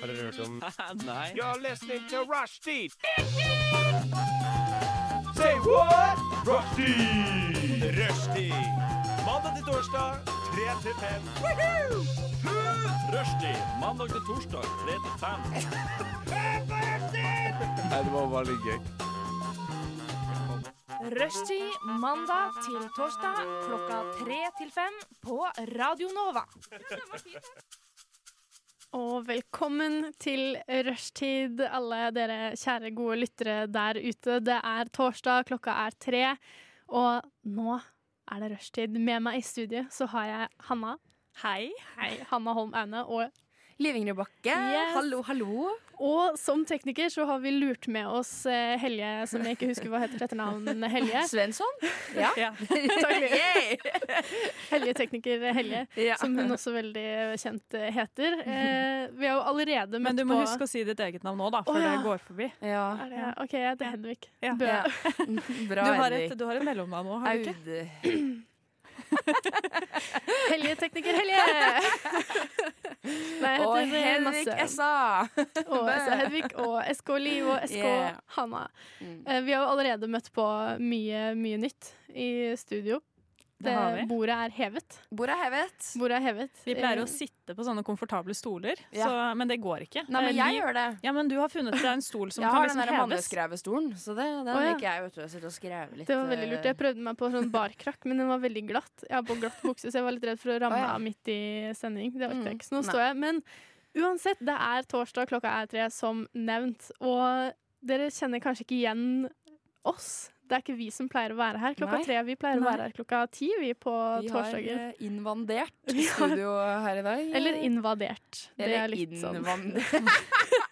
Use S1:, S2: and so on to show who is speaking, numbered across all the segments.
S1: Har dere hørt om
S2: Nei.
S3: You're listening to Rushdie. Say what? Rushdie. Rushdie. Mandag til torsdag, 3 til 5. Rushdie. Mandag til torsdag, 3 til 5.
S2: Nei, det var bare litt gøy.
S4: Rushtid mandag til torsdag klokka tre til fem på Radio Nova.
S5: Og velkommen til rushtid, alle dere kjære gode lyttere der ute. Det er torsdag, klokka er tre, og nå er det rushtid. Med meg i studiet så har jeg Hanna. Hei. Hei, Hanna Holm Aune. Og,
S6: Liv Ingrid Bakke,
S5: Yes.
S6: hallo, hallo.
S5: og som tekniker så har vi lurt med oss eh, Helje, som jeg ikke husker hva heter til etternavn. Helje.
S6: Svensson? Ja. Yay!
S5: Heljetekniker Helje,
S6: Ja.
S5: som hun også veldig kjent eh, heter. Eh, vi har jo allerede møtt
S7: Men du må
S5: på
S7: huske å si ditt eget navn nå, da, for
S5: Å, ja.
S7: det går forbi.
S6: ja.
S5: Er det, OK, jeg heter Henrik.
S7: Ja.
S5: Bø.
S6: Ja.
S7: Du
S6: Bra,
S7: har, et,
S6: Henrik.
S7: du har et mellomnavn nå, har du ikke?
S6: Aud.
S5: Heljetekniker Helje! Nei, jeg
S6: Og
S5: heter
S6: Henrik
S5: masse.
S6: Essa.
S5: og SK Hedvig og SK Liv og SK
S6: Yeah.
S5: Hanna.
S6: Mm.
S5: Eh, Vi har jo allerede møtt på mye, mye nytt i studio.
S7: Det har vi.
S5: Bordet er hevet.
S6: Bordet er hevet.
S5: Bordet er hevet.
S7: Vi pleier
S5: Eh,
S7: å sitte på sånne komfortable stoler,
S6: Ja.
S7: så, men det går ikke.
S6: Nei,
S7: Eh,
S6: men jeg
S7: vi-
S6: gjør det.
S7: ja, men du har funnet deg en stol som
S6: Jeg
S7: kan
S6: har den
S7: liksom
S6: der
S7: heves.
S6: manneskrevestolen, så det,
S5: Å,
S6: den
S5: ja.
S6: liker jeg. Vet du. Jeg sitter og skrever litt.
S5: Det var veldig lurt.
S6: eh,
S5: Jeg prøvde meg på sånn barkrakk, men den var veldig glatt. Jeg har på glatt bukse, så jeg var litt redd for å ramme
S6: Å, ja.
S5: av midt i sending. Det orket
S6: Mm,
S5: jeg ikke, så nå
S6: nei.
S5: står jeg. Men uansett, det er torsdag, klokka er tre, som nevnt. Og dere kjenner kanskje ikke igjen oss. Det er ikke vi som pleier å være her klokka
S6: Nei.
S5: tre. Vi pleier å
S6: Nei.
S5: være her klokka ti, vi, på
S6: Vi har
S5: torsdager.
S6: eh, invandert studio her i dag.
S5: Eller invadert. Det
S6: eh, Eller
S5: er litt sånn.
S6: innvandret.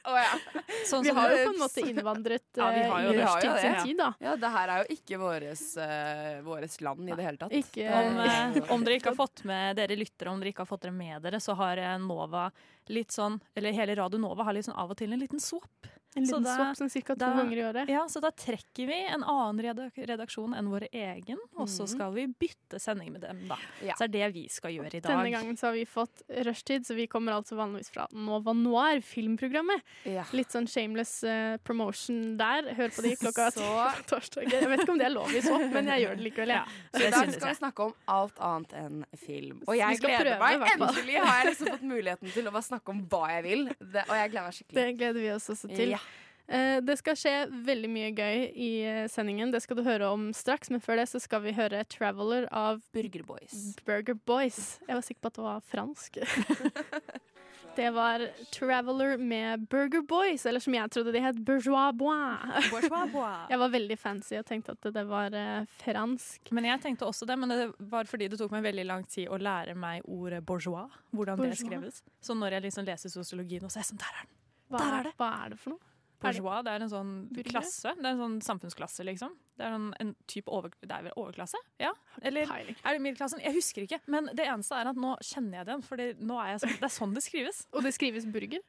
S6: Å ja.
S7: Sånn
S5: Vi
S7: som
S5: har jo
S7: du-
S5: på en måte innvandret
S7: Ja, vi
S5: eh,
S7: har jo
S5: i
S7: det.
S5: rushtid
S6: Vi har jo
S5: sin
S6: det.
S5: tid, da.
S6: ja, det her er jo ikke våres, eh, våres land i det hele tatt.
S5: Ikke-
S7: om,
S6: Det er-
S7: eh, om dere ikke har fått med dere lyttere, om dere ikke har fått dere med dere, så har eh, Nova litt sånn, eller hele Radio Nova har litt sånn av og til en liten swap.
S5: En
S7: Så
S5: liten
S7: da-
S5: swap sånn cirka to
S7: da-
S5: ganger i året.
S7: Ja, så da trekker vi en annen redak- redaksjon enn vår egen, og så skal vi bytte sending med dem, da.
S6: Ja.
S7: Så det er det vi skal gjøre i dag.
S5: Denne gangen så har vi fått rushtid, så vi kommer altså vanligvis fra Nova Noir, filmprogrammet.
S6: ja.
S5: Litt sånn shameless eh, promotion der. Hør på de klokka
S6: Så-
S5: ti på torsdager. Jeg vet ikke om det er lov i swap, men jeg gjør det likevel. jeg.
S6: Så i
S7: Det
S6: dag
S7: synes
S6: skal vi
S7: jeg.
S6: snakke om alt annet enn film. Og
S5: Vi
S6: jeg
S5: skal
S6: gleder
S5: prøve, i
S6: meg.
S5: hvert fall.
S6: Endelig har jeg liksom fått muligheten til å bare snakke om hva jeg vil. Det, og jeg gleder meg
S5: Det
S6: skikkelig.
S5: gleder vi oss også til.
S6: Ja.
S5: Eh, det skal skje veldig mye gøy i eh, sendingen. Det skal du høre om straks, men før det så skal vi høre 'Traveler' av
S6: Burger Boys.
S5: Burger Boys. Jeg var sikker på at det var fransk. Det var 'Traveler' med Burger Boys, eller som jeg trodde de het, Bourgeois Bois.
S7: Bourgeois bois.
S5: Jeg var veldig fancy og tenkte at det var eh, fransk.
S7: Men jeg tenkte også det, men det var fordi det tok meg veldig lang tid å lære meg ordet bourgeois, hvordan det
S5: Bourgeois.
S7: skreves. Så når jeg liksom leser sosiologien, og så er jeg sånn, der er den!
S5: Hva,
S7: Der er
S5: er,
S7: det.
S5: hva er det for noe?
S7: Bourgeois, det er en sånn
S5: Burger?
S7: klasse, det er en sånn samfunnsklasse, liksom. Det er, sånn, en type over, det er vel overklasse? Ja? Eller
S5: Peiling.
S7: er det middelklassen? Jeg husker ikke, men det eneste er at nå kjenner jeg det igjen, for nå er jeg sånn, det er sånn det skrives.
S5: Og det skrives burger?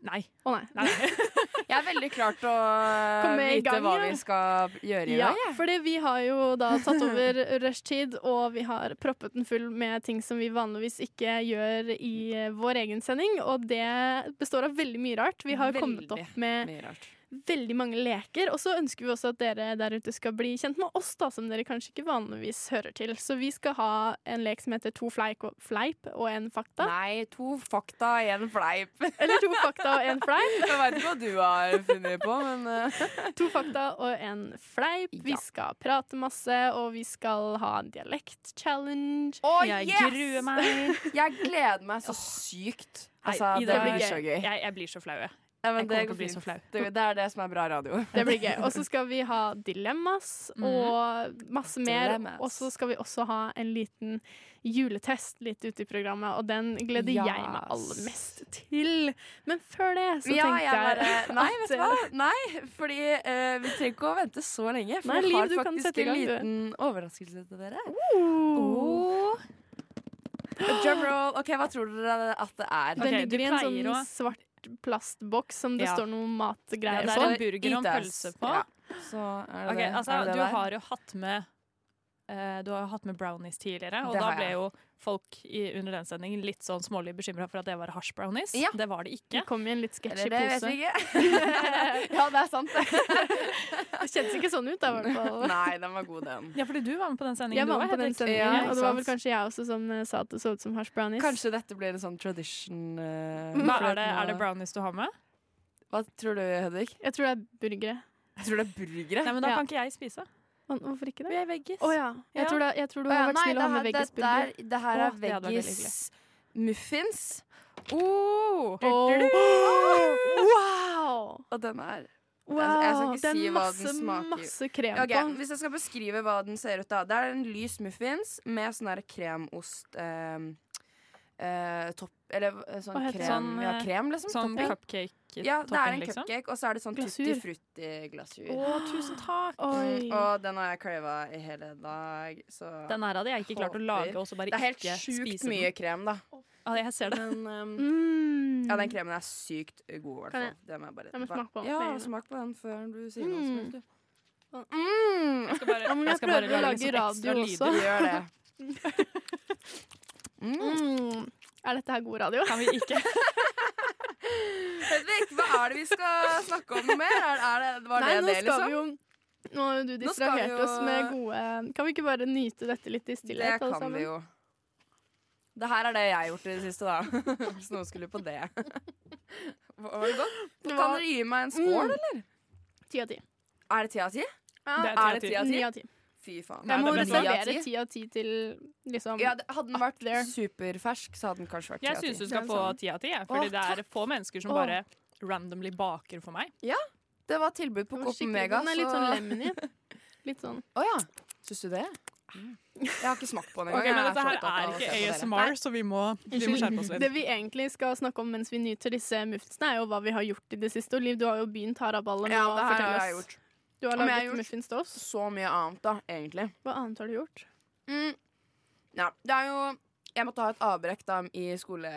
S7: Nei.
S5: Å nei.
S7: nei.
S6: Jeg er veldig klar til å eh,
S5: Komme i
S6: vite
S5: gang,
S6: hva
S5: ja.
S6: vi skal gjøre i
S5: Ja,
S6: dag. jeg.
S5: fordi vi har jo da tatt over rushtid, og vi har proppet den full med ting som vi vanligvis ikke gjør i eh, vår egen sending, og det består av veldig mye rart. Vi har jo kommet
S6: Veldig
S5: opp med
S6: Mye rart.
S5: veldig mange leker, og så ønsker vi også at dere der ute skal bli kjent med oss, da, som dere kanskje ikke vanligvis hører til. Så vi skal ha en lek som heter To fleik og- fleip og en fakta.
S6: Nei, to fakta i en fleip.
S5: Eller to fakta og en fleip.
S6: Jeg veit ikke hva du har funnet på, men eh,
S5: To fakta og en fleip. Vi
S6: Ja.
S5: skal prate masse, og vi skal ha en dialekt-challenge.
S6: Å,
S7: Jeg
S6: yes!
S7: gruer meg.
S6: Jeg gleder meg så sykt. Altså,
S7: Nei, i
S6: det
S7: dag-
S6: blir så gøy.
S7: Jeg, jeg blir så flau, jeg.
S6: Ja,
S7: Jeg
S6: men
S7: kommer
S6: det
S7: til å
S6: går
S7: bli så
S6: fint.
S7: flau.
S6: Det, det er det som er bra radio.
S5: Det blir gøy. Og så skal vi ha dilemmas
S7: Mhm.
S5: og masse mer.
S6: Dilemmas.
S5: Og så skal vi også ha en liten juletest litt ute i programmet, og den gleder jeg meg
S6: Yes.
S5: aller mest til. Men før det så
S6: ja,
S5: tenkte
S6: jeg
S5: jeg,
S6: bare Nei,
S5: at-
S6: vet du hva? Nei, fordi eh, vi trenger ikke å vente så lenge. For
S5: Nei,
S6: vi
S5: Liv,
S6: har
S5: du kan sette
S6: faktisk
S5: i
S6: en
S5: gang, du.
S6: liten overraskelse til dere.
S5: Oh.
S6: Drum roll. OK, hva tror dere at det er?
S5: Det
S7: Ok, du
S5: ligger i en sånn
S7: pleier å-
S5: svart plastboks som det
S7: Ja.
S5: står noe
S7: Ja,
S5: matgreier
S7: det er
S5: på.
S7: en burger og en
S6: Eat us.
S7: pølse på.
S6: Ja, så er det
S7: Ok,
S6: det.
S7: altså,
S6: er det det
S7: du
S6: der?
S7: har jo hatt med eh, Du har hatt med brownies tidligere, og
S6: Det
S7: da
S6: har
S7: ble
S6: jeg.
S7: jo folk i, under den sendingen litt sånn smålig bekymra for at det var hasj-brownies.
S6: Ja.
S7: Det var det
S5: Det
S7: ikke.
S5: kom i en litt sketchy
S6: Eller det vet
S5: pose.
S6: vi ikke.
S5: ja, det er sant. det kjentes ikke sånn ut, da, i hvert fall.
S6: Nei, den var god, den.
S7: Ja, fordi du var med på den sendingen,
S5: Jeg
S7: du
S5: var med på
S7: òg,
S5: den
S7: Hedvig.
S5: sendingen,
S6: Ja, ikke
S5: og det var vel
S6: sant.
S5: kanskje jeg også som eh, sa at det så ut som hash brownies.
S6: Kanskje dette blir en sånn tradition eh,
S7: Hva
S6: for
S7: er det,
S6: nå.
S7: er det brownies du har med?
S6: Hva tror du, Hedvig?
S5: Jeg tror det er burgere.
S6: Jeg tror det er burgere.
S7: Nei, men da
S5: Ja.
S7: kan ikke jeg spise.
S5: Men Hvorfor ikke
S7: Vi
S5: det?
S7: er veggis.
S5: Å ja.
S7: Ja.
S5: Jeg tror, det, jeg tror du
S6: Å ja,
S5: har vært
S6: nei,
S5: snill
S6: det
S5: å ha
S6: her-
S5: med
S6: dette
S5: veggisburger.
S6: er- Det
S7: Å,
S6: her
S7: det
S6: er
S7: hadde vært veldig
S6: veggis muffins. Oh,
S5: Wow!
S6: Og den er
S5: wow.
S6: Jeg skal ikke
S5: det er
S6: si hva den
S5: masse,
S6: smaker.
S5: masse krem
S6: Ok,
S5: på.
S6: Hvis jeg skal beskrive hva den ser ut da Det er en lys muffins med sånn der kremost eh, eh, Topp Eller eh, sånn
S5: Hva heter det?
S6: krem
S7: Sånn,
S6: Ja,
S7: eh,
S6: krem liksom
S7: Sånn
S6: Topping.
S7: cupcake-topping,
S6: Ja, det er en
S7: liksom.
S6: cupcake Og så er det sånn
S5: Glasur.
S6: tutti frutti glasur
S7: Å, tusen takk!
S5: Oi.
S6: Mm, Og den har jeg cravet i hele dag Så
S7: Den her hadde jeg ikke klart å lage, og så bare
S6: det er helt
S7: ikke
S6: sjukt
S7: spise
S6: mye
S7: den.
S6: krem da
S7: Ja, jeg ser det.
S6: Men ehm,
S5: Mm.
S6: Ja, den kremen er sykt god i hvert
S5: Kan
S6: fall
S5: jeg-
S6: Det må jeg bare
S5: Jeg må smake på den
S6: Ja,
S5: med en gang.
S6: smak på den før du sier noe som
S5: Mm.
S6: helst du. Mm.
S7: Jeg skal bare,
S5: Ja, men jeg
S7: skal bare
S5: prøver
S7: lage
S5: å lage
S6: sånn
S7: liksom ekstra
S5: radio
S7: lyder.
S5: også.
S6: Gjør det Mm.
S5: Mm. Er dette her god radio?
S7: Kan vi ikke?
S6: Hedvig, hva er det vi skal snakke om noe mer? Er, er det, var
S5: Nei,
S6: det
S5: nå
S6: det,
S5: skal vi
S6: liksom?
S5: jo Nå har jo du
S6: Nå skal vi
S5: distrahert
S6: jo-
S5: oss med gode Kan vi ikke bare nyte dette litt i
S6: det
S5: stillhet? alle
S6: kan vi
S5: sammen?
S6: jo. Det her er det jeg har gjort i det siste, da. Hvis noen skulle på det. Var det godt?
S5: Det
S6: Kan
S5: var
S6: dere gi meg en skål,
S5: Mm.
S6: eller?
S5: ti av ti.
S6: Er det ti av ti?
S7: Det
S6: Er det
S7: ti
S6: ti av
S5: Ni
S6: ti?
S5: av ti.
S6: Fy faen.
S7: Nei,
S5: Jeg må
S7: det er bra.
S5: reservere ti av ti til liksom
S6: Ja, det- hadde den
S5: Up there.
S6: vært superfersk, så hadde den kanskje vært ti
S7: Jeg
S6: av ti.
S7: syns du skal
S5: Det er
S7: få
S6: sånn.
S5: sant.
S7: ti av ti, jeg, fordi
S5: Å,
S7: det er få mennesker som
S5: Å.
S7: bare randomly baker for meg.
S6: Det var tilbud på
S5: Den var
S6: Coop
S5: skikkelig
S6: Mega.
S5: god. Den er litt
S6: så-
S5: sånn lemony. Litt sånn.
S6: Å ja. Syns du det? Jeg har ikke smakt på den engang.
S7: Ok, Men
S6: jeg
S7: dette
S6: så
S7: her
S6: opptatt av
S7: er
S6: å
S7: ikke
S6: se på dere.
S7: ASMR, så vi må, vi må skjerpe oss
S5: Det
S7: litt.
S5: vi egentlig skal snakke om mens vi nyter disse muffinsene, er jo hva vi har gjort i det siste. Og Liv, du har jo begynt haraballet med
S6: Ja,
S5: å
S6: det her har
S5: fortelle
S6: jeg
S5: oss.
S6: gjort.
S5: Du har
S6: Om jeg har
S5: laget
S6: gjort-
S5: muffins til oss.
S6: Så mye annet, da, egentlig.
S5: Hva annet har du gjort?
S6: Mm. Ja, det er jo Jeg måtte ha et avbrekk da i skole...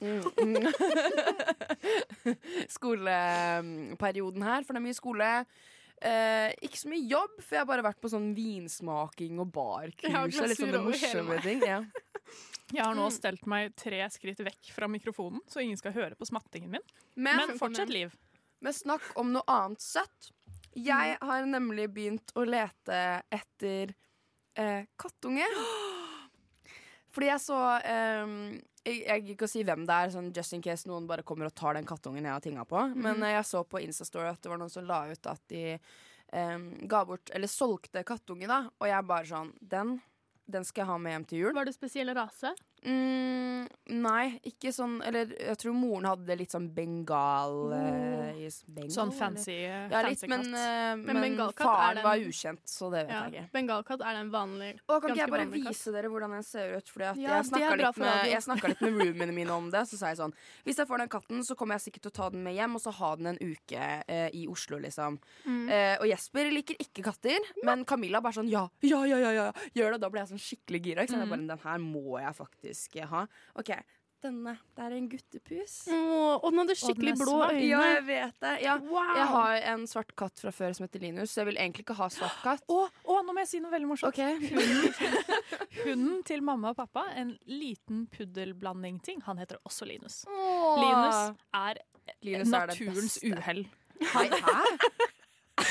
S6: Mm, mm. Skoleperioden her, for det er mye skole. Eh, ikke så mye jobb, for jeg har bare vært på sånn vinsmaking og barkurs.
S5: Ja,
S6: og litt
S5: glasur
S6: sånne
S5: over hele
S6: morsomme ting. Ja.
S7: Jeg har nå
S6: Mm.
S7: stelt meg tre skritt vekk fra mikrofonen, så ingen skal høre på smattingen min.
S6: Men,
S7: Men fortsett, Liv.
S6: men snakk om noe annet søtt.
S7: Mm.
S6: Jeg har nemlig begynt å lete etter eh, kattunge. Fordi jeg så ehm, jeg, jeg gidder ikke å si hvem det er, sånn just in case noen bare kommer og tar den kattungen jeg har tinga på.
S7: Mm.
S6: Men eh, jeg så på Instastory at det var noen som la ut at de ehm, ga bort Eller solgte kattunge, da. Og jeg bare sånn Den, den skal jeg ha med hjem til jul.
S5: Var det spesiell rase?
S6: Mm, nei, ikke sånn Eller jeg tror moren hadde litt sånn bengal... eh, i s- bengal
S7: Sånn
S6: eller?
S7: fancy,
S6: Ja, litt,
S7: fancy
S6: men,
S7: katt.
S6: eh, men,
S5: bengalkatt, er
S6: faren
S5: den-
S6: var ukjent, så det vet
S5: Ja.
S6: jeg ikke.
S5: Bengalkatt er den vanlige.
S6: Og kan ikke
S5: Ganske
S6: jeg bare
S5: vanlig katt.
S6: vise dere hvordan den ser ut? Fordi at
S5: Ja,
S6: jeg
S5: det
S6: snakka
S5: er bra
S6: litt,
S5: for
S6: med-
S5: radio.
S6: jeg snakket litt med roomiene mine om det. Så sa jeg sånn Hvis jeg får den katten, så kommer jeg sikkert til å ta den med hjem og så ha den en uke eh, i Oslo, liksom.
S5: Mm.
S6: Eh, og Jesper liker ikke katter, men Camilla bare sånn ja, ja, ja, ja, ja. gjør det. Og da ble jeg sånn skikkelig gira.
S5: Mm.
S6: Ikke sant? Jeg bare, den her må jeg faktisk ha. OK. Denne. Det er en guttepus.
S5: Åh, og den hadde skikkelig
S7: er
S5: blå
S7: svart.
S5: øyne.
S6: Ja, jeg vet det. Ja.
S5: Wow!
S6: Jeg har en svart katt fra før som heter Linus, så jeg vil egentlig ikke ha svart katt.
S7: Å, å, nå må jeg si noe veldig morsomt.
S6: Ok,
S7: Hunden til mamma og pappa, en liten puddelblanding-ting, han heter også Linus.
S6: Åh.
S7: Linus er
S6: Linus er det
S7: naturens
S6: beste.
S7: uhell.
S6: Nei, hæ?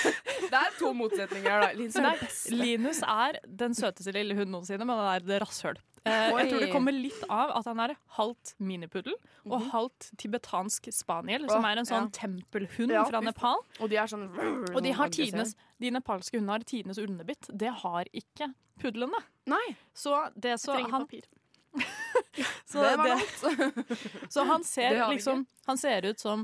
S6: Det er to motsetninger, da. Linus er
S7: Nei,
S6: det beste.
S7: Linus er den søteste lille hunden noensinne, men han er det rasshøl. Eh,
S6: Oi. Mhm.
S7: jeg tror det kommer litt av at han er halvt minipuddel og halvt tibetansk spaniel, som
S6: Åh,
S7: er en sånn
S6: ja.
S7: tempelhund
S6: Ja,
S7: fra
S6: fy
S7: Nepal.
S6: Og de er sånn
S7: Og de, har tidenes, de nepalske hundene har tidenes underbitt. Det har ikke pudlene.
S6: Nei,
S7: Så, det så,
S5: Trenger
S7: han,
S5: papir.
S7: så,
S6: det var
S7: det,
S6: langt.
S7: så han
S6: Det har
S7: ser
S6: vi
S7: liksom Han ser ut som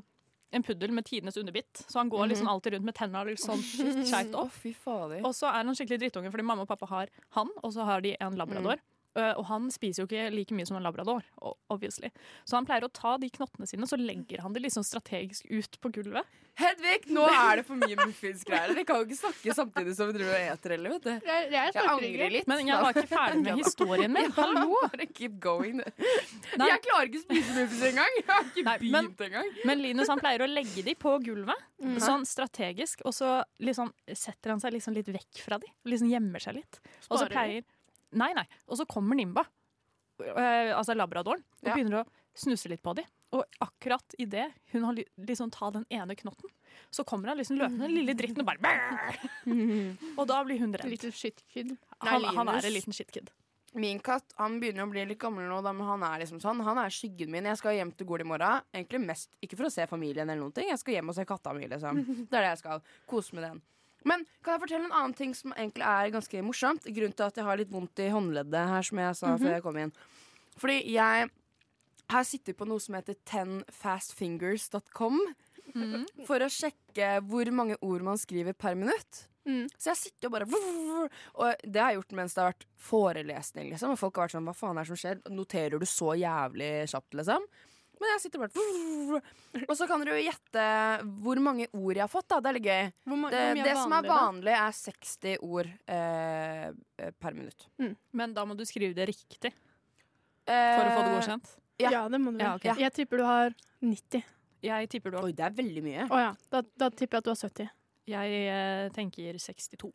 S7: en puddel med tidenes underbitt. Så han går liksom alltid rundt med tenna liksom skikkelig skeivt
S6: Å,
S7: opp.
S6: Mhm. fy fader.
S7: Og så er han skikkelig drittunge, fordi mamma og pappa har han, og så har de en labrador. Eh, Og han spiser jo ikke like mye som en labrador, o- obviously. Så han pleier å ta de knottene sine, så legger han de liksom strategisk ut på gulvet.
S6: Hedvig, nå er det for mye muffinsgreier. Vi kan jo ikke snakke samtidig som vi driver og eter heller, vet du.
S5: Jeg, jeg
S6: Jeg
S5: snakker
S6: angrer
S5: ikke.
S6: litt.
S7: Men jeg var ikke ferdig med historien min. Hallo!
S6: Bare keep going.
S7: Nei.
S6: Jeg klarer ikke å spise muffins engang. Jeg har ikke
S7: Nei, men-
S6: begynt engang.
S7: Men Linus han pleier å legge de på gulvet, sånn strategisk, og så liksom setter han seg liksom litt vekk fra de. Liksom gjemmer seg litt. Og så
S5: Sparer
S7: pleier Nei, nei. Og så kommer Nimba, eh, altså labradoren, og
S6: Ja.
S7: begynner å snuse litt på de. Og akkurat idet hun har ly- liksom ta den ene knotten, så kommer han liksom løpende, den lille dritten, og bare brrr. Og da blir hun
S5: En
S7: redd.
S5: liten skyttkid.
S7: Han,
S6: Nei,
S7: han
S6: Linus.
S7: er en liten shitkid.
S6: Min katt han begynner å bli litt gammel nå, da, men han er liksom sånn. Han er skyggen min. Jeg skal hjem til Gol i morgen. Egentlig mest ikke for å se familien, eller noen ting. Jeg skal hjem og se katta mi. Liksom. Det er det jeg skal. Kose med den. Men kan jeg fortelle en annen ting som egentlig er ganske morsomt? Grunnen til at jeg har litt vondt i håndleddet her, som jeg sa før jeg kom inn. Fordi jeg har sittet på noe som heter 10fastfingers.com for å sjekke hvor mange ord man skriver per minutt.
S5: Mm.
S6: Så jeg sitter og bare Og det har jeg gjort mens det har vært forelesning, liksom. Og folk har vært sånn Hva faen er det som skjer? Noterer du så jævlig kjapt, liksom? Men jeg sitter bare Og så kan dere jo gjette hvor mange ord jeg har fått, da. Det er litt gøy.
S5: Hvor ma-
S6: Det,
S5: hvor mye
S6: det som er
S5: vanlig, da?
S6: vanlig, er 60 ord eh, eh, per minutt.
S7: Men da må du skrive det riktig
S6: Eh,
S7: for å få det godkjent.
S6: Ja.
S5: Ja. det må du vel.
S7: Ja, ok.
S5: Jeg tipper du har 90.
S7: Jeg tipper du har
S6: Oi, det er veldig mye.
S5: Å ja, da, da tipper jeg at du har 70.
S7: Jeg eh, tenker 62.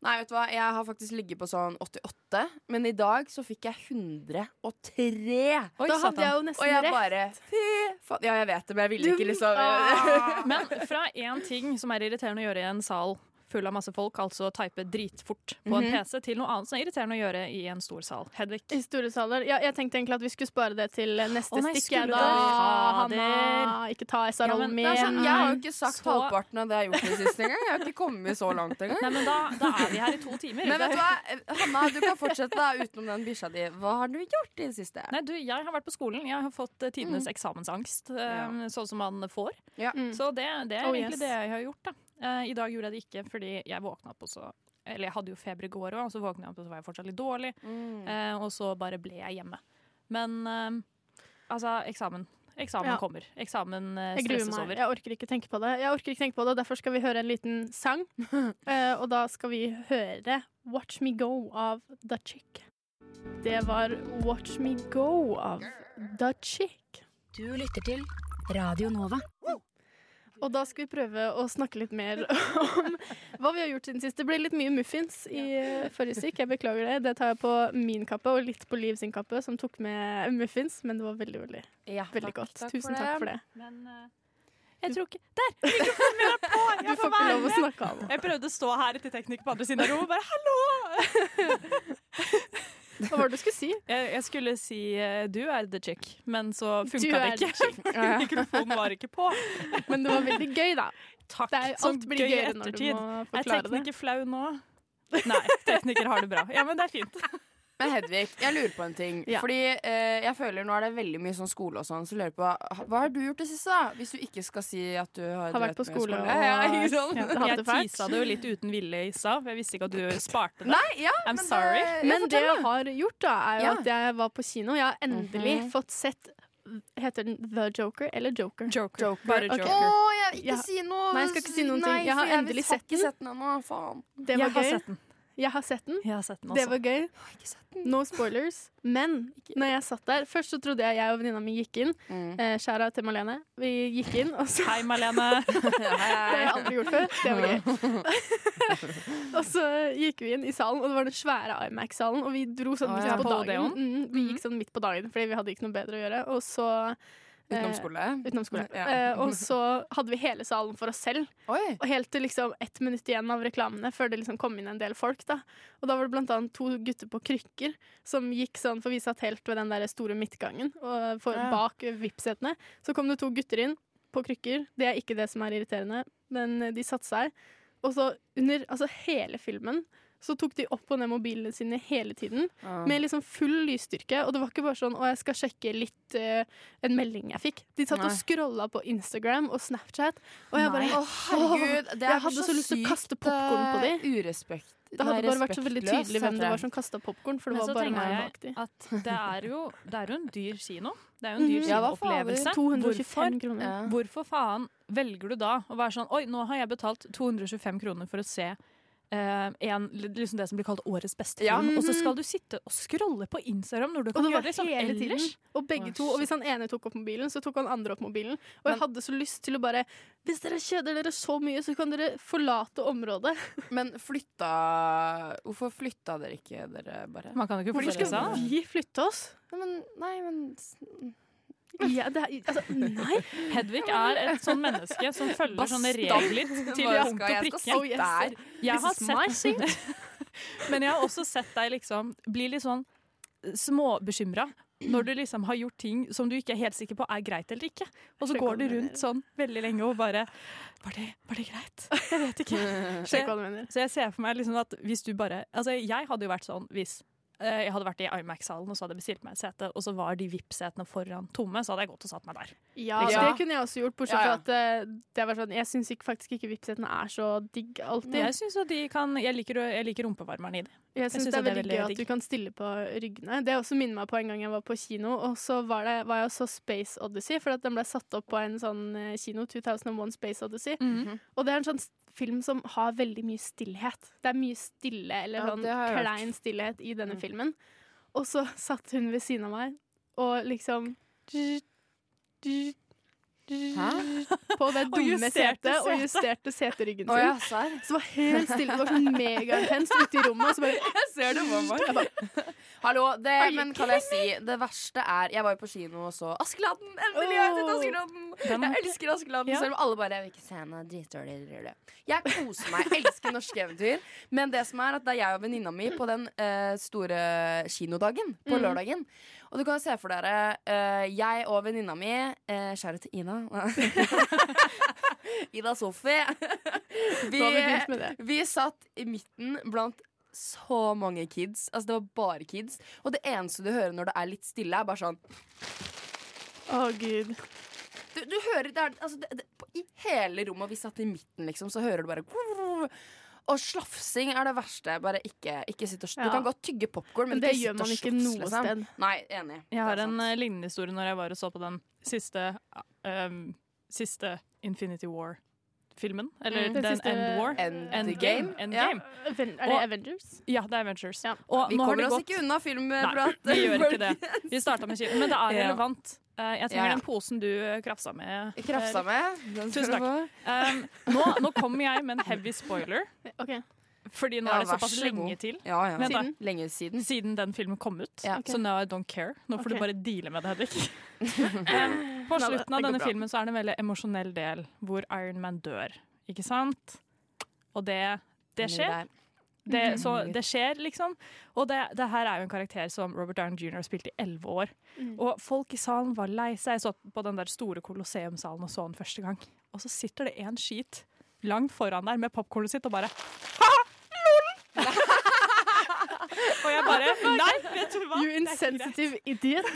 S6: Nei, vet du hva, jeg har faktisk ligget på sånn 88, men i dag så fikk jeg 103.
S7: Oi,
S5: da hadde jeg jo
S6: Og
S5: nesten
S6: jeg
S5: rett.
S6: bare Fy faen. Ja, jeg vet det, men jeg ville ikke, liksom.
S7: Men fra én ting som er irriterende å gjøre i en sal full av masse folk, altså type dritfort på
S6: Mhm.
S7: en PC, til noe annet som er irriterende å gjøre i en stor sal. Hedvig.
S5: Historiesaler. Ja, jeg tenkte egentlig at vi skulle spare det til
S7: Å
S5: neste
S7: nei,
S5: stikk. jeg,
S7: skulle
S5: Da,
S7: dere?
S5: Hanna, ikke ta
S7: Ja,
S5: SR-rollen
S7: men
S5: min.
S6: Det er sånn, jeg har jo ikke sagt
S7: Så-
S6: halvparten av det jeg har gjort den siste engang. Jeg har ikke kommet så langt engang.
S7: Nei, men da, da er vi her i to timer.
S6: Men vet du hva, Hanna, du kan fortsette da utenom den bikkja di. Hva har du gjort i det siste?
S7: Nei, du, jeg har vært på skolen. Jeg har fått eh, tidenes eksamensangst, eh,
S6: Mm. Ja.
S7: sånn som man får.
S6: Ja.
S5: Mm.
S7: Så det, det er
S5: Oh,
S7: egentlig
S5: yes.
S7: det jeg har gjort. Da. Eh, I dag gjorde jeg det ikke fordi jeg våkna opp, og så Eller jeg hadde jo feber i går òg, og så våkna jeg opp, og så var jeg fortsatt litt dårlig.
S6: Mm.
S7: Eh, og så bare ble jeg hjemme. Men eh, altså, eksamen. Eksamen
S5: Ja.
S7: kommer. Eksamen eh,
S5: Jeg gruer
S7: stresses
S5: meg.
S7: over.
S5: Jeg orker ikke tenke på det. Jeg orker ikke tenke på det, Derfor skal vi høre en liten sang. Eh, og da skal vi høre 'Watch Me Go' av The Chick. Det var 'Watch Me Go' av The Chick.
S1: Du lytter til Radio Nova.
S5: Og da skal vi prøve å snakke litt mer om hva vi har gjort siden sist. Det ble litt mye muffins i eh, forrige stikk, jeg beklager det. Det tar jeg på min kappe, og litt på Liv sin kappe, som tok med muffins. Men det var veldig, veldig,
S6: Ja,
S5: veldig
S6: takk,
S5: godt. Tusen takk for det.
S7: Men eh, jeg tror ikke Der! Mikrofonen min er på!
S5: Du
S7: Jeg
S5: får ikke lov å snakke av nå.
S7: Jeg prøvde å stå her til teknikk på andre siden av rommet. Bare hallo!
S5: Hva var det du skulle si?
S7: Jeg, jeg skulle si eh, du er the chick, men så
S5: Du
S7: funka det
S5: er the
S7: ikke. fordi Mikrofonen var ikke på.
S5: Men det var veldig gøy, da.
S7: Takk.
S5: Det er, jo-
S7: som
S5: alt blir gøyere når du må
S7: Er
S5: forklare det.
S7: tekniker flau nå? Nei, tekniker har det bra. Ja, men det er fint.
S6: Men Hedvig, jeg lurer på en ting.
S5: Ja.
S6: Fordi eh, jeg føler nå er det veldig mye sånn skole og sånn, så lurer jeg på ha- hva har du gjort det siste, da? Hvis du ikke skal si at du har,
S5: Har vært
S6: drevet
S5: på
S6: med
S5: skole og
S6: Ja, ikke sant?
S5: ja, hatt
S7: Jeg
S5: det fælt.
S7: tisa det jo litt uten vilje i stad. for Jeg visste ikke at du sparte det.
S6: Nei, ja,
S7: I'm
S6: men det-
S7: sorry.
S6: ja,
S5: Men det
S6: fortell, da.
S5: jeg har gjort, da, er jo
S6: Ja.
S5: at jeg var på kino. Jeg har endelig
S6: Mhm.
S5: fått sett Heter den The Joker eller Joker?
S7: Joker.
S6: Joker.
S7: Bare
S5: Ok.
S7: joker.
S6: Å, jeg vil ikke
S5: Ja.
S6: si noe.
S5: Nei, jeg skal ikke si noen ting.
S6: Nei,
S5: Jeg har
S6: for
S5: endelig
S6: har
S5: sett
S6: ikke
S5: den.
S6: sett den ennå. Faen.
S5: Det var
S7: jeg har
S5: gøy.
S7: sett den. altså.
S5: Jeg har sett den.
S7: Jeg har sett den
S5: Det
S7: også.
S5: var gøy. No spoilers. Men når jeg satt der Først så trodde jeg jeg og venninna mi gikk inn.
S6: Mm.
S5: Eh, Skjæra til Malene. Vi gikk inn, og så
S7: Hei, Malene.
S5: Det har jeg aldri gjort før. Det var gøy. og så gikk vi inn i salen, og det var den svære IMAX-salen. Og vi dro sånn
S6: Å,
S5: midt
S6: ja.
S5: på
S7: På Odeon?
S5: dagen. Mm, vi gikk sånn midt på dagen fordi vi hadde ikke noe bedre å gjøre. Og så
S6: Utenom
S5: eh,
S6: skole.
S5: Utenom skole.
S6: Ja.
S5: Eh, og så hadde vi hele salen for oss selv.
S6: Oi.
S5: Og helt til liksom ett minutt igjen av reklamene, før det liksom kom inn en del folk. da. Og da var det blant annet to gutter på krykker som gikk sånn, for vi satt helt ved den der store midtgangen og for,
S6: Ja.
S5: bak VIP-setene. Så kom det to gutter inn på krykker. Det er ikke det som er irriterende, men de satte seg. Og så under altså hele filmen så tok de opp og ned mobilene sine hele tiden. Med liksom full lysstyrke. Og det var ikke bare sånn 'Å, jeg skal sjekke litt eh, en melding jeg fikk'. De satt og
S6: Nei.
S5: scrolla på Instagram og Snapchat, og jeg bare
S6: Å, herregud. Det er eh,
S5: Jeg hadde så lyst til å kaste popcorn på
S6: de. Urespekt.
S5: Det hadde
S2: Nei,
S5: bare vært så veldig
S2: respektløs,
S5: tydelig hvem
S2: heter
S5: det var
S2: det.
S5: som kasta popkorn, for det
S7: Men
S5: var
S7: så
S5: bare
S7: tenker
S5: meg
S7: jeg
S5: bak de.
S7: at det er jo Det er jo en dyr kino. Det er jo en dyr
S5: Mhm.
S2: Ja, hva faen,
S7: kinoopplevelse. Hvorfor,
S5: 225 kroner.
S2: Ja.
S7: hvorfor faen velger du da å være sånn Oi, nå har jeg betalt 225 kroner for å se eh, en, liksom det som blir kalt årets beste
S6: Ja.
S7: film, og så skal du sitte og scrolle på Instagram når du
S5: Mm. Og
S7: kan
S5: det
S7: gjøre
S5: var
S7: det sånn
S5: hele tiden.
S7: ellers.
S5: Og begge to. Og hvis han ene tok opp mobilen, så tok han andre opp mobilen. Og jeg hadde så lyst til å bare Hvis dere kjeder dere så mye, så kan dere forlate området.
S6: Men flytta Hvorfor flytta dere ikke, dere bare?
S7: Man kan jo ikke
S5: Hvorfor
S7: fortelle
S5: skal
S7: seg.
S5: vi flytte oss?
S6: Nei, men, nei, men
S5: Ja, det er, altså, nei.
S7: Hedvig er et sånn menneske som følger sånne regler til
S6: Bare
S7: punkt og
S6: skal- jeg skal
S7: prikke.
S5: Oh, yes.
S6: Der.
S7: Jeg har
S5: This is my
S7: sett Men jeg har også sett deg liksom bli litt sånn småbekymra når du liksom har gjort ting som du ikke er helt sikker på er greit eller ikke. Og så går
S5: Skjønner
S7: du
S5: hva du mener.
S7: rundt sånn veldig lenge og bare Var det, var det greit? Jeg vet ikke.
S5: Sjekk hva du mener.
S7: Så jeg ser for meg liksom at hvis du bare Altså, jeg hadde jo vært sånn hvis eh, jeg hadde vært i Imax-salen og så hadde jeg bestilt meg et sete, og så var de VIP-setene foran tomme, så hadde jeg gått og satt meg der.
S5: Ja,
S6: Ja.
S5: det kunne jeg også gjort, bortsett
S6: Ja, ja.
S5: fra at eh, det var sånn, jeg syns ikke, faktisk ikke Vipps-setene er så digg alltid.
S7: Jeg synes at de kan Jeg liker, jeg liker rumpevarmeren i det.
S5: Jeg syns
S7: synes
S5: det er
S7: at
S5: veldig gøy at
S7: digg.
S5: du kan stille på ryggene. Det også minner meg på en gang jeg var på kino, og så var, det, var jeg og så Space Odyssey, for at den ble satt opp på en sånn eh, kino, 2001 Space Odyssey. Og det er en sånn s- film som har veldig mye stillhet. Det er mye stille, eller
S6: Ja,
S5: sånn
S6: det har jeg hørt.
S5: klein stillhet i denne filmen. Og så satt hun ved siden av meg, og liksom På det dumme
S7: justerte
S5: setet, og
S7: setet.
S5: justerte seteryggen sin.
S6: Å ja, serr?
S5: Så det var helt stille, det var sånn megaintenst ute i rommet, og så bare
S6: Jeg ser det for meg. Hallo, det, men kan jeg si Det verste er Jeg var jo på kino og så Askeladden! Endelig har jeg sett Askeladden!
S7: Den-
S6: Jeg elsker Askeladden,
S7: Ja.
S6: selv om alle bare Jeg vil ikke se henne, dritdårlig rød, rød». Jeg koser meg, elsker norske eventyr. Men det som er at det er jeg og venninna mi på den eh, store kinodagen på lørdagen. Og du kan se for dere eh, jeg og venninna mi uh, Kjære til Ina. Ida Sofie. Vi,
S5: Nå har vi begynt med det.
S6: vi satt i midten blant så mange kids. Altså, det var bare kids. Og det eneste du hører når det er litt stille, er bare sånn
S5: Å, gud.
S6: Du, du hører det er, altså, det, det, på, I hele rommet, og vi satt i midten, liksom, så hører du bare Og slafsing er det verste. Bare ikke, ikke sitt og sl-
S5: Ja.
S6: Du kan godt tygge popkorn, men,
S5: Men det
S6: ikke
S5: gjør
S6: sitt og
S5: man ikke
S6: slafs,
S5: noe
S6: liksom.
S5: sted.
S6: Nei, enig.
S7: Jeg har
S6: Det er
S7: en
S6: sant.
S7: eh, lignende historie når jeg var og så på den siste, eh, um, siste Infinity War-filmen. Eller
S6: Mm.
S7: den,
S5: Den siste-
S7: End War.
S6: Endgame.
S7: Endgame.
S6: Ja.
S7: Endgame.
S5: Aven- Er det
S7: Og-
S5: Avengers?
S7: Ja, det er Avengers.
S5: Ja.
S7: Og
S6: Vi
S7: nå har
S6: kommer
S7: det
S6: oss
S7: gått
S6: ikke unna
S7: Nei,
S6: filmprat.
S7: vi gjør ikke det. Vi starta med kino, men det er
S6: Ja.
S7: relevant. Eh, jeg trenger
S6: Ja, ja.
S7: den posen du eh, krafsa med.
S6: Krafsa med. Den skal
S7: Tusen
S6: du
S7: takk.
S6: få.
S7: Um, nå, nå kommer jeg med en heavy spoiler,
S5: Ok.
S7: Fordi nå
S6: Ja,
S7: er det
S6: vær
S7: såpass
S6: så
S7: lenge
S6: god.
S7: til
S6: Ja, ja.
S7: Vent da.
S6: Siden. Lenge siden.
S7: siden den filmen kom ut.
S6: Ja.
S7: Så now I don't care. Nå får du
S5: Ok.
S7: bare deale med det, Hedvig. um, på
S5: Nei, det-
S7: slutten av
S5: det går
S7: denne
S5: bra.
S7: filmen så er det en veldig emosjonell del hvor Iron Man dør, ikke sant? Og det, det skjer. Det, så det skjer, liksom. Og det, det her er jo en karakter som Robert Downey jr. har spilt i elleve år. Og folk i salen var lei seg. Jeg så på den der store kolosseumsalen og så den første gang. Og så sitter det en skit langt foran der med popkornet sitt og bare Ha! LOL! og jeg bare Nei, vet du hva?
S5: You insensitive idiot.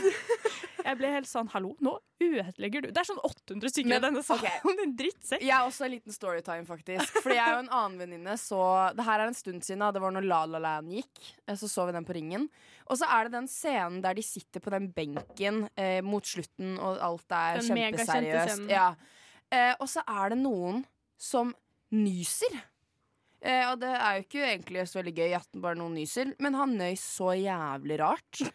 S7: Jeg ble helt sånn Hallo, nå ødelegger du Det er sånn 800 stykker
S6: Men,
S7: i denne salen.
S6: ok.
S7: Din drittsekk.
S6: Jeg har også en liten storytime, faktisk. Fordi jeg og en annen venninne så Det her er en stund siden, da. Det var når La La Land gikk. eh, Så så vi den på Ringen. Og så er det den scenen der de sitter på den benken eh, mot slutten, og alt er
S5: Den megakjente
S6: kjempeseriøst.
S5: scenen.
S6: Ja. Eh, og så er det noen som nyser. Eh, og det er jo ikke egentlig så veldig gøy at bare noen nyser, men han nøys så jævlig rart.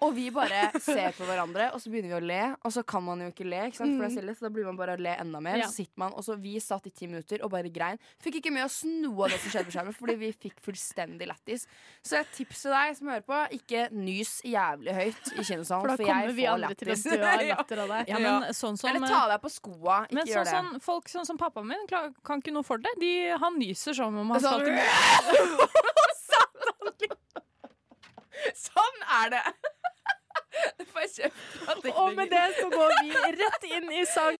S6: Og vi bare ser på hverandre, og så begynner vi å le. Og så kan man jo ikke le, ikke sant? for det er stille, så da blir man bare å le enda mer.
S5: Mm. Ja.
S6: Så sitter man, og så Vi satt i ti minutter og bare grein. Fikk ikke med oss noe av det som skjedde på skjermen, fordi vi fikk fullstendig lættis. Så et tips til deg som hører på, ikke nys jævlig høyt i kinosalen,
S5: For
S6: for,
S5: da kommer
S6: Altså, jeg
S5: vi
S6: får
S5: andre til å
S6: lættis.
S5: dø av eh,
S6: Ja.
S5: latter av deg.
S7: Ja, men sånn som
S6: Eller ta deg på skoa. Ikke
S7: men sånn,
S6: gjør det.
S7: sånn, folk sånn som pappaen min klar- kan ikke noe for det. De, han nyser som om han skal
S6: Sånn,
S7: til
S6: sånn er det! Du får kjeft av
S5: Og med
S6: teknikere.
S5: det så går vi rett inn i sang.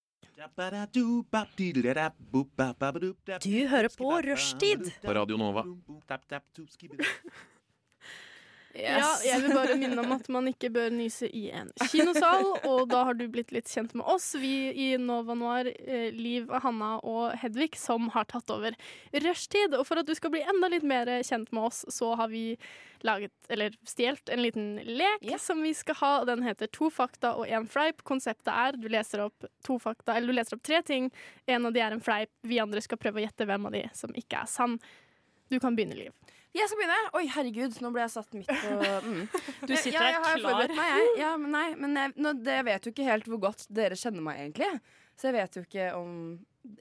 S3: Du
S8: hører på Rushtid.
S3: på Radio Nova.
S5: Ja, jeg vil bare minne om at man ikke bør nyse i en kinosal, og da har du blitt litt kjent med oss, vi i Nova Noir, eh, Liv, Hanna og Hedvig, som har tatt over rushtid. Og for at du skal bli enda litt mer kjent med oss, så har vi laget, eller stjålet, en liten lek
S6: Ja.
S5: som vi skal ha. Den heter To fakta og én fleip. Konseptet er du leser opp to fakta, eller du leser opp tre ting. En av de er en fleip. Vi andre skal prøve å gjette hvem av de som ikke er sann. Du kan begynne, Liv.
S6: Jeg skal begynne. Oi, herregud, nå ble jeg satt midt på mm.
S7: Du sitter
S6: ja,
S7: her
S6: jeg har jo
S7: klar.
S6: forberedt Meg, jeg. Ja, men nei, men jeg, nå, det, jeg vet jo ikke helt hvor godt dere kjenner meg, egentlig. Så jeg vet jo ikke om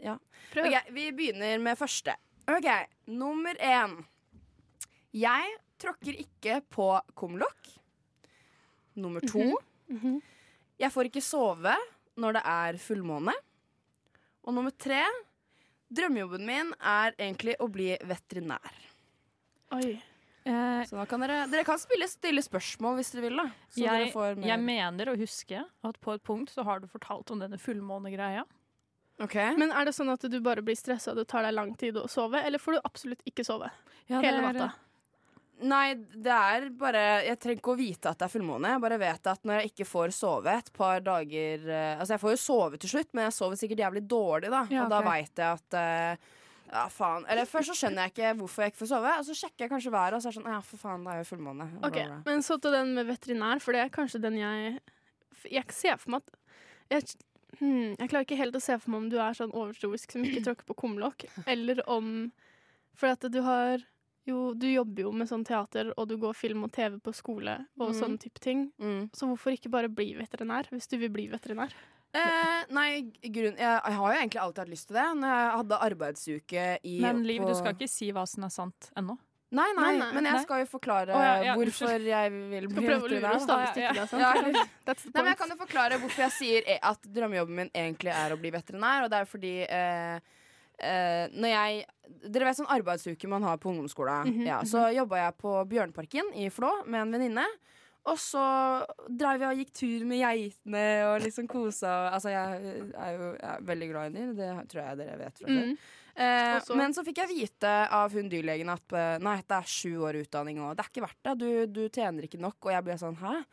S6: Ja.
S5: Prøv.
S6: Ok, vi begynner med første. OK, nummer én. Jeg tråkker ikke på kumlokk. Nummer to.
S7: Mhm.
S6: Jeg får ikke sove når det er fullmåne. Og nummer tre. Drømmejobben min er egentlig å bli veterinær.
S5: Oi.
S7: Eh,
S6: Så da kan dere, dere kan spille stille spørsmål hvis dere vil, da. Så dere
S7: jeg,
S6: får mer.
S7: jeg mener å huske at på et punkt så har du fortalt om denne fullmånegreia.
S6: Ok.
S5: Men er det sånn at du bare blir stressa og det tar deg lang tid å sove, eller får du absolutt ikke sove
S7: Ja,
S5: hele
S7: det er-
S5: natta?
S6: Nei, det er bare Jeg trenger ikke å vite at det er fullmåne. Jeg bare vet at når jeg ikke får sove et par dager eh, Altså, jeg får jo sove til slutt, men jeg sover sikkert jævlig dårlig, da.
S7: Ja,
S6: Og da
S7: ok.
S6: veit jeg at eh, ja, faen. Eller først så skjønner jeg ikke hvorfor jeg ikke får sove, og så sjekker jeg kanskje været, og så er det sånn Ja, for faen, det er jo fullmåne. og
S5: Ok,
S6: bla, bla.
S5: Men så til den med veterinær, for det er kanskje den jeg Jeg ser for meg at jeg, hmm, jeg klarer ikke helt å se for meg om du er sånn overtroisk som ikke tråkker på kumlokk, eller om For at du har jo, du jobber jo med sånn teater, og du går film og TV på skole og
S6: Mhm.
S5: sånne type ting.
S6: Mm.
S5: Så hvorfor ikke bare bli veterinær, hvis du vil bli veterinær?
S6: Eh, nei, grunn, jeg, jeg har jo egentlig alltid hatt lyst til det. Når jeg hadde arbeidsuke i
S7: Men Liv,
S6: på-
S7: du skal ikke si hva som er sant ennå.
S6: Nei, nei,
S5: Nei, nei,
S6: men jeg
S7: nei.
S6: skal jo
S7: Å,
S6: forklare
S7: ja, ja,
S6: hvorfor jeg vil
S5: Du altså.
S6: bli
S5: skal prøve å lure
S6: veterinær,
S5: oss,
S6: da.
S5: da, hvis
S7: Ja,
S5: ikke det er sant.
S6: Ja, eller-
S5: That's the
S6: Nei, men
S5: point.
S6: jeg kan jo forklare hvorfor jeg sier e- at drømmejobben min egentlig er å bli veterinær. Og det er fordi eh, eh, når jeg Dere vet sånn arbeidsuke man har på ungdomsskolen.
S5: Mhm,
S6: ja, så jobba jeg på Bjørnparken i Flå med en venninne. Og så dreiv jeg og gikk tur med geitene og liksom kosa. og- Altså, jeg er jo jeg er veldig glad i dyr. Det tror jeg dere vet fra før.
S5: Mm.
S6: Eh,
S5: Og så-
S6: Men så fikk jeg vite av hun dyrlegen at eh, nei, det er sju år utdanning og det er ikke verdt det. Du, du tjener ikke nok. Og jeg ble sånn hæ?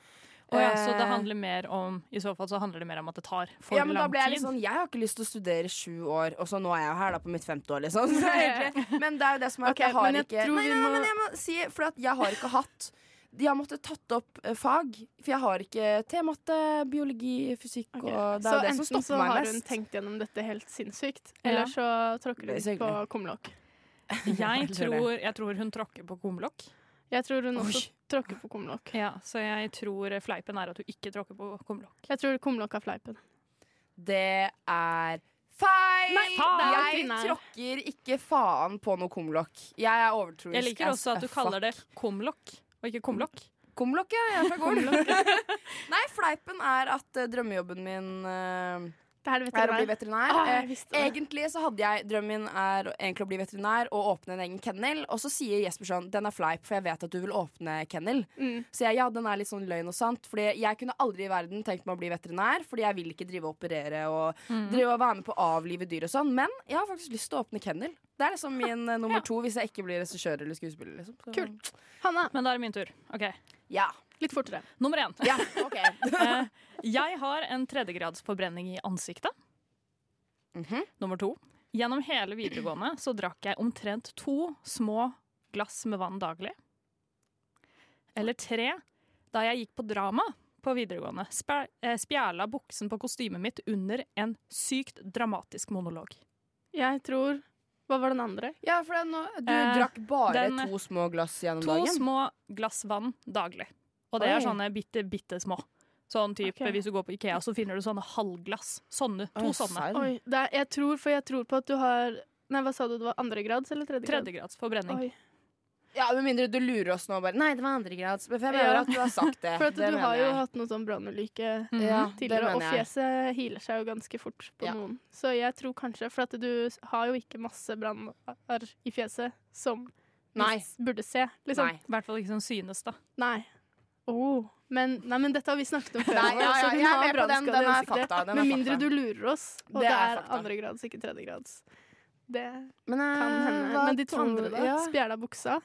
S7: Å ja, så det
S6: Eh,
S7: handler mer om I så fall så handler det mer om at det tar for
S6: ja, men
S7: lang
S6: da ble jeg
S7: tid.
S6: litt sånn Jeg har ikke lyst til å studere i sju år, og så nå er jeg jo her da på mitt femte år, liksom. Så egentlig, men det er jo det som er at
S5: Ok,
S6: jeg har
S5: men jeg
S6: ikke
S5: tror
S6: Nei,
S5: vi
S6: nei,
S5: må-
S6: men jeg må si For at jeg har ikke hatt De har måttet tatt opp eh, fag, for jeg har ikke tematte, biologi, fysikk
S5: Ok, Så
S6: og Det er jo det som
S5: enten så
S6: stopper meg
S5: har hun
S6: mest.
S5: tenkt gjennom dette helt sinnssykt,
S7: Ja.
S5: eller så tråkker
S6: Det er
S5: hun
S6: så
S5: på
S6: hyggelig.
S5: kumlokk.
S7: Jeg
S6: Jeg tror det.
S7: tror, jeg tror hun tråkker på kumlokk.
S5: Jeg tror hun også
S6: Oi.
S5: tråkker på kumlokk.
S7: Ja, så jeg tror fleipen er at du ikke tråkker på kumlokk.
S5: Jeg tror kumlokk er fleipen.
S6: Det er feil!
S5: Nei, faen!
S6: Jeg tråkker ikke faen på noe kumlokk. Jeg er overtroisk.
S7: Jeg liker også at du kaller det kumlokk og ikke kumlokk.
S6: Kumlokk, ja. Jeg er fra gården. Nei, fleipen er at eh, drømmejobben min eh,
S5: Det er det
S6: er å bli
S5: veterinær.
S6: veterinær.
S5: Ah, jeg
S6: Eh,
S5: visste det.
S6: Egentlig så hadde jeg Drømmen min er å- egentlig å bli veterinær og åpne en egen kennel. Og så sier Jesper sånn Den er fleip, for jeg vet at du vil åpne kennel.
S5: Mm.
S6: Så jeg, ja, den er litt sånn løgn og sant. Fordi jeg kunne aldri i verden tenkt meg å bli veterinær, fordi jeg vil ikke drive og operere og
S5: Mm.
S6: drive og være med på å avlive dyr og sånn. Men jeg har faktisk lyst til å åpne kennel. Det er liksom min eh, nummer to hvis jeg ikke blir regissør eller skuespiller. Liksom. Så-
S5: Kult. Hanna,
S7: Men da er det min tur. Ok,
S6: Ja.
S5: litt fortere.
S7: Nummer én.
S6: ja ok.
S7: Eh, Jeg har en tredjegradsforbrenning i ansiktet.
S6: Mhm.
S7: Nummer to. Gjennom hele videregående så drakk jeg omtrent to små glass med vann daglig. Eller tre. Da jeg gikk på drama på videregående, spe- eh, spjæla buksen på kostymet mitt under en sykt dramatisk monolog.
S5: Jeg tror Hva var den andre?
S6: Ja, for det er nå- du
S7: Eh,
S6: drakk bare
S7: den-
S6: to små glass gjennom
S7: To
S6: dagen.
S7: små glass vann daglig. Og det
S6: Oi.
S7: er sånne bitte, bitte små. Sånn type,
S5: Ok.
S7: Hvis du går på Ikea, så finner du sånne halvglass. Sånne. To
S6: Å,
S7: sånne.
S6: serr.
S5: Oi, det er, jeg tror, for jeg tror på at du har Nei, hva sa du? Det var andre grads eller tredje grad?
S7: Tredjegrads forbrenning.
S5: Oi.
S6: Ja, Med mindre du lurer oss nå og bare Nei, det var andregrads. For jeg mener
S5: Ja.
S6: at du har sagt det.
S5: For at
S6: det
S5: du
S6: mener
S5: har jo
S6: jeg. Mm.
S5: hatt noen sånn brannulykke
S7: Mhm.
S5: tidligere,
S6: ja,
S5: og
S6: det mener jeg.
S5: fjeset healer seg jo ganske fort på
S6: Ja.
S5: noen. Så jeg tror kanskje For at du s- har jo ikke masse brannar i fjeset som vi
S6: Nei.
S5: s- burde se, liksom.
S6: Nei.
S7: I hvert fall ikke som synes, da.
S5: Nei. Oh. Men, nei, men dette har vi snakket om før.
S6: Nei, ja, ja,
S5: så hun
S6: jeg er
S5: har
S6: med på den.
S5: brannskade i
S6: Den er
S5: ansiktet.
S6: fakta, den er
S5: Med mindre
S6: fakta.
S5: du lurer oss, og
S6: Det
S5: det,
S6: er
S5: er,
S6: fakta.
S5: andre grads, ikke tredje grads. Det
S6: Men, eh,
S5: kan hende.
S6: hva
S5: Men de to
S6: tror-
S5: andre, da?
S6: Ja.
S5: Spjæla buksa?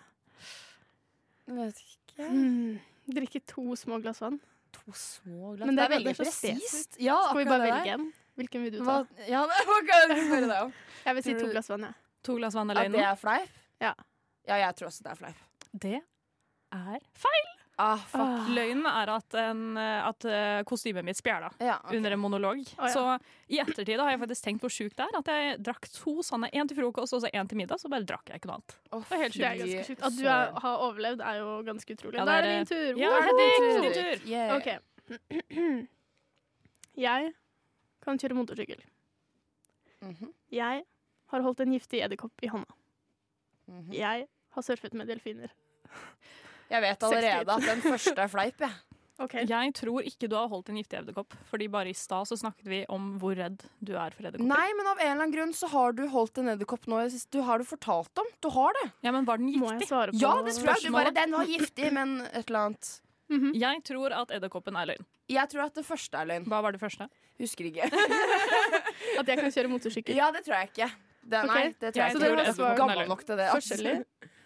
S6: Jeg vet ikke.
S7: ikke.
S5: Mm. Drikke to små glass vann.
S2: To små glass.
S5: Men det er
S2: veldig
S5: veldig så
S2: presist. Ja,
S5: Skal vi
S2: akkurat
S5: bare
S2: det
S5: velge
S2: der.
S5: en? Hvilken vil du
S2: Hva,
S5: ta?
S2: ja, hva kan jeg spørre deg om?
S5: Jeg vil si
S2: Tror
S5: to
S2: du-
S5: glass vann, jeg.
S7: To glass vann
S2: At det
S7: alene.
S2: er fleip?
S5: Ja.
S2: ja, jeg tror også det er fleip.
S7: Det er feil.
S2: Ah, fuck.
S5: Åh.
S7: Løgnen er at, en, at eh, kostymet mitt spjæla
S2: Ja, ok.
S7: under en monolog.
S5: ja.
S7: Så i ettertid da har jeg faktisk tenkt hvor sjukt det er. At jeg drakk to sånne, én til frokost og så én til middag, så bare drakk jeg ikke noe annet.
S2: Å,
S7: var helt
S5: Det er
S2: fy
S5: ganske sjukt. At
S2: søren.
S5: du er, har overlevd, er jo ganske utrolig.
S7: Ja,
S5: da er
S7: det
S5: det
S7: er-
S5: min tur.
S7: Ja,
S5: Woho!
S7: er det din tur? Din tur.
S2: Yeah.
S6: Eh,
S5: OK. Jeg kan kjøre motorsykkel.
S6: Mm-hmm.
S2: Mhm,
S5: Jeg har holdt en giftig edderkopp i hånda.
S6: Mm-hmm.
S2: mhm.
S5: Jeg har surfet med delfiner.
S2: Jeg vet allerede at den første er fleip, jeg.
S5: OK.
S7: Jeg tror ikke du har holdt en giftig edderkopp, fordi bare i stad så snakket vi om hvor redd du er for edderkopper.
S6: Nei, men av en eller annen grunn så har du holdt en edderkopp nå i det siste. Du har du fortalt om. Du har det.
S7: Ja, men var den
S5: Må jeg
S7: giftig?
S5: svare på
S6: Ja, det tror jeg. Du bare,
S7: Spørsmålet-
S6: den var giftig, men et eller annet.
S5: Mhm.
S7: Jeg tror at edderkoppen er løgn.
S6: Jeg tror at det første er løgn.
S7: Hva var det første?
S6: Husker ikke.
S5: At jeg kan kjøre motorsykkel.
S6: Ja, det tror jeg ikke. Det,
S5: Ok.
S6: nei, det tror
S7: Jeg
S6: jeg,
S5: tror
S6: ikke.
S5: det var
S6: gammel nok til det. altså.
S5: Forskjellig.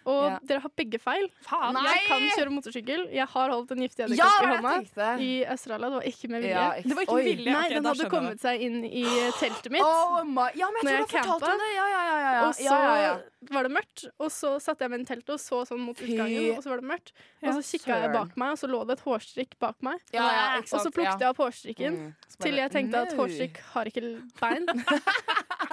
S5: Og
S6: Ja.
S5: dere har begge feil.
S7: Faen!
S6: Nei!
S5: Jeg kan kjøre motorsykkel. Jeg har holdt en giftig
S6: Ja,
S5: edderkopp
S6: det
S5: i
S6: var det
S5: hånda.
S6: jeg tenkte.
S5: I Australia. Det var ikke med vilje.
S6: Ja, ikke-
S7: Det var ikke
S6: Oi.
S7: vilje.
S5: Nei,
S7: Ok,
S5: den
S7: da
S5: hadde
S7: skjønner jeg.
S5: kommet seg inn i eh, teltet mitt.
S6: Oh my. Ja, men
S5: Når
S6: jeg tror
S5: jeg
S6: du har fortalt
S5: campa.
S6: om det. Ja, ja, ja. ja, ja.
S5: Og så
S6: ja, ja, ja.
S5: var det mørkt, og så satte jeg meg inn i teltet og så sånn mot
S6: Fy
S5: utgangen. Og så var det mørkt Og så kikka jeg
S6: søren.
S5: bak meg, og så lå det et hårstrikk bak meg.
S6: Ja, ja,
S5: Og
S6: ikke
S5: så
S6: sant,
S5: plukket
S6: ja.
S5: jeg opp hårstrikken
S6: Mm. Så
S5: til
S6: bare,
S5: jeg tenkte at
S6: «Nei».
S5: hårstrikk har ikke bein.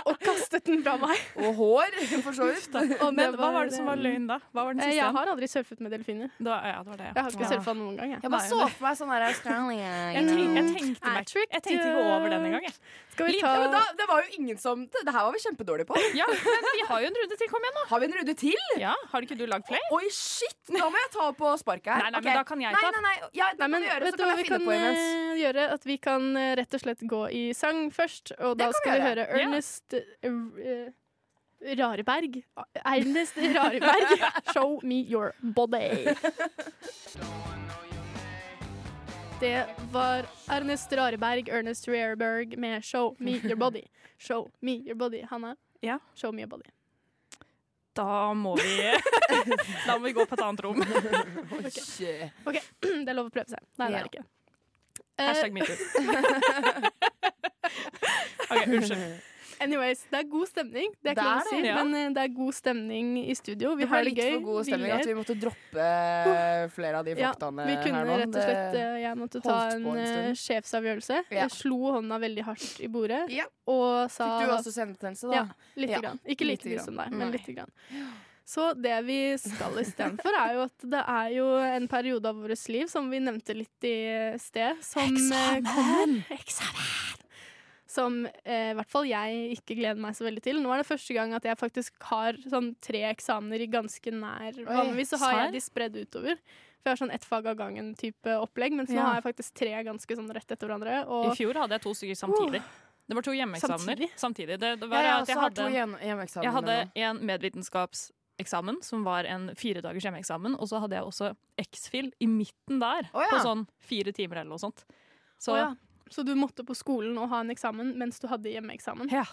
S5: og kastet den fra meg.
S6: Og hår, for så vidt.
S5: Og det
S7: Men hva var det som var løgn da? Hva var den
S5: Eh,
S7: siste?
S5: Jeg har aldri surfet med delfiner.
S7: Det var, ja, det var det.
S5: Jeg har ikke
S6: Ja.
S5: surfa noen gang. Jeg.
S6: Jeg bare så for meg sånn der Australia.
S7: Jeg, tenk, jeg, tenkte meg,
S5: Trick,
S7: jeg tenkte ikke over den engang. Jeg.
S5: Skal vi
S7: Liv,
S5: ta
S6: Ja, men da, det var jo ingen som Det, det her var vi kjempedårlige på.
S7: Ja, men vi har jo en runde til. Kom igjen, da.
S6: Har vi en runde til?
S7: Ja, Har ikke du lagd flere?
S6: Oi, shit! Da må jeg ta på sparket her.
S7: Nei, nei,
S6: Ok.
S7: men da kan jeg
S6: Nei,
S7: ta.
S6: nei, nei. Ja, det
S5: Nei, men
S6: kan du gjøre,
S5: vet
S6: så
S5: du
S6: kan
S5: hva
S6: jeg
S5: vi
S6: finne
S5: kan
S6: på imens.
S5: eh, gjøre? At vi kan eh, rett og slett gå i sang først, og da
S6: kan vi
S5: skal vi høre
S6: gjøre.
S7: Ja.
S5: Ernest eh, eh, Rareberg. Ernest Rareberg, 'Show Me Your Body'. Det var Ernest Rareberg, Ernest Rareberg med 'Show Me Your Body'. Show me your body, Hanna.
S7: Ja.
S5: Show me your body.
S7: Da må vi Da må vi gå på et annet rom.
S6: Eh. Shit.
S5: Det er lov å prøve seg. Nei, det er det ikke. Eh,
S7: Hashtag metoo. OK, unnskyld.
S5: Anyways, det er god stemning. Det er
S6: Det
S5: ikke lov
S6: er
S5: å si,
S7: det, ja.
S5: men eh, det er god stemning i studio. Vi
S6: Det
S5: har
S6: var
S5: det
S6: litt
S5: gøy.
S6: for god stemning
S5: vi,
S6: at
S5: ler.
S6: vi måtte droppe eh, flere av de
S5: Ja,
S6: faktaene
S5: vi kunne
S6: her nå.
S5: rett og slett eh, Jeg måtte ta
S6: holdt
S5: en
S6: på en
S5: eh, sjefsavgjørelse.
S6: Ja.
S5: Jeg slo hånda veldig hardt i bordet
S6: Ja.
S5: og sa
S6: Fikk du også senebetennelse, da?
S5: Ja, lite
S6: Ja,
S5: grann. Ikke
S6: lite
S5: like mye
S6: grann.
S5: som deg, men
S6: Nei.
S5: lite grann. Så det vi skal istedenfor, er jo at det er jo en periode av vårt liv, som vi nevnte litt i sted, som eh, kommer. Eksamen! Som eh, i hvert fall jeg ikke gleder meg så veldig til. Nå er det første gang at jeg faktisk har sånn tre eksamener i ganske nær Vanligvis så har
S7: serr?
S5: jeg de spredd utover. For jeg har sånn ett fag av gangen-type opplegg, mens nå
S7: Ja.
S5: har jeg faktisk tre ganske sånn rett etter hverandre.
S7: I
S5: Og
S7: fjor hadde jeg to stykker samtidig. Det var to hjemmeeksamener samtidig.
S5: Samtidig?
S7: Det, det
S6: Ja, altså,
S7: var
S6: jeg
S7: at
S6: også
S7: jeg
S6: har to
S7: hadde,
S6: hjem-
S7: jeg
S6: hjemmeeksamener
S7: hadde
S6: nå.
S7: en medvitenskapseksamen, som var en fire dagers hjemmeeksamen, og så hadde jeg også X-fil i midten der,
S6: Å, ja.
S7: på sånn fire timer eller noe sånt. Så
S5: Å ja. Så du måtte på skolen og ha en eksamen mens du hadde hjemmeeksamen?
S7: ja.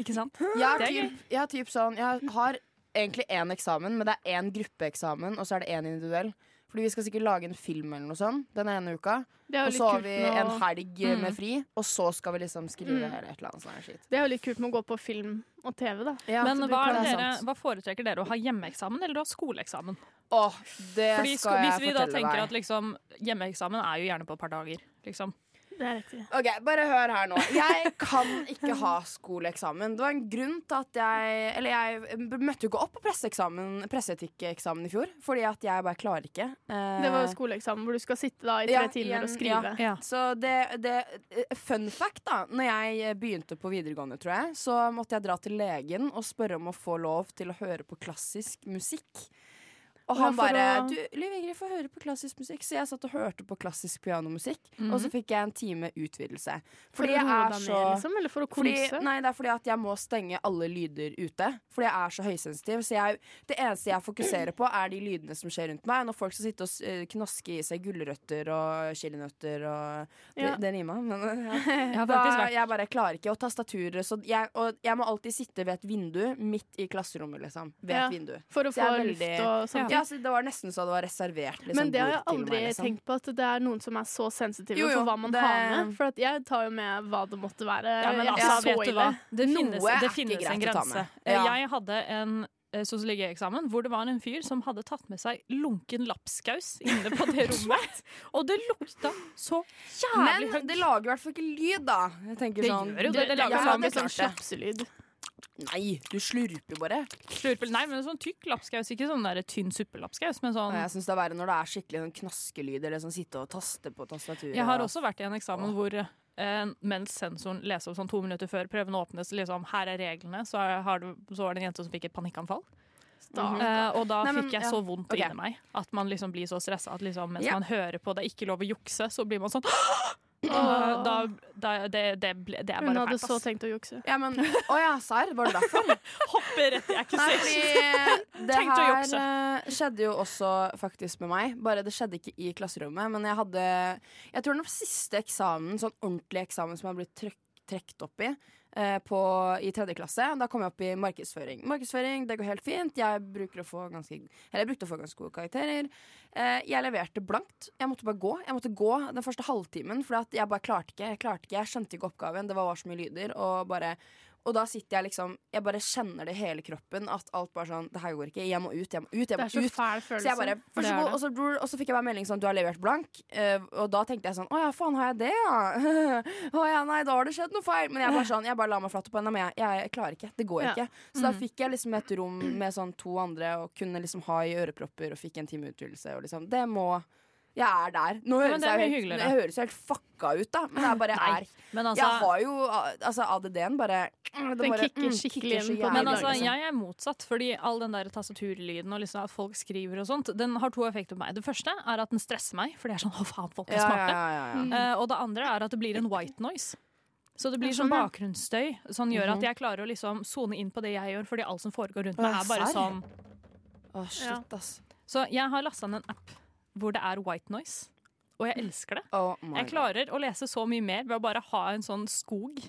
S7: Ikke sant?
S6: Jeg har
S7: Det er
S6: typ, jeg har typ sånn Jeg har egentlig én eksamen, men det er én gruppeeksamen, og så er det én individuell. Fordi vi skal sikkert lage en film eller noe sånt den ene uka.
S5: Det er
S6: Og
S5: jo
S6: så
S5: litt
S6: har
S5: kult
S6: vi
S5: med
S6: en
S5: å-
S6: helg
S7: Mm.
S6: med fri, og så skal vi liksom skrive
S5: Mm.
S6: eller et eller annet sånt. her Shit.
S5: Det er jo litt kult med å gå på film og TV, da.
S6: Ja,
S7: Men
S5: så du
S7: hva, er
S5: kan-
S7: det
S6: det er
S7: dere,
S6: sant.
S7: hva foretrekker dere å ha hjemmeeksamen eller å ha skoleeksamen?
S6: Åh, det
S7: Fordi sko
S6: skal jeg
S7: hvis vi da
S6: fortelle
S7: tenker
S6: deg.
S7: at liksom, hjemmeeksamen er jo gjerne på et par dager, liksom.
S5: Det er riktig.
S6: Ok, Bare hør her nå. Jeg kan ikke ha skoleeksamen. Det var en grunn til at jeg Eller jeg møtte jo ikke opp på presseeksamen- presseetikkeksamen i fjor, fordi at jeg bare klarer ikke. Eh,
S5: Det var jo skoleeksamen hvor du skal sitte da i tre
S6: Ja,
S5: timer
S6: igjen,
S5: og skrive.
S7: Ja.
S6: Så det, det eh, Fun fact, da. Når jeg eh, begynte på videregående, tror jeg, så måtte jeg dra til legen og spørre om å få lov til å høre på klassisk musikk. Og han
S5: Ja, for
S6: bare
S5: å-
S6: Du, Liv Ingrid, få høre på klassisk musikk. Så jeg satt og hørte på klassisk pianomusikk, og så fikk jeg en time utvidelse.
S5: Mhm. For å
S6: Fordi jeg
S5: roe
S6: er
S5: deg
S6: så
S5: ned, liksom? Eller for å
S6: fordi,
S5: konse?
S6: nei, det er fordi at jeg må stenge alle lyder ute. Fordi jeg er så høysensitiv. Så jeg, det eneste jeg fokuserer på, er de lydene som skjer rundt meg. Når folk skal sitte og s- eh, knaske i seg gulrøtter og chilinøtter og Det,
S5: Ja.
S6: det rimer, men eh, ja.
S7: Jeg har
S6: da,
S7: faktisk vært
S6: Jeg bare klarer ikke. Og tastaturer. Så jeg, og jeg må alltid sitte ved et vindu midt i klasserommet, liksom. Ved
S5: Ja.
S6: et vindu.
S5: For å få
S6: Så jeg er veldig-
S5: luft og sånt.
S6: Ja, så det var nesten så det var reservert liksom,
S5: Men det har jeg
S6: bord til
S5: aldri
S6: meg, liksom.
S5: tenkt på, at det er noen som er så sensitive
S6: Jo, jo,
S5: for hva man
S6: det-
S5: har med. For at jeg tar jo med hva det måtte være.
S7: Ja, men
S5: Jeg
S7: altså,
S5: så
S7: vet du hva?
S5: ille.
S7: Det
S6: Noe
S7: finnes,
S6: er
S7: det
S6: ikke
S7: finnes en
S6: greit å ta med.
S7: grense. Eh,
S6: Ja.
S7: Jeg hadde en eh, sosiologieksamen hvor det var en fyr som hadde tatt med seg lunken lapskaus inne på det rommet. og det lukta så jævlig
S6: Men
S7: høyt.
S6: det lager i hvert fall ikke lyd, da. Jeg tenker
S7: Det
S6: sånn
S7: gjør jo det. Det lager
S6: ja,
S7: sånn litt
S6: det er
S7: sånn
S6: klart
S5: Absolutt.
S6: det. Nei, du slurper bare.
S7: slurpel. Nei, men sånn tykk lapskaus. Ikke sånn der tynn suppelapskaus, men sånn
S6: Nei, jeg syns det er verre når det er skikkelig sånn knaskelyd eller sånn sitte og taste på tastaturet.
S7: Jeg har også vært i en eksamen hvor eh, mens sensoren leser opp sånn to minutter før prøven åpnes, liksom, her er reglene, så, er- har du, så var det en jente som fikk et panikkanfall.
S6: Mm-hmm.
S7: Eh, og da
S6: Oh Nei, men,
S7: fikk jeg
S6: ja.
S7: så vondt
S6: Ok.
S7: inni meg at man liksom blir så stressa at liksom, mens
S6: Ja.
S7: man hører på det er ikke lov å jukse, så blir man sånn Og da, da, det, det, ble- det er
S5: Hun
S7: bare
S5: hadde
S7: fælt.
S5: så
S7: ass.
S5: tenkt å jukse.
S6: Ja, men Å ja, serr? Var det derfor?
S7: Hopper rett i
S6: Nei,
S7: accusation.
S6: fordi det
S7: Tenkte å
S6: her
S7: jukse.
S6: eh, skjedde jo også faktisk med meg. Bare det skjedde ikke i klasserommet, men jeg hadde Jeg tror den siste eksamen, sånn ordentlig eksamen som jeg har blitt trøkk- trukket opp i, eh, på, i tredje klasse. Da kom jeg opp i markedsføring. Markedsføring, det går helt fint. Jeg bruker å få ganske Eller jeg brukte å få ganske gode karakterer. Eh, jeg leverte blankt. Jeg måtte bare gå. Jeg måtte gå den første halvtimen, for jeg bare klarte ikke. Jeg klarte ikke, jeg skjønte ikke oppgaven. Det var, var så mye lyder. Og bare og da sitter jeg liksom Jeg bare kjenner det i hele kroppen at alt bare sånn Det her går ikke. Jeg må ut, jeg må ut,
S5: Det
S6: jeg må
S5: er så
S6: ut.
S5: fæl følelse.
S6: Så jeg bare, vær
S7: Det
S6: så
S7: er
S6: god,
S7: det.
S6: og, så, bror, og så fikk jeg bare melding sånn, du har levert blank. Eh, og da tenkte jeg sånn, å ja, faen har jeg det, ja. å ja, nei, da har det skjedd noe feil. Men jeg bare sånn, jeg bare la meg flatt på henne, men jeg, jeg, klarer ikke, det går
S5: Ja.
S6: ikke.
S7: Mm.
S6: Så da fikk jeg liksom et rom med sånn to andre, og kunne liksom ha i ørepropper, og fikk en time utvidelse, og liksom, det må... Jeg er der. Nå
S7: men
S6: høres
S7: det er mye
S6: jeg, helt,
S7: hyggeligere.
S6: jeg høres jo helt fucka ut da, men jeg bare
S7: Nei,
S6: er...
S7: Men altså,
S6: jeg har jo, altså ADD-en bare... mm, Den
S5: Den kicker skikkelig inn på
S7: Men
S5: Nei,
S7: altså,
S5: det
S6: liksom-
S5: er ikke
S7: jeg er motsatt, fordi all den der tastaturlyden og liksom at folk skriver og sånt, den har to effekter på meg. Det første er at den stresser meg, for det er sånn å faen, folk
S6: Ja,
S7: er
S6: ja,
S7: smarte.
S6: ja, ja, ja.
S7: Eh, og det andre er at det blir en white noise. Så det blir sånn bakgrunnsstøy som gjør at jeg klarer å liksom sone inn på det jeg gjør, fordi alt som foregår rundt meg,
S6: Mhm. Å,
S7: er bare
S6: serr?
S7: sånn.
S6: Å, shit, ass.
S7: Så jeg har lasta ned en app hvor det er white noise, og jeg elsker det.
S6: Oh my
S7: Jeg
S6: god.
S7: klarer å lese så mye mer ved å bare ha en sånn skog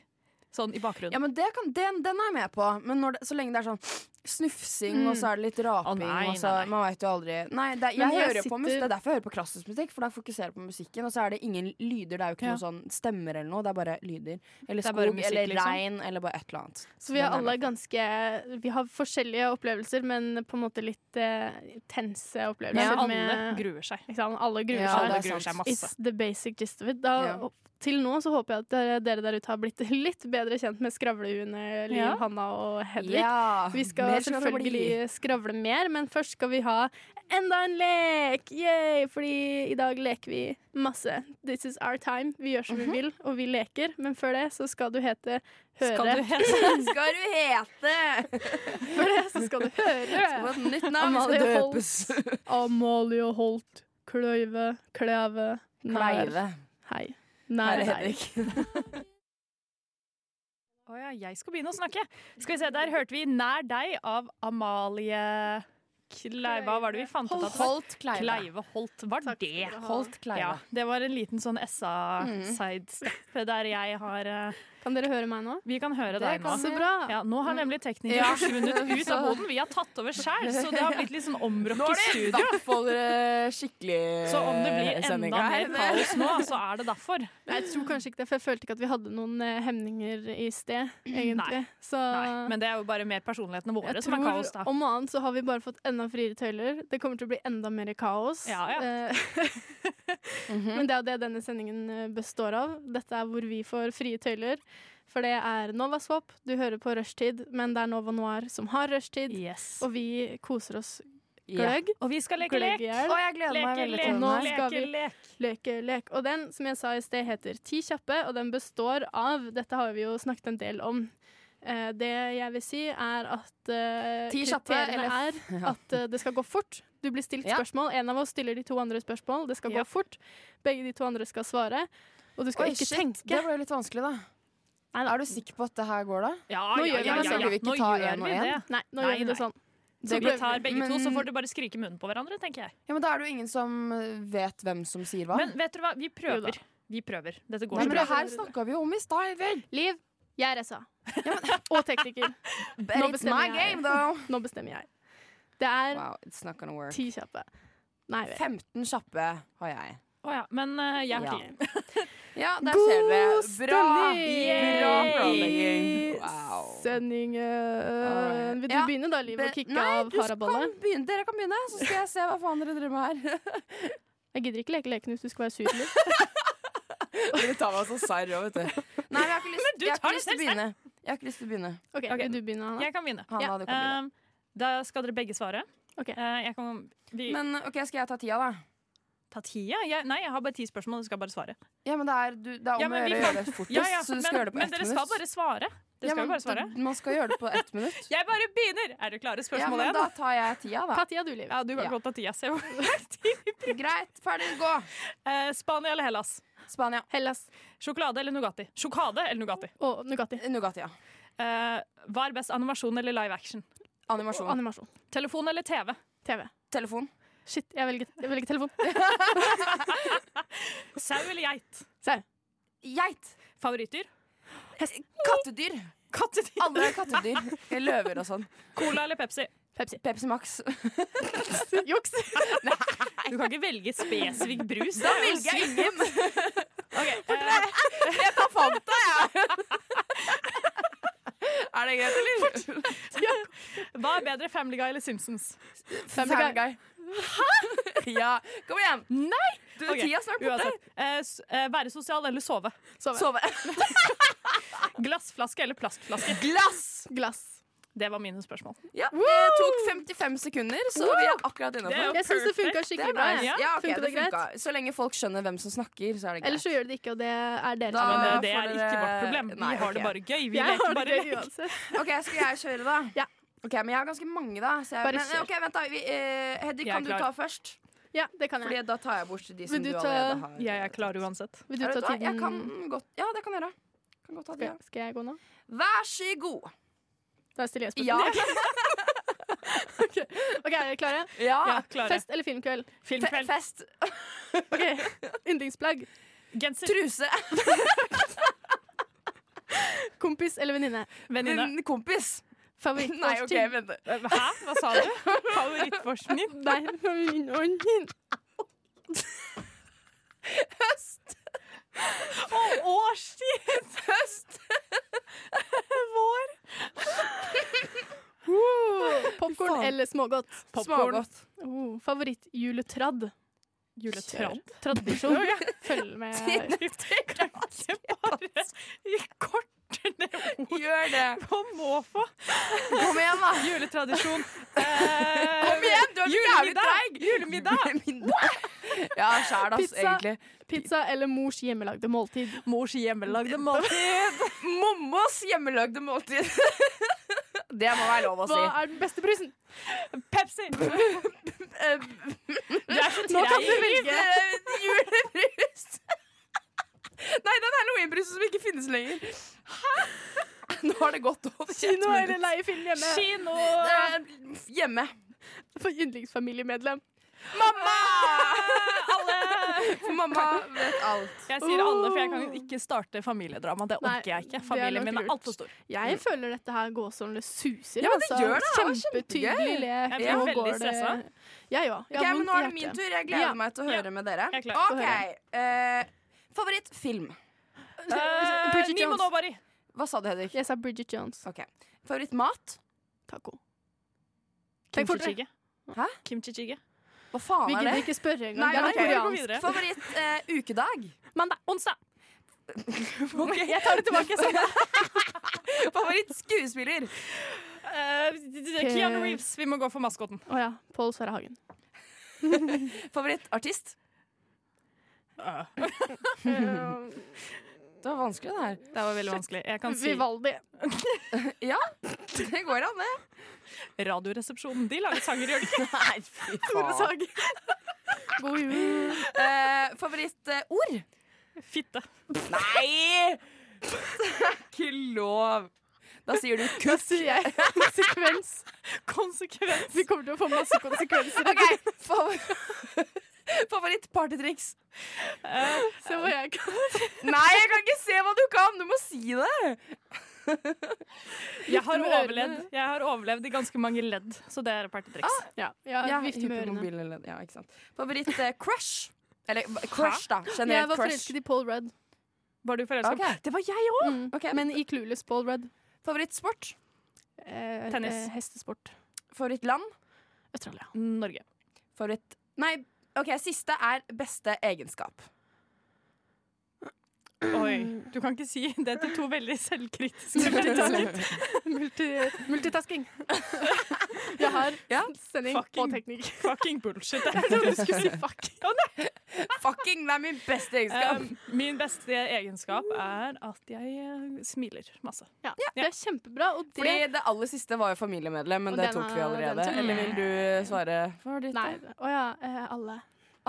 S7: sånn i bakgrunnen.
S6: Ja, men det kan, den, den er jeg med på. Men når det, så lenge det er sånn snufsing, og så er det litt raping
S7: Mm. Å, nei,
S6: og så,
S7: nei, nei.
S6: Man veit jo aldri. Nei, det, er-
S5: Men
S6: jeg,
S5: jeg
S6: hører jo på musikk.
S5: sitter-
S6: Det er derfor jeg hører på klassisk musikk, for da fokuserer jeg på musikken. Og så er det ingen lyder. Det er jo ikke
S7: Ja.
S6: noe sånn stemmer eller noe. Det er bare lyder. Eller
S7: Det er
S6: skog
S7: bare musikk,
S6: eller
S7: liksom.
S6: regn eller bare et eller annet.
S5: Så vi har
S6: Den er
S5: alle
S6: med.
S5: ganske Vi har forskjellige opplevelser, men på en måte litt eh, intense
S7: Men
S5: opplevelser.
S7: alle
S5: med-
S7: gruer seg.
S5: ikke sant? Liksom, alle gruer
S6: Ja,
S5: seg.
S7: alle
S6: det er
S7: gruer
S6: sant.
S7: seg masse.
S5: It's the basic gist of it. Da,
S6: Ja.
S5: Til nå så håper jeg at dere, dere der ute har blitt litt bedre kjent med skravlehuene Liv,
S7: Ja.
S5: Hanna og Hedvig.
S6: Ja,
S5: Vi skal
S6: mer det bli.
S5: selvfølgelig skravle mer, men først skal vi ha enda en lek! Yay! Fordi i dag leker vi masse. This is our time. Vi gjør som
S6: Mhm.
S5: vi vil, og vi leker. Men før det så skal du hete Høre.
S7: Skal du helt
S6: Skal du hete
S5: Før det så skal du
S6: Få
S5: høre
S6: et nytt navn? Vi skal
S5: Amalie Holt.
S6: døpes.
S5: Amalie Holt Kløyve Kleve Nær
S6: Kleive.
S5: Hei.
S6: Her
S5: Nær
S6: er
S5: deg.
S6: Hedvig.
S7: Å ja, jeg skal begynne å snakke. Skal vi se, Der hørte vi 'Nær deg' av Amalie Kleiva. Hva var det vi fant ut at det var?
S6: Holt Kleive.
S7: Kleive Holt var det.
S6: Holt Kleive.
S7: Ja, det var en liten sånn SA-sidestep der jeg har eh,
S5: Kan dere høre meg nå?
S7: Vi kan høre deg nå.
S5: Så bra.
S7: Ja, nå har nemlig teknikeren
S6: Ja.
S7: forsvunnet ut av
S6: Så-
S7: boden. Vi har tatt over sjæl, så det har blitt litt sånn omrokk
S6: Nå
S7: i
S6: er det i
S7: studio.
S6: hvert fall eh, skikkelig eh,
S7: Så om det blir enda
S6: sending her.
S7: mer kaos nå, så er det derfor.
S5: Nei, jeg tror kanskje ikke det, for jeg følte ikke at vi hadde noen eh, hemninger i sted,
S7: Mm,
S5: egentlig.
S7: Nei.
S5: Så
S7: Nei, men det er jo bare mer personlighetene våre
S5: jeg
S7: som er
S5: tror
S7: kaos, da.
S5: om annet så har vi bare fått enda friere tøyler. Det kommer til å bli enda mer kaos.
S7: Ja, ja.
S5: Eh, Men det er jo det denne sendingen eh, består av. Dette er hvor vi får frie tøyler. For det er Nova Swap, du hører på rushtid, men det er Nova Noir som har rushtid.
S7: Yes.
S5: Og vi koser oss
S6: Ja.
S5: gløgg.
S7: Og vi skal leke
S5: Gløgg
S7: lek.
S5: i hjel.
S6: Å, jeg gleder meg
S7: Leke,
S6: veldig
S7: lek,
S6: til den
S5: Nå
S6: her.
S5: skal
S7: leke,
S5: vi-
S7: lek.
S5: Løkelek. Og den, som jeg sa i sted, heter Ti kjappe, og den består av Dette har vi jo snakket en del om. Eh, det jeg vil si, er at eh,
S6: Ti kjappe,
S5: kriteriene
S6: eller-
S5: er at eh, det skal gå fort. Du blir stilt
S6: Ja.
S5: spørsmål. En av oss stiller de to andre spørsmål. Det skal
S7: Ja.
S5: gå fort. Begge de to andre skal svare. Og du skal
S6: Oi,
S5: ikke
S6: shit,
S5: tenke.
S6: Det ble litt vanskelig, da.
S5: Nei, da.
S6: Er du sikker på at det her går, da?
S7: Ja,
S5: Nå
S7: ja,
S5: gjør vi
S7: ja,
S5: det,
S7: ja,
S5: så
S7: ja.
S6: vi ikke
S7: Nå
S6: ta
S7: gjør
S6: en og
S7: vi
S6: en.
S7: det.
S5: Nei, nå
S7: Nei,
S5: gjør vi det
S7: nei.
S5: sånn.
S7: Så vi
S5: prøver
S7: tar begge to, så
S6: Men-
S7: får dere bare skrike i munnen på hverandre, tenker jeg.
S6: Ja, men Da er det jo ingen som eh, vet hvem som sier hva.
S7: Men vet dere hva, vi
S5: Jo
S7: prøver. Vi prøver. Dette går
S6: Nei,
S7: så
S6: men det
S7: bra.
S6: her snakka vi jo om i stad. Vel?
S5: Liv, jeg er SA. og tekniker.
S6: But
S5: Nå
S6: it's my
S5: bestemmer jeg.
S6: game, though.
S5: Nå bestemmer jeg. Det er
S6: Wow, it's not gonna work.
S5: ti kjappe. Nei, vet.
S6: 15 kjappe har jeg.
S7: Å ja. Men eh, jeg
S6: Ja.
S7: har tid.
S6: Ja, der
S5: God
S6: ser dere. Bra!
S5: stemning!
S6: Bra planlegging. Wow.
S5: Sendingen Vil du
S6: Ja,
S5: begynne da, Liv,
S6: Be-
S5: å kicke
S6: Nei,
S5: av
S6: du
S5: haraballet?
S6: kan begynne. Dere kan begynne, så skal jeg se hva faen dere driver med her.
S5: Jeg gidder ikke leke leken hvis du skal være sur. Liv.
S6: Dere tar meg så sarr òg, vet du. Nei, jeg har ikke lyst,
S7: du
S6: jeg har
S7: tar
S6: ikke lyst til å begynne. Jeg har ikke lyst til å begynne.
S5: Ok,
S7: Ok.
S5: Vil du begynne, Hanna?
S7: Jeg kan begynne.
S6: Hanna,
S5: Ja,
S6: du kan begynne.
S7: Um, da skal dere begge svare.
S5: Ok.
S7: Eh, jeg kan vi,
S6: Men ok, skal jeg ta tida, da?
S7: ta tida? Jeg, nei, jeg har bare ti spørsmål. Du skal bare svare.
S6: Ja, men det er, du, det er om
S7: Ja,
S6: å
S7: men vi
S6: gjøre å
S7: kan-
S6: gjøre det fortest,
S7: Ja, ja,
S6: så du
S7: men,
S6: skal gjøre det på
S7: men
S6: ett
S7: dere
S6: minutt.
S7: skal bare svare. Dere
S6: Ja,
S7: skal
S6: men
S7: jo bare svare.
S6: d- Man skal gjøre det på ett minutt.
S7: Jeg bare begynner! Er dere klare?
S6: Ja,
S7: Spørsmål
S6: men
S7: én.
S6: da tar jeg tida, da.
S5: Ta tida du, Liv.
S7: Ja, du kan
S6: Ja.
S7: godt ta tida. Se hvor
S6: Greit, ferdig, gå!
S7: Eh, Spania eller Hellas?
S6: Spania.
S5: Hellas
S7: Sjokolade eller Nugatti? Sjokade eller Nugatti?
S5: og Nugatti.
S6: Nugatti, ja.
S7: Eh, hva er best, animasjon eller live action?
S6: Animasjon.
S5: Animasjon.
S7: Telefon eller TV?
S5: TV.
S6: Telefon.
S5: Shit, jeg velger, jeg velger telefon.
S7: Sau eller geit?
S5: Sau.
S6: Geit.
S7: Favorittdyr?
S6: Kattedyr.
S7: Kattedyr.
S6: Alle kattedyr. Løver og sånn.
S7: Cola eller Pepsi?
S5: Pepsi.
S6: Pepsi Max.
S5: Juks.
S7: Du kan ikke velge spesifikk brus. Da
S6: Velger jeg ingen.
S7: Ok, eh,
S6: Jeg tar Fanta, jeg. Er det greit, eller?
S7: hva er bedre, Family Guy eller Simpsons?
S5: Family Guy.
S6: Hæ? Ja. Kom igjen.
S7: Nei!
S6: Du,
S7: Ok,
S6: tida er snart borte.
S7: Uansett. Eh, s- eh, være sosial eller sove?
S5: Sove.
S6: Sove.
S7: Glassflaske eller plastflaske?
S6: Glass.
S5: Glass.
S7: Det var mine spørsmål.
S6: Ja, det tok 55 sekunder, så vi er akkurat
S7: Det er
S6: innafor.
S7: jo
S5: Jeg syns det
S7: perfect.
S5: funka
S6: Det er
S5: skikkelig bra.
S6: nice.
S5: jeg.
S6: Ja, ok,
S5: Funker
S6: det
S5: det greit?
S6: funka. Så lenge folk skjønner hvem som snakker, så er det greit.
S5: Ellers så gjør det ikke, og det er dere
S6: Da-
S5: som
S7: Men
S5: er
S7: eh,
S5: med.
S7: det er
S6: får
S7: ikke
S6: dere-
S7: vårt problem. Vi
S6: Nei,
S7: har det
S6: ok.
S7: bare gøy. Vi
S5: Jeg
S7: leker
S5: har
S7: bare
S5: det
S7: lek.
S5: gøy uansett.
S6: Ok, Skal jeg kjøre, da?
S5: Ja.
S6: Ok, Men jeg har ganske mange, da. Så jeg,
S5: Bare
S6: men,
S5: kjør.
S6: ok, vent da vi, eh, Hedvig,
S7: Jeg er
S6: kan du
S7: klar.
S6: ta først?
S5: Ja, det kan
S6: Fordi
S5: jeg.
S6: Da tar jeg bort de som
S5: Vil
S6: du,
S5: du ta-
S6: allerede har.
S7: Jeg er klar uansett.
S5: Vil du
S6: Vet
S5: ta
S6: du hva? Jeg kan
S5: tiden?
S6: godt Ja, det kan jeg gjøre. Kan godt ta
S5: Skal
S6: det.
S5: jeg, skal jeg gå nå?
S6: Vær så god.
S5: Da stiller jeg
S6: Ja.
S5: spørsmål. Ok, er dere klare?
S7: Ja, klare.
S5: Fest eller filmkveld?
S6: Fe
S7: Filmkveld.
S6: fest.
S5: Ok, Yndlingsplagg.
S7: Genser.
S6: Truse.
S5: Kompis eller venninne?
S7: Venninne.
S6: Din kompis. Nei, OK,
S5: Favorittforskning?
S6: vent.
S7: Eh, Hæ? Hva sa du? Favorittforskning?
S5: Nei, favorittforskning.
S7: Å, årstid!
S6: Høst.
S7: Vår.
S5: Popkorn eller smågodt?
S6: Smågodt.
S5: Oh, Favorittjuletradd?
S7: Juletradd.
S5: Tradisjon? Følg med.
S7: Ikke bare i korte ned
S6: Gjør det.
S7: på måfå.
S6: Kom igjen, da.
S7: Juletradisjon. Eh,
S6: Kom igjen, du er så jævlig
S7: julemiddag.
S6: treig.
S7: Julemiddag.
S6: Middag. Ja, sjæl, ass,
S5: Pizza.
S6: egentlig.
S5: Pizza eller mors hjemmelagde måltid?
S7: Mors hjemmelagde måltid.
S6: Mammas hjemmelagde måltid. Det må være lov å
S5: Hva
S6: si.
S5: er den beste brusen?
S7: Pepsi.
S6: Eh,
S7: Du er så
S5: Nå kan du
S7: treig.
S5: velge.
S6: eh, Julebrus. Nei, den halloweenbrusen som ikke finnes lenger. Nå har det gått over ett
S5: Kino eller
S6: minutt.
S5: leiefilm hjemme?
S7: Kino.
S6: Eh, Hjemme.
S5: For yndlingsfamiliemedlem.
S6: Mamma!
S7: Alle.
S6: For mamma vet alt.
S7: Jeg sier alle, for jeg kan ikke starte familiedrama. Det
S5: Uh. Nei,
S7: orker jeg ikke.
S5: det er
S7: Familien
S5: nok
S7: min er
S5: lurt. Eh,
S7: altfor stor.
S5: Jeg føler dette her gåsehudene suser.
S6: Mm. Ja, men det
S5: altså.
S6: gjør det. Det var
S5: Kjempetydelig
S6: kjempegøy.
S7: Jeg
S5: lek.
S7: blir
S5: Nå
S7: veldig
S5: går det-
S7: stressa.
S5: Jeg òg. Jeg
S6: Ok,
S5: har
S6: men
S5: vondt
S6: nå er det
S5: i
S6: min
S5: hjertet.
S6: tur. Jeg gleder
S5: Ja.
S6: meg til å
S7: Ja.
S6: høre med dere.
S7: Jeg er klar.
S6: OK. eh, Favorittfilm.
S7: Uh,
S5: Bridget
S7: Nimo
S5: Jones.
S7: Nobari.
S6: Hva sa du, Hedvig?
S5: Jeg sa Bridget Jones.
S6: Ok. Favorittmat?
S5: Taco. Tenk
S7: Kimchi
S5: fortere.
S7: chige.
S6: Hæ?
S7: Kimchi chige.
S6: Hva
S5: Vi
S6: faen er
S5: gidder
S6: det?
S5: ikke spørre engang.
S6: Nei,
S5: Det er noe
S6: ok, vi går
S5: koreansk.
S7: videre.
S6: Favoritt eh, ukedag?
S7: Mandag. Onsdag.
S6: Ok, jeg tar det tilbake. Favorittskuespiller.
S7: Eh, Keanu Reeves. Vi må gå for maskoten.
S5: Å ja. Pål Sverre Hagen.
S6: Favorittartist.
S5: Eh.
S6: Det var vanskelig, det her.
S7: Det var veldig vanskelig. Jeg kan si
S5: Vivaldi.
S6: Det går an, det.
S7: Radioresepsjonen. De lager sanger, gjør de ikke?
S6: Nei, fy faen.
S5: God jul.
S6: Eh, Favorittord?
S7: Fitte.
S6: Nei! Ikke lov. Da sier du
S5: Da
S6: kuss.
S5: sier jeg konsekvens.
S7: Konsekvens.
S5: Vi kommer til å få masse konsekvenser.
S6: Ok, favor- Favorittpartytriks.
S5: Se hva jeg kan.
S6: Nei, jeg kan ikke se hva du kan! Du må si det!
S7: Jeg har
S5: med ørene.
S7: overlevd, jeg har overlevd i ganske mange ledd, så det er partytriks.
S5: Ja, ja,
S6: Ja,
S5: vifte med ørene.
S6: hypermobil eller Ja, ikke sant. Favoritt eh, crush. Eller hva- crush, da.
S5: Jeg
S6: Generelt
S5: var
S6: crush.
S5: forelsket i Paul Rudd,
S7: Var du forelska?
S6: Ok.
S7: Det var jeg òg!
S5: mm.
S6: Ok,
S5: men i Clueless Paul Rudd.
S6: Favorittsport.
S5: Eh,
S7: Tennis. Mm,
S5: Eh, hestesport.
S6: Favorittland.
S5: Australia.
S7: Norge.
S6: Favoritt Nei, OK, siste er beste egenskap.
S7: Oi. Du kan ikke si det til to veldig selvkritiske mennesker.
S5: Multi multitasking. Jeg har
S6: Ja.
S5: sending
S7: Fucking-
S5: og teknikk.
S7: Fucking bullshit. Jeg trodde du skulle si fuck. Å, nei.
S6: Fucking, det er min beste egenskap.
S7: Um, min beste egenskap er at jeg eh, smiler masse.
S5: Ja. Det er kjempebra, og det
S6: Fordi det aller siste var jo familiemedlem, men
S5: Og
S6: det
S5: den
S6: tok vi
S5: er-
S6: allerede.
S5: den tok vi.
S6: Eller vil du svare? Hva var ditt?
S5: Nei, å ja, eh, alle.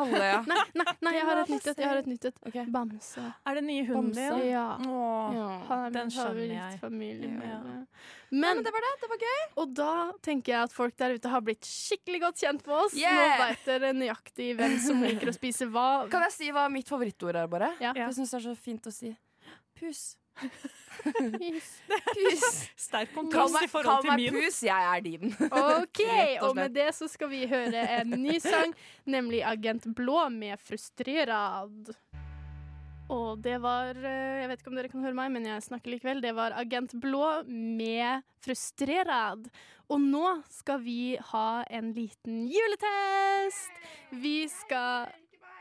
S6: Alle, ja.
S5: Nei, nei, nei, jeg har et nytt et. Jeg har et nytt et.
S6: Ok.
S5: Bamse.
S7: Er det nye hunden
S5: Bamse,
S7: din?
S5: ja.
S7: Åh.
S6: Ja.
S5: Han er
S7: Mm. Den
S5: min
S7: skjønner jeg.
S5: favorittfamilie.
S7: Ja.
S6: Nei,
S5: Men,
S6: men det var det. Det var gøy.
S5: og da tenker jeg at folk der ute har blitt skikkelig godt kjent med oss. Nå
S6: Yeah!
S5: veit dere nøyaktig hvem som liker å spise hva.
S6: Kan jeg si hva mitt favorittord er, bare?
S5: Ja.
S6: For Jeg syns det er så fint å si pus.
S5: Yes.
S6: Pus.
S7: Sterk
S6: Kall
S7: kontrast i
S6: meg,
S7: forhold
S6: kall
S7: til min.
S6: meg pus, jeg er din.
S5: OK,
S6: Rett og
S5: og med det så skal vi høre en ny sang, nemlig Agent Blå med 'Frustrerad'. Og det var eh, Jeg vet ikke om dere kan høre meg, men jeg snakker likevel. Det var Agent Blå med 'Frustrerad'. Og nå skal vi ha en liten juletest. Vi skal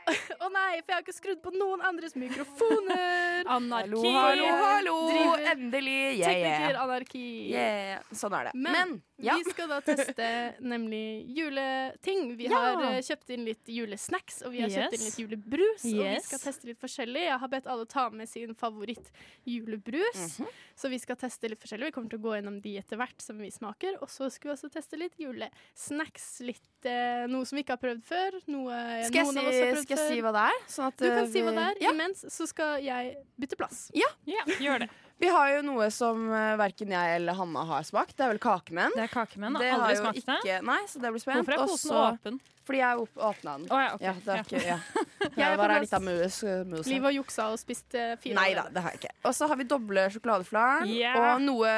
S5: Å nei, for jeg har ikke skrudd på noen andres mikrofoner.
S7: Anarki.
S6: Hallo, hallo, hallo!
S5: Driver-
S6: Endelig. Yeah, yeah.
S5: Teknikeranarki.
S6: Yeah. Sånn er det.
S5: Men,
S6: Men, ja.
S5: vi skal da teste nemlig juleting. Vi
S7: Ja.
S5: har eh, kjøpt inn litt julesnacks, og vi har kjøpt
S7: Yes.
S5: inn litt julebrus. Og vi
S7: Yes.
S5: skal teste litt forskjellig. Jeg har bedt alle ta med sin favoritt-julebrus.
S6: Mhm.
S5: Så vi skal teste litt forskjellig. Vi kommer til å gå gjennom de etter hvert som vi smaker. Og så skal vi også teste litt julesnacks. Litt eh, noe som vi ikke har prøvd før. Noe
S6: Skal jeg,
S5: noen av oss har
S6: si,
S5: prøvd
S6: skal jeg si
S5: før.
S6: hva det er? Sånn at,
S5: Du kan
S6: eh,
S5: si hva
S6: vi-
S5: det er.
S6: Ja.
S5: Imens så skal jeg bytte plass.
S7: Ja, gjør det.
S6: Vi har jo noe som eh, verken jeg eller Hanna har smakt. Det er vel kakemenn.
S7: Det er kakemenn.
S6: Det
S7: Har
S6: har
S7: aldri
S6: jo
S7: smakt det.
S6: ikke Nei, så det blir spent.
S7: Hvorfor er
S6: Og
S7: posen
S6: så-
S7: åpen?
S6: Fordi jeg åp- åpna den.
S7: Å, ja, ok.
S6: Ja, det er
S7: Ja.
S6: ikke ja.
S5: Jeg
S6: Jeg
S5: er
S6: var
S5: på
S6: her litt av mus. mus.
S5: Liv har juksa og spist eh, fire
S6: Nei da,
S5: allerede.
S6: det har jeg ikke. Og så har vi doble sjokoladeflarn
S7: Yeah.
S6: og noe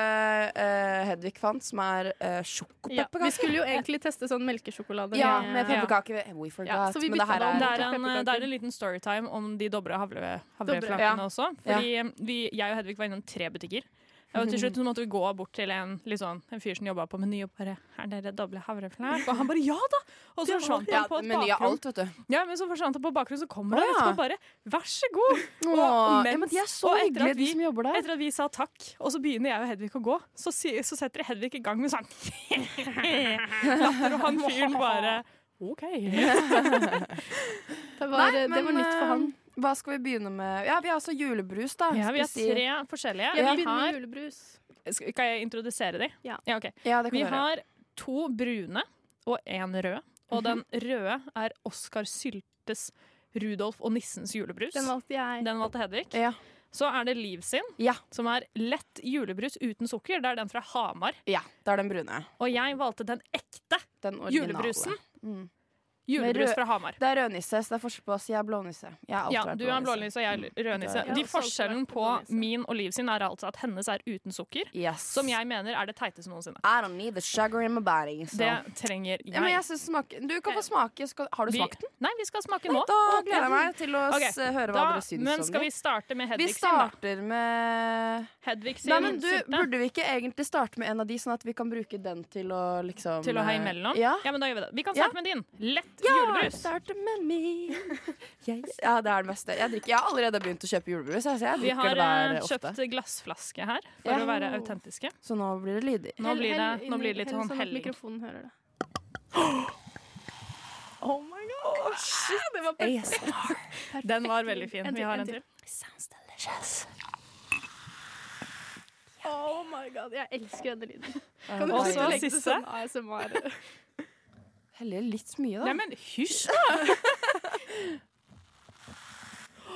S6: eh, Hedvig fant, som er uh,
S5: Ja,
S6: sjokopepperkake.
S5: vi skulle jo egentlig teste sånn melkesjokolade.
S6: Ja,
S5: med-
S6: med pepperkake. We forgot.
S5: eh, Ja, så vi
S6: men det
S5: bytta
S6: her
S5: det om.
S7: Det
S6: er
S5: Ikke
S7: er, en,
S5: pepperkaker.
S7: det er en liten storytime om de dobre havre, havreflakene
S6: Ja.
S7: også. Fordi eh, vi, jeg og Hedvig var innom tre butikker. Og til slutt så måtte vi gå bort til en, litt sånn, en fyr som jobba på Meny og bare 'Er dere doble havreflak?' Og han bare 'ja da!' Og så forsvant
S6: ja,
S7: han sånn, på et
S6: meny av
S7: bakrom.
S6: alt, vet du.
S7: Ja, men så forsvant han på bakrom, så kommer
S6: Å,
S7: han etterpå
S6: ja.
S7: og bare 'vær så god'.
S6: Åh,
S7: og
S6: ja, men
S7: mens-
S6: de er så
S7: og etter at
S6: hyggelige, de
S7: vi-
S6: som jobber der.
S7: Etter at vi sa takk, og så begynner jeg og Hedvig å gå, så, si, så setter Hedvig i gang med sånn Latter, og han fyren bare OK.
S5: Det var,
S6: Nei,
S5: det var
S6: men,
S5: nytt for han.
S6: eh, Hva skal vi begynne med? Ja, vi har altså julebrus, da.
S7: Ja, vi har
S6: Skal si-
S7: tre forskjellige.
S5: Jeg vil
S7: Vi
S5: begynne
S7: har
S5: med julebrus.
S7: Skal kan jeg introdusere de?
S5: Ja.
S7: ok.
S6: Ja,
S7: Vi
S6: det kan vi gjøre.
S7: har to brune og én rød.
S6: Mhm.
S7: Og den røde er Oskar Syltes Rudolf og nissens julebrus.
S5: Den valgte jeg.
S7: Den valgte Hedvig.
S6: Ja.
S7: Så er det Liv sin,
S6: Ja.
S7: som er lett julebrus uten sukker. Det er den fra Hamar.
S6: Ja, det er den brune.
S7: Og jeg valgte den ekte
S6: Den originale.
S7: julebrusen.
S6: Mm.
S7: Julebrus
S6: rød-
S7: fra Hamar.
S6: Det er rødnisse, så det er forskjell på oss. Jeg er blånisse. Jeg har alltid
S7: Ja,
S6: vært
S7: du er blånisse, og jeg er rødnisse.
S6: Jeg har
S7: De
S5: også alltid
S7: Forskjellen
S5: vært
S7: på
S5: blånisse.
S7: min og Liv sin er altså at hennes er uten sukker.
S6: Yes.
S7: Som jeg mener er det teiteste noensinne.
S6: I don't need the sugar in my body. So.
S7: Det trenger jeg. Eh,
S6: ja, men jeg synes smak, du kan få smake. Skal, har du
S7: Vi-
S6: smakt den?
S7: Nei, vi skal smake nå.
S6: Da
S7: Og-
S6: gleder jeg meg til å
S7: Ok,
S6: s- høre hva
S7: Da,
S6: dere syns
S7: men
S6: om
S7: skal
S6: det. sånn,
S7: vi starte med
S6: Vi
S7: Hedvig sin, da?
S6: starter med
S7: Hedvig sin
S6: Nei, men du,
S7: sylte.
S6: Burde vi ikke egentlig starte med en av de, sånn at vi kan bruke den til å liksom
S7: Til å ha
S6: eh,
S7: imellom?
S6: Ja.
S7: men da gjør vi det. Vi kan
S6: Ja.
S7: starte med din. Lett
S6: Ja,
S7: julebrus.
S6: starte med meg. Ja, det er det beste. Jeg, drikker, jeg har allerede begynt å kjøpe julebrus. Jeg, så jeg
S7: Vi har
S6: drikker det der
S7: eh,
S6: ofte.
S7: kjøpt glassflaske her for
S6: Ja.
S7: å være autentiske.
S6: Så nå blir det lydig.
S7: Nå
S5: Hell-
S7: blir
S5: hell
S7: det, nå
S5: inni-
S7: blir det litt
S5: hell
S7: sånn
S5: at
S7: helling.
S5: mikrofonen hører det.
S6: Oh ASMR.
S5: Perfekt.
S7: Den var veldig fin.
S5: En til,
S7: Vi har
S5: en
S7: en
S5: til.
S7: til.
S5: Oh my god, jeg elsker denne lyden.
S6: Eh,
S5: Kan du
S7: Og
S5: slutte
S7: så
S5: å legge det
S7: siste.
S5: sånn ASMR?
S6: Heller litt mye, da.
S7: Nei, men hysj! da.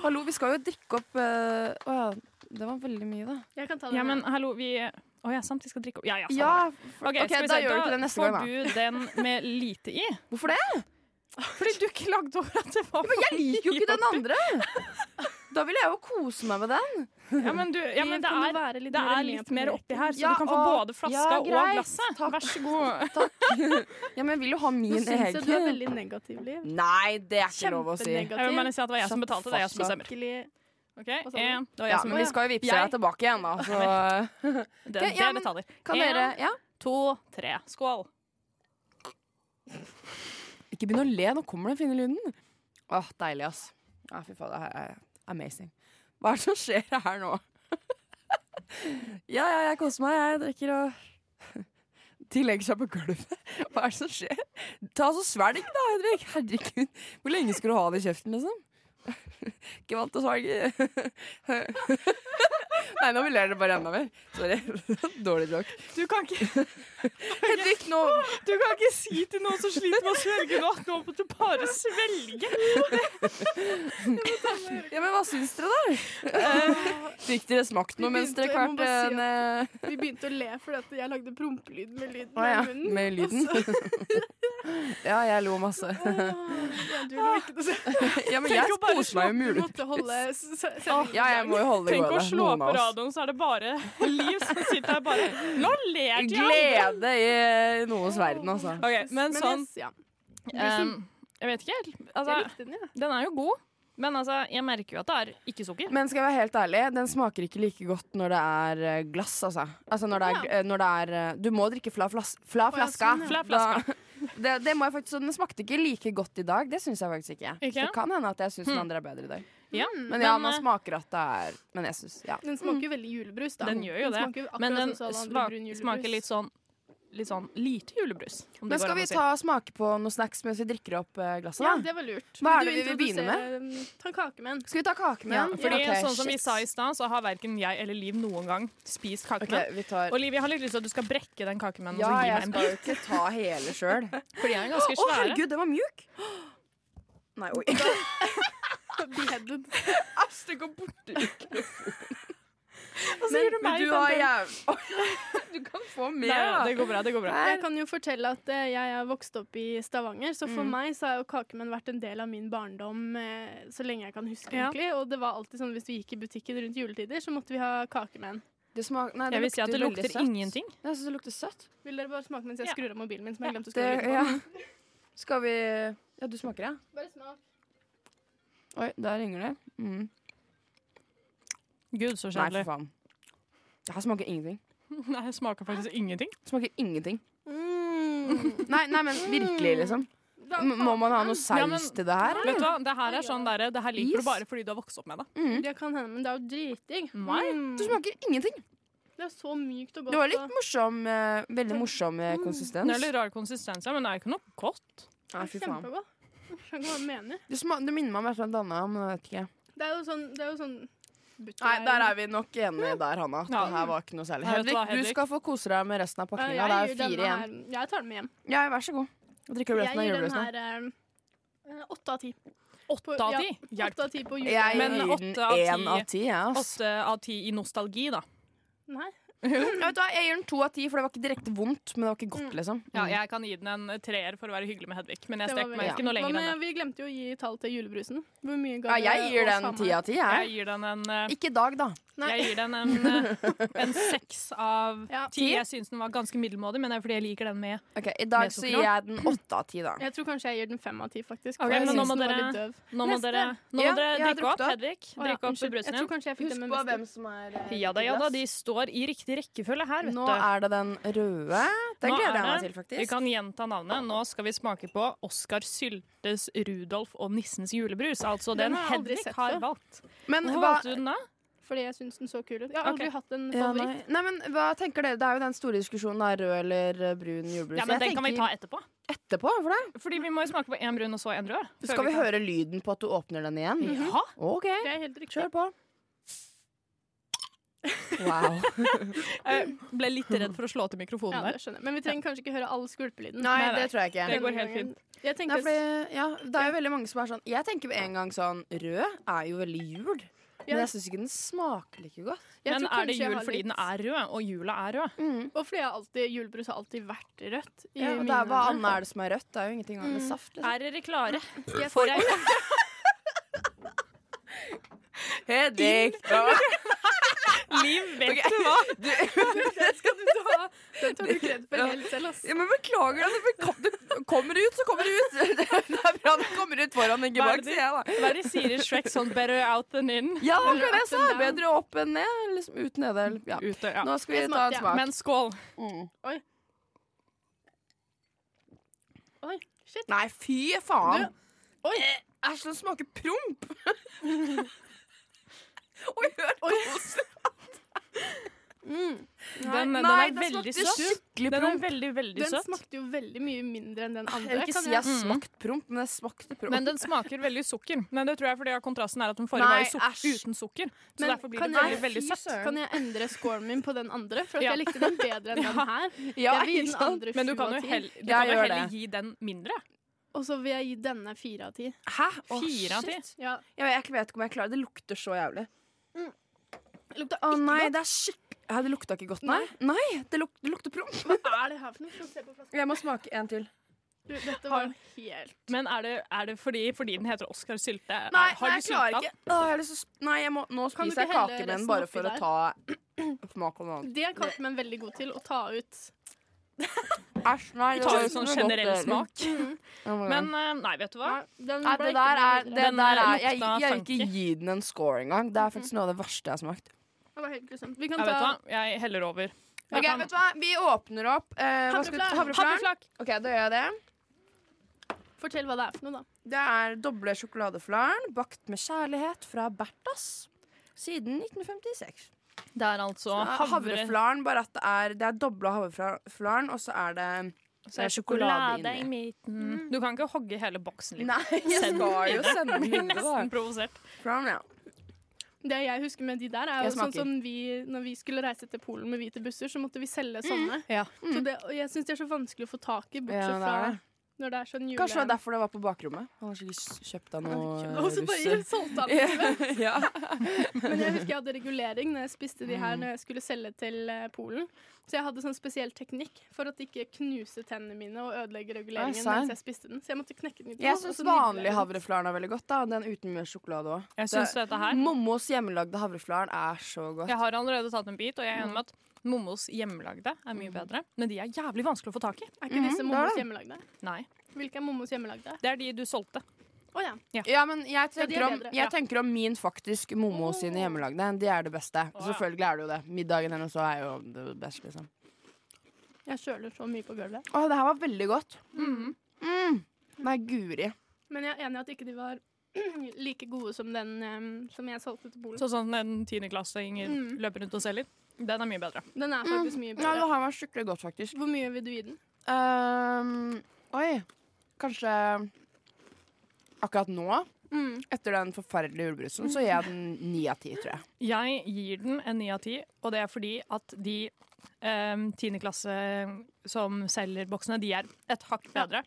S6: Hallo, vi skal jo drikke opp eh, Å ja, det var veldig mye, da.
S5: Jeg kan ta den.
S7: Ja, men
S5: her.
S7: hallo, vi Å ja, sant, vi skal drikke opp. Ja, ja. samme
S6: Ja,
S7: det.
S6: for,
S7: Ok,
S6: ok,
S7: skal vi
S6: da
S7: se,
S6: gjør du ikke det neste
S7: får
S6: gang, da.
S7: du den med lite i.
S6: Hvorfor det?
S7: Fordi du klagde over at det var
S6: Jeg liker jo ikke den andre! Da vil jeg jo kose meg med den.
S7: Ja, men, du, ja, men det, er,
S5: være litt
S7: det
S5: mer
S7: er
S5: linja
S7: litt
S5: på
S7: mer
S5: direkten.
S7: oppi her, så
S6: Ja,
S7: du kan få
S6: og-
S7: både flaska
S6: ja,
S7: og
S6: greit.
S7: glasset.
S6: Takk.
S7: Vær så god.
S6: Ja, men jeg vil jo ha
S5: Nå
S6: min
S5: syns jeg du er
S6: egen.
S5: veldig negativ, Liv.
S6: Nei, det er ikke lov å si.
S5: Kjempenegativ.
S7: Jeg vil bare si at det var jeg som betalte, det er jeg som bestemmer.
S5: Skikkelig-
S7: Ok,
S5: Hva sa du?
S7: en, det var
S6: Ja,
S7: jeg som
S6: men vi skal jo vippse deg
S7: Jeg-
S6: tilbake igjen, da. Så
S7: Det, det
S6: Ok, ja,
S7: er
S6: men-
S7: detaljer.
S6: kan dere Ja.
S7: To, tre. Skål.
S6: Ikke begynn å le, nå kommer den fine lyden. Åh, deilig, ass. Ja, fy faen, det her er amazing. Hva er det som skjer her nå? ja, ja, jeg koser meg. Jeg drikker og De legger seg på gulvet. Hva er det som skjer? Ta så svelg, da, Henrik. Herregud. Hvor lenge skal du ha det i kjeften, liksom? Ikke vant til å svelge. Nei, nå ler dere bare enda mer. Sorry. Dårlig joke.
S7: Du kan ikke
S6: Henrik, nå
S7: Du kan ikke si til noen som sliter med å svelge nå, at nå må du bare svelge.
S6: Ja, men hva syns dere, da?
S7: Eh,
S6: Fikk dere smakt noe mens dere
S5: begynte- jeg må
S6: kvarte
S5: bare si
S6: en eh,
S5: Vi begynte å le fordi at jeg lagde prompelyd med lyden
S6: Å ja,
S5: med munnen.
S6: med lyden?
S7: altså.
S6: Ja, jeg lo masse.
S5: Ja, du lo ikke, det
S6: Ja, men jeg koser meg jo
S5: Du
S6: mulig.
S5: måtte holde s- s- sendingen.
S6: Ja, jeg må jo holde det
S7: Tenk å
S6: gående.
S7: slå
S6: Noen
S7: på
S6: av oss.
S7: radioen, så er det bare Liv som sitter her bare Nå ler de andre!
S6: Glede i noens verden, altså.
S7: Ok, men sånn
S5: yes, ja.
S7: ehm, Jeg vet ikke helt.
S5: Jeg
S7: Altså,
S5: likte den, ja.
S7: den er jo god, men altså, jeg merker jo at det er ikke sukker.
S6: Men skal jeg være helt ærlig, den smaker ikke like godt når det er eh, glass, altså. Altså når det er, eh, når det er eh, Du må drikke fla, flas, fla
S5: ja,
S6: flaska.
S5: sånn, ja.
S7: Fla flaska.
S6: Da- Det, det må jeg faktisk, så den smakte ikke like godt i dag. Det syns jeg faktisk ikke.
S7: Ikke?
S6: Så det kan hende at jeg syns
S7: Hmm.
S6: den andre er bedre i dag.
S7: Ja,
S6: Men ja, man
S7: eh,
S6: smaker at det er Men jeg syns ja.
S5: Den smaker jo veldig julebrus, da.
S7: mm. Den gjør jo det,
S5: smaker akkurat
S7: men den
S5: sånn som alle andre
S7: smak-
S5: brun julebrus.
S7: smaker litt sånn Litt sånn lite julebrus. om det
S6: Men
S7: går
S6: skal
S7: an å
S6: vi
S7: si.
S6: ta og smake på noen snacks mens vi drikker opp eh, glasset,
S5: Ja,
S6: da?
S5: det var lurt.
S6: Hva
S5: Men
S6: er det
S5: du
S6: vi vil begynne med?
S5: introduserer, um, Ta kake med en.
S6: Skal vi ta kakemenn?
S5: Ja,
S7: Fordi
S6: Ok,
S7: sånn som vi
S6: shit.
S7: sa i stad, så har verken jeg eller Liv noen gang spist
S6: Ok,
S7: kakemenn.
S6: vi tar
S7: Og Liv, jeg har litt lyst til at du skal brekke den kakemennen og
S6: Ja,
S7: så gi
S6: jeg
S7: meg en
S6: skal
S7: bit.
S6: jo ikke ta hele sjøl. Å,
S7: For de er ganske svære.
S6: herregud, den var mjuk! Nei, oi.
S5: Beheaded.
S6: Æsj, det går borti
S7: Hva
S6: Men
S7: sier du meg?
S6: du har jæv... Oi, Du kan få mer,
S7: ja,
S6: da.
S7: det går bra, det går bra.
S5: Jeg kan jo fortelle at eh, jeg er vokst opp i Stavanger, så for
S6: Mm.
S5: meg så har jo kakemenn vært en del av min barndom eh, så lenge jeg kan huske.
S7: Ja.
S5: egentlig. Og det var alltid sånn hvis vi gikk i butikken rundt juletider, så måtte vi ha kakemenn.
S6: Det smak- nei,
S7: Jeg vil si at det
S6: jo veldig
S7: lukter
S6: søtt.
S7: ingenting.
S6: Jeg syns det lukter søtt.
S5: Vil dere bare smake mens jeg
S7: Ja.
S5: skrur av mobilen min? som jeg glemte å skru
S6: Det,
S5: av lyden på?
S6: ja. Skal vi Ja, du smaker, ja?
S5: Bare smak.
S6: Oi, der ringer det. Mm.
S7: Gud, så
S6: Nei,
S7: kjedelig.
S6: for faen. Det her smaker ingenting.
S7: Nei, det smaker faktisk ingenting.
S6: Smaker ingenting.
S5: Mm.
S6: Nei, nei, men virkelig, liksom.
S5: Da-
S6: M må man ha noe saus
S7: Ja, men-
S6: til det her?
S7: Vet du hva, det her er sånn der, det her liker
S6: Is.
S7: du bare fordi du har vokst opp med det.
S6: Mm.
S5: Det kan hende, men det er jo dritdigg.
S7: Nei,
S5: Mm.
S6: Det smaker ingenting.
S5: Det er så mykt og godt.
S6: Det var litt
S5: og-
S6: morsom, eh, veldig morsom eh,
S7: Det er
S6: konsistens.
S7: litt rar konsistens, ja, men det er ikke noe godt.
S6: Nei, fy faen.
S5: Kjempegodt. Jeg skjønner ikke hva du mener.
S6: Det, sma det minner meg om et eller annet annet, men jeg vet ikke.
S5: Det er jo sånn, det er jo sånn butter-
S6: Nei, der er vi nok enige der, Hanna.
S7: Ja.
S6: Det her var ikke noe særlig.
S7: Nei, vet du
S6: Henrik,
S7: hva,
S6: du
S7: Henrik?
S6: skal få kose deg med resten av
S5: Ja,
S6: pakninga.
S5: jeg,
S6: Det
S5: gir
S6: er
S5: denne
S6: fire igjen.
S5: her- Jeg tar den med hjem.
S6: Ja, vær så god. Og drikker du
S5: Jeg
S6: resten av
S5: gir den
S6: julebrødet?
S5: her eh, åtte av ti. På-
S7: Åtte av
S5: ja,
S7: ti. Hjelp.
S5: Åtte av ti på jul.
S6: Jeg
S7: Men
S6: gir den
S7: åtte av
S6: én
S7: ti-
S6: av ti, jeg, ass.
S7: Åtte av ti i nostalgi, da.
S5: Nei.
S6: Ja, vet du hva, jeg gir den to av ti, for det var ikke direkte vondt, men det var ikke godt, liksom.
S7: Mm. Ja, jeg kan gi den en treer for å være hyggelig med Hedvig, men jeg
S5: Det
S7: strekker
S5: var veldig-
S7: meg ikke noe
S5: Hva
S7: lenger enn det.
S5: med, vi glemte jo å gi tall til julebrusen. Hvor mye ga
S6: Ja,
S5: dere
S6: jeg gir
S5: oss
S6: den
S5: sammen?
S6: ti av ti, jeg.
S7: Jeg gir den en eh,
S6: Ikke i dag, da.
S5: Nei.
S7: Jeg gir den en, eh, en seks av
S5: Ja.
S7: ti. Jeg syns den var ganske middelmådig, men det er fordi jeg liker den med.
S6: Ok, I
S7: Med
S6: dag så
S7: sukker,
S6: gir jeg den åtte av ti, da.
S5: Jeg tror kanskje jeg gir den fem av ti,
S7: Ok,
S5: faktisk. for jeg
S7: men nå
S5: synes
S7: må
S5: den var
S7: dere-
S5: litt døv.
S7: Nå må
S5: Neste.
S7: dere, nå
S6: Ja,
S7: må dere
S6: jeg har
S7: drikke
S6: drukket
S7: opp,
S6: opp.
S7: Hedvig.
S5: Å, ja,
S7: Drikke opp
S5: unnskyld. Jeg
S7: brusen din.
S5: tror kanskje jeg fikk den med mest.
S6: som er eh,
S7: Ja da, ja da,
S6: glass.
S7: de står i riktig rekkefølge her, vet
S6: Nå
S7: du.
S6: er det den røde. Den
S7: Nå
S6: gleder
S7: er
S6: jeg meg
S7: det- Vi
S6: til, faktisk.
S7: kan gjenta navnet. Nå skal vi smake på Oskar Syltes Rudolf og nissens julebrus. Altså den,
S5: Den har jeg aldri
S7: Hedvig
S5: sett
S7: har
S5: før.
S7: valgt.
S6: Men
S7: Hvorfor
S6: hva,
S7: valgte du den da?
S5: Fordi jeg syns den så kul ut. Jeg har aldri
S7: Ok.
S5: hatt en
S6: ja,
S5: favoritt.
S6: nei. Nei, men, hva tenker dere? Det er jo den store diskusjonen er rød eller eh, brun julebrus.
S7: Ja, men
S6: Jeg
S7: Den kan vi
S6: tenker
S7: ta etterpå.
S6: etterpå. for det.
S7: Fordi vi må jo smake på én brun og så én rød. før
S6: Skal vi
S7: kan- Mhm.
S6: høre lyden på at du åpner den igjen?
S7: Ja.
S6: OK,
S5: Det er helt riktig.
S6: kjør på. Wow.
S7: Jeg Eh, ble litt redd for å slå til mikrofonen
S5: Ja,
S7: der.
S5: det skjønner jeg. Men vi trenger kanskje ikke høre all skvulpelyden.
S6: Nei,
S7: Nei, nei.
S6: det tror jeg ikke.
S7: Det går helt fint.
S5: Jeg tenkte
S6: Nei, fordi, ja, det er jo veldig mange som er sånn Jeg tenker med en gang sånn Rød er jo veldig jul.
S5: Ja.
S6: Men jeg syns ikke den smaker like godt.
S5: jeg
S7: Men er det
S5: tror kanskje jeg
S7: jul
S5: har
S7: fordi
S5: litt-
S7: den er rød, og jula er rød?
S5: Og fordi jeg alltid, julebrus har alltid vært rødt. i
S6: Ja, og det
S5: mine
S6: er,
S5: øyne.
S6: hva annet er det som er rødt? Det er jo ingenting
S7: Mm.
S6: annet enn saft. Liksom.
S7: Er dere klare
S5: Jeg
S7: for
S5: får-
S7: ei
S6: Hedvig.
S7: Liv, vet
S6: Ok.
S7: du hva?
S6: Den skal du ta.
S5: Den tar du kred for helt selv, ass.
S6: Ja, men beklager det. det kom- Det kommer ut, så kommer det ut. Det er bra det kommer ut foran, ikke
S7: Hva er
S6: bak,
S7: det
S6: sier jeg da.
S7: Hva er det de sier i Shrek? Sånn better out than in.
S6: Ja, det var det jeg
S5: Up and
S6: sa.
S5: down.
S6: Bedre opp enn ned. Liksom ut nede. eller- Ja.
S7: Ute, ja.
S6: Nå skal vi
S5: Jeg
S6: ta en
S5: smakte, ja.
S6: smak.
S7: Men skål.
S5: Oi, shit.
S6: Nei, fy faen.
S5: Oi.
S6: Æsj, den smaker promp. Oi, hør på osten.
S5: Mm.
S7: Den, den
S6: nei,
S7: er
S6: den
S7: veldig
S6: smakte
S7: søt.
S6: skikkelig
S7: Den er
S6: promp.
S7: veldig, veldig
S5: Den
S7: søt.
S5: smakte jo veldig mye mindre enn den
S6: Jeg vil
S5: andre.
S6: ikke
S5: kan
S6: si jeg
S5: jeg-
S7: Mm.
S6: smakte promp, men jeg smakte promp.
S7: Men den smaker veldig sukker. Men det tror jeg fordi kontrasten er at den forrige
S6: Nei,
S7: var jo suk
S6: æsj.
S7: uten sukker. Så
S5: Men
S7: derfor blir
S5: kan
S7: det veldig,
S5: jeg-
S7: veldig
S6: fy
S7: søtt.
S6: søren.
S5: Kan jeg endre scoren min på den andre? For at
S7: Ja.
S5: jeg likte den bedre enn den her.
S6: ja,
S5: jeg vil gi
S6: ikke
S5: den
S6: sant?
S5: andre
S7: Men du
S5: sju
S7: kan jo
S5: av ti.
S7: hell- du
S6: Jeg
S7: kan jo
S6: gjør
S7: heller
S6: det.
S7: gi den mindre.
S5: Og så vil jeg gi denne fire av ti.
S6: Hæ? Å,
S7: Fire av ti.
S6: shit.
S5: Ja.
S6: Jeg vet jeg vet ikke om jeg klarer det. Det lukter så jævlig. Mm.
S5: Det lukta
S6: Å
S5: ikke
S6: nei,
S5: godt.
S6: det er skikkelig ja, Det lukta ikke godt, nei. Nei, Det, luk det lukter promp.
S5: Hva er det her for noe? Få se på flasken.
S6: Jeg må smake en til.
S5: Du, Dette var jo helt
S7: Men er det, er det fordi, fordi den heter Oscar Sylte? Er-
S6: Nei,
S7: har
S6: nei
S7: du
S6: jeg
S7: sylta
S6: klarer
S7: den?
S6: ikke. Åh, jeg har lyst til å sp- Nei, jeg må, nå
S5: Kan du
S6: spiser jeg
S5: ikke helle
S6: kakemenn
S5: resten
S6: bare
S5: oppi
S6: for
S5: der?
S6: å ta smak av noe annet.
S5: Det er Cartman veldig god til å ta ut.
S6: Æsj, nei.
S7: Vi tar jo sånn generell smak.
S6: eh, Men
S7: Men eh, nei, vet du hva?
S5: Den
S6: Nei,
S5: ble ikke
S6: det der
S5: noe videre.
S6: er, det
S7: Den
S6: der
S7: lukta
S6: er jeg, jeg vil
S7: funky.
S6: ikke gi den en score engang. Det er faktisk noe av det verste jeg har smakt.
S5: Det var helt grusomt. Vi kan
S7: Jeg vet
S5: ta
S7: hva, jeg heller over.
S6: Ok, vet du hva? Vi åpner opp. Eh, hva skal vi-
S5: Havreflak.
S6: Havreflak. Ok, da gjør jeg det.
S5: Fortell hva det er for noe, da.
S6: Det er doble sjokoladeflaren bakt med kjærlighet fra Bertas siden 1956.
S7: Det er altså
S6: Ja,
S7: havre...
S6: Havreflaren, bare at det er, det er dobla havreflaren, og så er det
S7: Så er det sjokolade i midten. Mm. Du kan ikke hogge hele boksen litt.
S6: Nei, jeg
S7: Send
S6: skal jo
S7: den
S6: sende den
S7: Blir
S6: videre. da.
S7: nesten provosert.
S6: Fram, ja.
S5: Det jeg husker med de der, er jo
S6: Jeg
S5: sånn
S6: smaker.
S5: som vi Når vi skulle reise til Polen med hvite busser, så måtte vi
S6: Mm.
S5: selge sånne.
S7: Ja.
S5: Så det, og jeg syns de er så vanskelig å få tak i,
S6: Ja,
S5: bortsett
S6: det er
S5: fra
S6: det.
S5: når det er sånn jule...
S6: Kanskje det var derfor det var på bakrommet. Han har sikkert s- kjøpt av noen eh,
S5: og så bare
S6: russer.
S5: solgte han det.
S6: ja.
S5: Men jeg husker jeg hadde regulering når jeg spiste de
S6: Mm.
S5: her når jeg skulle selge til eh, Polen. Så jeg hadde sånn spesiell teknikk for at de ikke knuse tennene mine og ødelegge reguleringen
S6: sant?
S5: mens jeg spiste den. Så jeg måtte knekke den i to.
S6: Jeg
S5: og
S6: syns
S5: så nydle
S6: vanlig
S5: den.
S6: havreflaren er veldig godt. da Den uten mye sjokolade òg.
S7: Jeg syns dette her
S6: Mommos hjemmelagde havreflaren er så godt.
S7: Jeg har allerede tatt en bit, og jeg er enig med at Mommos hjemmelagde er mye bedre. Men de er jævlig vanskelig å få tak i.
S5: Er ikke disse
S6: Mhm, det er
S5: mommos
S6: det.
S5: hjemmelagde?
S7: Nei.
S5: Hvilke er mommos hjemmelagde?
S7: Det er de du solgte.
S5: Å ja.
S6: Ja, men jeg
S5: Ja, de er
S6: tenker, om,
S5: bedre.
S6: jeg tenker om min faktisk Momo sine hjemmelagde. De er det beste.
S7: Å, ja.
S6: Selvfølgelig er det jo det. Middagen hennes også er jo det beste, liksom.
S5: Jeg kjøler så mye på gulvet.
S6: Å, det her var veldig godt. Mm. Nei, guri.
S5: Men jeg er enig i at ikke de var like gode som den em, som jeg solgte til Polen.
S7: Så sånn en tiendeklassing
S5: Mm.
S7: løper rundt og selger. Den er mye bedre.
S5: Den er faktisk mye
S6: Ja, det
S5: bedre.
S6: her var skikkelig godt, faktisk.
S5: Mm. Hvor mye vil du gi den?
S6: Ehm, oi. Kanskje akkurat nå,
S5: Mm.
S6: etter den forferdelige julebrusen, så gir jeg den ni av ti, tror jeg.
S7: Jeg gir den en ni av ti, og det er fordi at de em, tiendeklasse som selger boksene, de er et hakk bedre.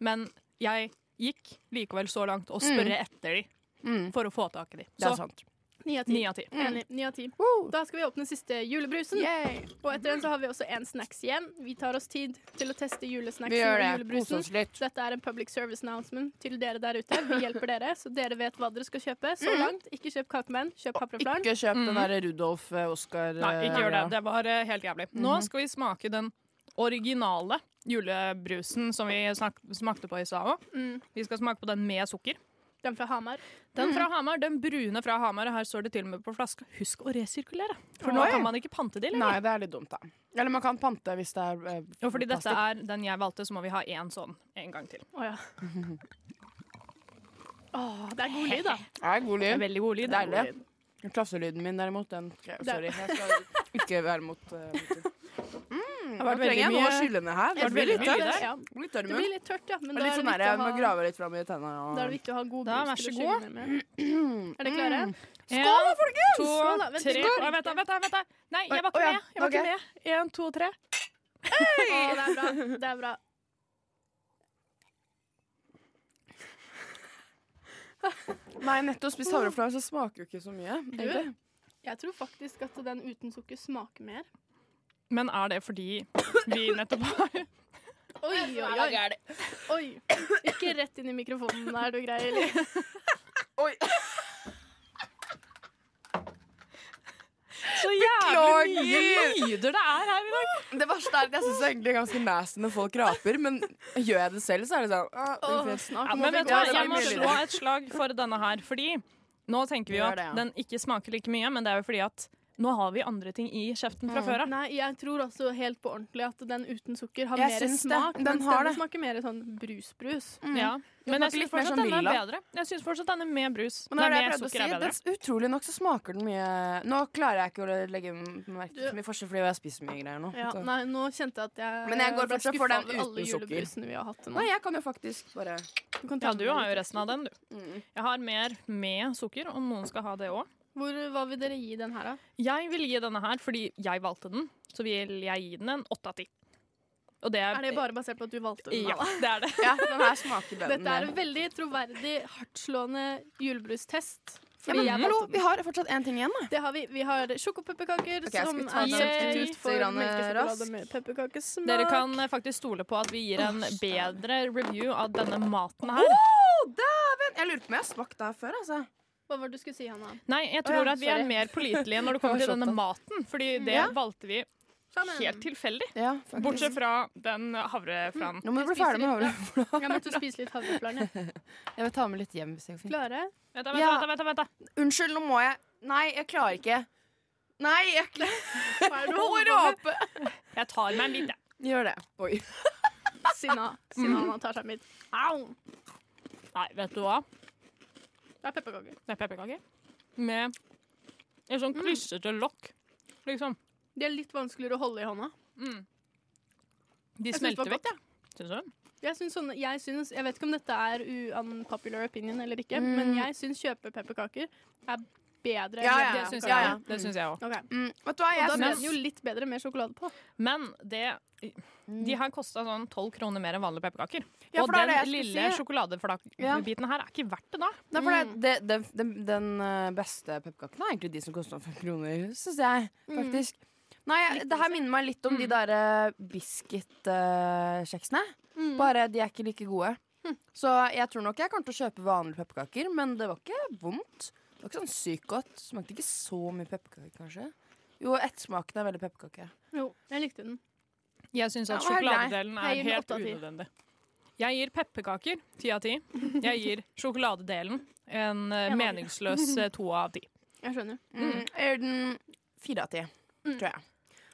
S7: Men jeg gikk likevel så langt å spørre etter de
S6: Mm.
S7: for å få tak i de.
S6: Det er
S7: Så
S6: sant.
S5: Ni av Mm. ti.
S7: ni av ti.
S5: Enig. Ni av ti.
S6: Woo!
S5: Da skal vi åpne siste julebrusen.
S6: Yay.
S5: Og etter den så har vi også en snacks igjen. Vi tar oss tid til å teste julesnacksen
S6: Vi gjør
S5: og
S6: det. Kose
S5: julebrusen.
S6: oss litt.
S5: Dette er en public service announcement til dere der ute. Vi hjelper dere, så dere vet hva dere skal kjøpe. Så langt, ikke kjøp kakemenn, kjøp havreflaren.
S6: Ikke kjøp den der Rudolf eh, Oscar
S7: Mm. Nei, ikke gjør det.
S6: eh,
S7: Det var eh, helt jævlig.
S6: Mhm.
S7: Nå skal vi smake den originale julebrusen som vi snak smakte på i stad òg.
S5: Mm.
S7: Vi skal smake på den med sukker.
S5: Den fra Hamar.
S6: Mhm.
S7: Den fra Hamar, den brune fra Hamar, og her står det til og med på flaska. Husk å resirkulere, for nå
S6: Oi.
S7: kan man ikke pante de lenger.
S6: Nei, det er litt dumt, da. Eller man kan pante hvis det er eh,
S7: Og fordi dette
S6: plastikk.
S7: er den jeg valgte, så må vi ha én sånn en gang til.
S5: Å ja. Åh, det er god lyd, da.
S6: Det er god
S7: Det er
S6: lyd.
S7: veldig god lyd.
S6: Det er Klasselyden min, derimot, den Sorry. Jeg skal ikke være mot eh, mot det.
S7: Det
S6: Nå
S7: har vært
S6: trenger
S7: veldig
S6: jeg noe å
S7: mye
S6: skylle ned her.
S7: Det
S6: Det blir
S7: veldig
S6: litt
S7: mye
S6: tørt.
S7: der.
S5: Ja,
S6: Det blir Litt tørr i
S5: det blir
S6: munnen.
S5: litt tørt, ja. Men
S6: Og
S5: da
S6: litt
S5: er,
S6: sånn
S5: det
S6: der,
S5: viktig
S6: jeg må
S5: å ha,
S6: grave litt fram i tennene. og-
S5: da er det viktig å ha god
S7: Da,
S5: brus
S7: vær
S5: til å
S7: så
S5: skylle ned med. Er dere klare?
S6: Mm.
S7: Skål, folkens! To,
S5: Skål, da. Vent,
S7: tre
S5: skål.
S7: Oi, Vent, da, vent, da, vent. da. Nei, jeg var
S6: Oi,
S7: ikke
S6: å ja.
S7: med. Jeg var ikke med. Én, to, tre.
S5: Å, det er bra. Det er bra.
S6: Nei, nettopp spist havreflare, så smaker jo ikke så mye. egentlig.
S5: Jeg tror faktisk at den uten sukker smaker mer.
S7: Men er det fordi vi nettopp har
S5: Oi, oi, oi. oi. Ikke rett inn i mikrofonen, er du grei, eller?
S6: Oi. Beklager!
S7: lyder det er her i dag.
S6: Det verste er at jeg syns egentlig det er ganske nasty når folk raper, men gjør jeg det selv, så er det sånn ah, unnskyld.
S7: Ja, men vet du hva, jeg må slå et slag for denne her, fordi nå tenker vi jo
S2: Gjør
S7: at
S2: det, ja.
S7: den ikke smaker like mye, men det er jo fordi at nå har vi andre ting i kjeften
S6: Mm.
S7: fra før av.
S5: Nei, jeg tror også helt på ordentlig at den uten sukker har
S6: Jeg
S5: mer
S6: syns det.
S5: smak.
S6: Den
S5: mens
S6: har
S5: den
S6: det.
S5: smaker mer sånn brus-brus.
S7: Ja. Men jeg
S6: Mm. smaker
S7: syns
S6: litt mer
S7: fortsatt
S6: sånn
S7: denne er
S6: lilla.
S7: bedre. Jeg synes fortsatt denne med brus
S6: Men det
S7: Nei,
S6: er det jeg
S7: med
S6: prøvde å
S7: sukker
S6: si.
S7: er bedre.
S6: Det, utrolig nok så smaker den mye Nå klarer jeg ikke å legge merke til så mye forskjell fordi jeg spiser mye greier nå.
S5: Ja,
S6: Så-
S5: nei, nå kjente jeg at jeg
S6: Men jeg går
S5: ble
S6: fortsatt for
S5: skuffet
S6: den
S5: over alle
S6: uten sukker.
S5: julebrusene vi har hatt til nå.
S6: Nei, jeg kan jo faktisk bare
S5: Du kan ta
S7: Ja, du
S5: den
S7: har jo
S5: litt.
S7: resten av den, du.
S6: mm.
S7: Jeg har mer med sukker, og noen skal ha det òg.
S5: Hvor, hva vil dere gi den her, da?
S7: Jeg vil gi denne her fordi jeg valgte den, så vil jeg gi den en åtte av ti. Og det er,
S5: Er det bare basert på at du valgte den?
S7: Ja,
S5: da?
S7: det er det.
S6: Ja, den her smaker bedre enn
S5: Dette er
S6: der.
S5: en veldig troverdig, hardtslående julebrustest.
S6: Ja,
S5: Fordi
S6: men
S5: jeg
S6: hallo,
S5: valgte
S6: vi
S5: den.
S6: har fortsatt én ting igjen, da.
S5: Det har vi. Vi har sjokopepperkaker
S6: Ok, jeg
S5: som
S6: skal ta
S5: er
S6: den
S5: substitutt
S6: litt
S5: for
S6: grann
S5: melkesjokolade
S6: raskt.
S5: med pepperkakesmak.
S7: Dere kan eh, faktisk stole på at vi gir en bedre review av denne maten her.
S6: Å, dæven! Jeg lurer på om jeg har smakt det her før, altså.
S5: Hva var det du skulle si, Hanna?
S7: Nei, jeg
S6: Å
S7: tror
S6: ja,
S7: at vi er
S6: sorry.
S7: mer pålitelige når det kommer
S6: Jeg
S7: til
S6: var
S7: denne maten, fordi det
S6: Ja. Sånn,
S7: valgte vi
S5: Sammen.
S7: helt tilfeldig.
S6: Ja, faktisk.
S7: Bortsett fra den havreflanen.
S6: Nå må du bli ferdig med havre.
S5: Jeg måtte spise litt havreflarn. jeg.
S6: Jeg vil ta med litt hjem. hvis jeg finner.
S5: Klare?
S7: Vent, da, vent,
S6: Ja.
S7: da, vent, da, vent, da.
S6: Unnskyld, nå må jeg Nei, jeg klarer ikke. Nei, jeg klarer
S5: Hva er det du holder på med?
S6: ikke
S7: Jeg tar meg en bit, jeg.
S6: Gjør det. Oi.
S5: Sinna.
S6: Mm.
S5: Sinna Hanna tar seg en bit. Au!
S7: Nei, vet du hva?
S5: Det er pepperkaker.
S7: Det er pepperkaker. Med en
S6: Mm.
S7: sånn klissete lokk, liksom.
S5: De er litt vanskeligere å holde i hånda.
S7: De
S5: Jeg synes det
S7: smelter
S5: var
S7: vekk, ja. Syns du?
S5: Jeg, syns sånne, jeg, syns, jeg vet ikke om dette er unpopular opinion eller ikke, men jeg syns kjøpepepperkaker er bedre.
S6: Mm. Ja,
S5: enn
S6: ja,
S7: Det
S5: det-
S7: syns
S6: ja,
S7: jeg
S6: ja.
S7: òg. Det syns jeg òg.
S5: Ok.
S6: Mm, vet du hva,
S5: Og
S6: jeg
S5: da ble
S6: synes-
S5: den jo litt bedre med sjokolade på.
S7: Men det de her kosta sånn 12 kroner mer enn vanlige pepperkaker.
S6: Mm. Ja,
S7: og
S6: for det
S7: den
S6: er det jeg skulle
S7: lille
S6: si. Ja.
S7: sjokoladebiten her er ikke verdt det, da.
S6: Nei, for det, det, det, den, den eh, beste pepperkaken er egentlig de som koster fem kroner, syns jeg. Faktisk. Nei, det her minner meg litt om de der eh, biscuitkjeksene. Bare de er ikke like gode. Så jeg tror nok jeg kommer til å kjøpe vanlige pepperkaker, men det var ikke vondt. Det var ikke sånn sykt godt. Smakte ikke så mye pepperkake, kanskje. Jo, ettersmaken er veldig pepperkake.
S5: Jo, jeg likte den.
S7: Jeg syns at
S6: Ja, og her er det.
S7: sjokoladedelen
S5: Jeg
S7: er
S5: gir den
S7: helt
S5: åtte av ti.
S7: unødvendig. Jeg gir pepperkaker ti av ti. Jeg gir sjokoladedelen en eh,
S5: En av ti.
S7: meningsløs eh, to av ti.
S5: Jeg skjønner.
S6: Mm. Jeg gjør den fire av ti, tror jeg.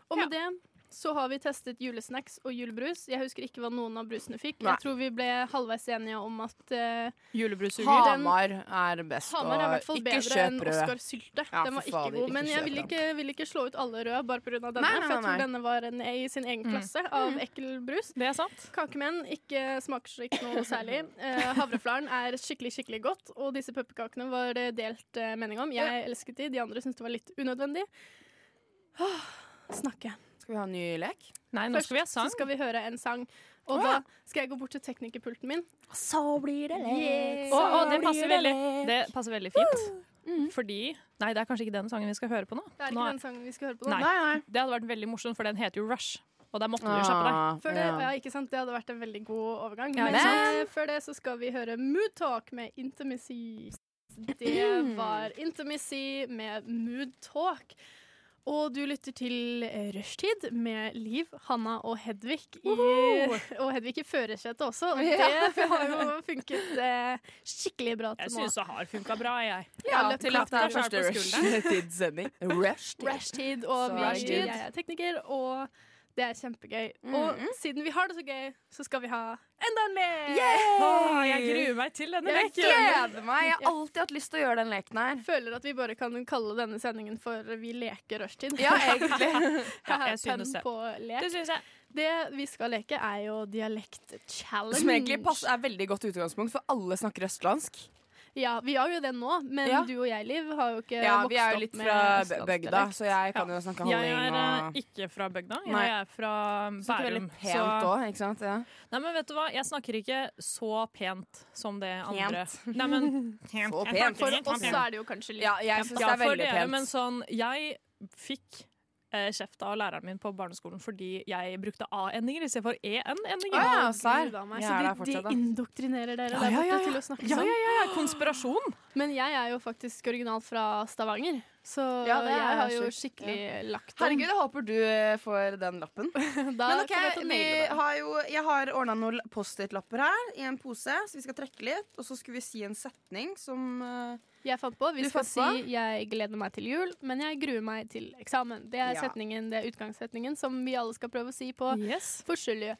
S5: Og med det så har vi testet julesnacks og julebrus. Jeg husker ikke hva noen av brusene fikk.
S6: Nei.
S5: Jeg tror vi ble halvveis enige om at eh,
S7: Julebrusuger.
S6: Hamar er best,
S5: Hamar er i hvert
S6: og
S5: fall
S6: ikke
S5: bedre enn
S6: kjøp rød.
S5: Oscar Sylte.
S6: Ja,
S5: den var
S6: for
S5: ikke
S6: fader,
S5: god.
S6: ikke
S5: Men jeg
S6: kjøp
S5: vil
S6: den.
S5: ikke, vil ikke slå ut alle røde bare pga. denne,
S6: Nei, nei,
S5: for jeg
S6: nei, Mm.
S5: tror
S6: nei.
S5: denne var en A i sin egen klasse av ekkel brus.
S7: Det er sant.
S5: Kakemenn ikke smaker ikke noe særlig. Eh, havreflaren er skikkelig skikkelig godt, og disse pepperkakene var det delt eh, mening om. Jeg elsket de, de andre syntes det var litt unødvendig. Åh, snakke.
S6: Skal vi ha en ny lek?
S7: Nei, nå
S5: Først
S7: skal vi ha
S5: så
S7: sang.
S5: skal vi høre en sang, og
S6: Åh,
S5: da
S6: ja.
S5: skal jeg gå bort til teknikerpulten min.
S7: Å, å, det passer veldig Det passer veldig fint. Fordi Nei, det er kanskje ikke den sangen vi skal høre på nå.
S5: Det er
S7: nå
S5: ikke
S7: er,
S5: den sangen vi skal høre på nå.
S7: Nei. det hadde vært veldig morsomt, for den heter jo Rush. Og der måtte du jo kjappe deg.
S5: Før det,
S6: Ah, Ja.
S5: ja, ikke sant? det hadde vært en veldig god overgang.
S7: Ja,
S5: Men
S6: ikke
S5: eh, før det så skal vi høre Mood Talk med Intimacy. Det var Intimacy med Mood Talk. Og du lytter til eh, Rushtid med Liv, Hanna og Hedvig. I, og Hedvig i førersetet også. Og det har jo funket eh, skikkelig bra
S7: Jeg
S5: til nå.
S7: syns det har funka bra, jeg.
S5: Ja,
S6: Ja, til
S5: løpet
S6: at det er
S7: klart på
S6: første rushtidssending. Rushtid.
S5: Rushtid, og
S6: Så
S5: vi,
S6: rushtid.
S5: jeg er tekniker, og det er kjempegøy. Og siden vi har det så gøy, så skal vi ha enda en lek!
S7: Åh, jeg gruer meg til denne
S5: Jeg
S7: leken.
S6: Gleder meg! Jeg har alltid hatt lyst til å gjøre den leken her.
S5: føler at vi bare kan kalle denne sendingen for Vi leker rushtid.
S6: Ja, egentlig.
S7: Ja, jeg
S5: Her er
S7: synes
S5: penn
S7: det.
S5: På lek.
S7: Det syns jeg.
S5: Det vi skal leke, er jo dialekt-challenge.
S6: Som egentlig passer, er veldig godt utgangspunkt, for alle snakker østlandsk.
S5: Ja, Vi har jo det nå, men
S6: Ja.
S5: du og jeg, Liv, har jo ikke
S6: Ja,
S5: vokst
S6: vi er jo
S5: opp
S6: litt
S5: med
S6: fra
S5: østlandsdialekt.
S6: bygda, så jeg kan
S7: Ja.
S6: jo snakke
S7: Jeg
S6: halling
S7: er
S6: og
S7: eh, ikke fra bygda.
S6: Nei.
S7: Jeg er fra
S6: Snakker
S7: Bærum.
S6: veldig pent òg, ikke sant? Ja.
S7: Nei, men vet du hva? Jeg snakker ikke så pent som det andre.
S6: Pent.
S7: Nei, men
S6: Så
S7: Jeg
S6: pent.
S7: snakker
S5: For
S7: ikke
S5: oss
S7: pent.
S5: så er det jo kanskje litt
S6: Ja, jeg syns Altså, det
S7: Ja,
S6: er
S7: for
S6: veldig
S7: dere, men
S6: pent.
S7: sånn Jeg fikk eh, kjeft av læreren min på barneskolen fordi jeg brukte A-endinger istedenfor
S6: Å
S7: E-endinger.
S6: ja,
S5: Å,
S6: serr.
S5: Gud, av meg.
S6: Jeg
S5: så
S6: er
S5: de,
S6: der fortsatt, da.
S5: de indoktrinerer dere
S6: Ja,
S5: der
S6: ja,
S5: borte
S6: ja, ja.
S5: til å snakke
S7: Ja,
S5: sånn.
S7: ja, ja, konspirasjon!
S5: Men jeg er jo faktisk originalt fra Stavanger. Så
S6: Ja, det er
S5: jeg har
S6: jo
S5: jo
S6: sjukt,
S5: skikkelig lagt om.
S6: Herregud, jeg håper du eh, får den lappen.
S5: da
S6: Men ok,
S5: kommer jeg til å
S6: vi
S5: naile det.
S6: har jo, Jeg har ordna noen Post-It-lapper her i en pose, så vi skal trekke litt. Og så skulle vi si en setning som eh,
S5: Jeg fant på, vi
S6: Du
S5: skal
S6: fant
S5: si
S6: på?
S5: jeg gleder meg til jul, men jeg gruer meg til eksamen. Det er
S6: Ja.
S5: setningen, det er utgangssetningen som vi alle skal prøve å si på
S7: Yes.
S5: forskjellige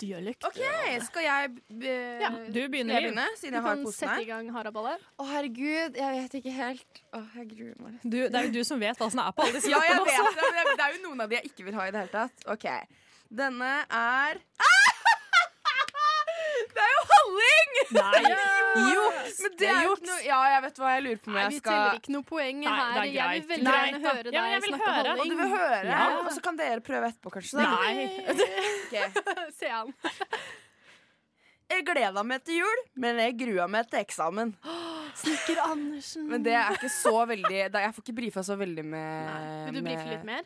S5: dialekter.
S6: OK, skal jeg eh,
S5: Ja,
S7: Du
S6: skal
S7: begynner,
S6: jeg
S7: Liv.
S6: begynne,
S5: Du
S6: siden jeg har
S5: kan
S6: posen
S5: sette
S6: her?
S5: i gang haraballet.
S6: Å, herregud, jeg vet ikke helt. Å, jeg gruer meg litt.
S7: Du, det er jo du som vet hva som er på alle disse
S6: Ja, jeg
S7: lappene
S6: vet det, men det er jo noen av de jeg ikke vil ha i det hele tatt. OK. Denne er Det er jo halling!
S7: Nei. Juks!
S6: Men det er jo ikke noe Ja, jeg vet hva jeg lurer på om
S5: Nei,
S6: jeg
S5: vi
S6: skal
S5: teller ikke noe poeng
S7: Nei,
S5: her.
S7: det er
S5: Jeg vil
S7: greit.
S5: veldig
S7: Greit,
S5: gjerne
S7: da. Ja,
S5: høre
S7: men jeg
S5: deg
S7: vil
S5: snakke
S7: høre.
S6: Og du
S5: halling.
S6: vil høre,
S7: Ja.
S6: og så kan dere prøve etterpå, kanskje. da.
S7: Nei.
S6: Ok.
S5: Se an.
S6: Jeg gleda meg til jul, men jeg grua meg til eksamen.
S5: Snekker Andersen.
S6: Men det er ikke så veldig da- Jeg får ikke brifa så veldig med
S5: Vil du brife litt mer?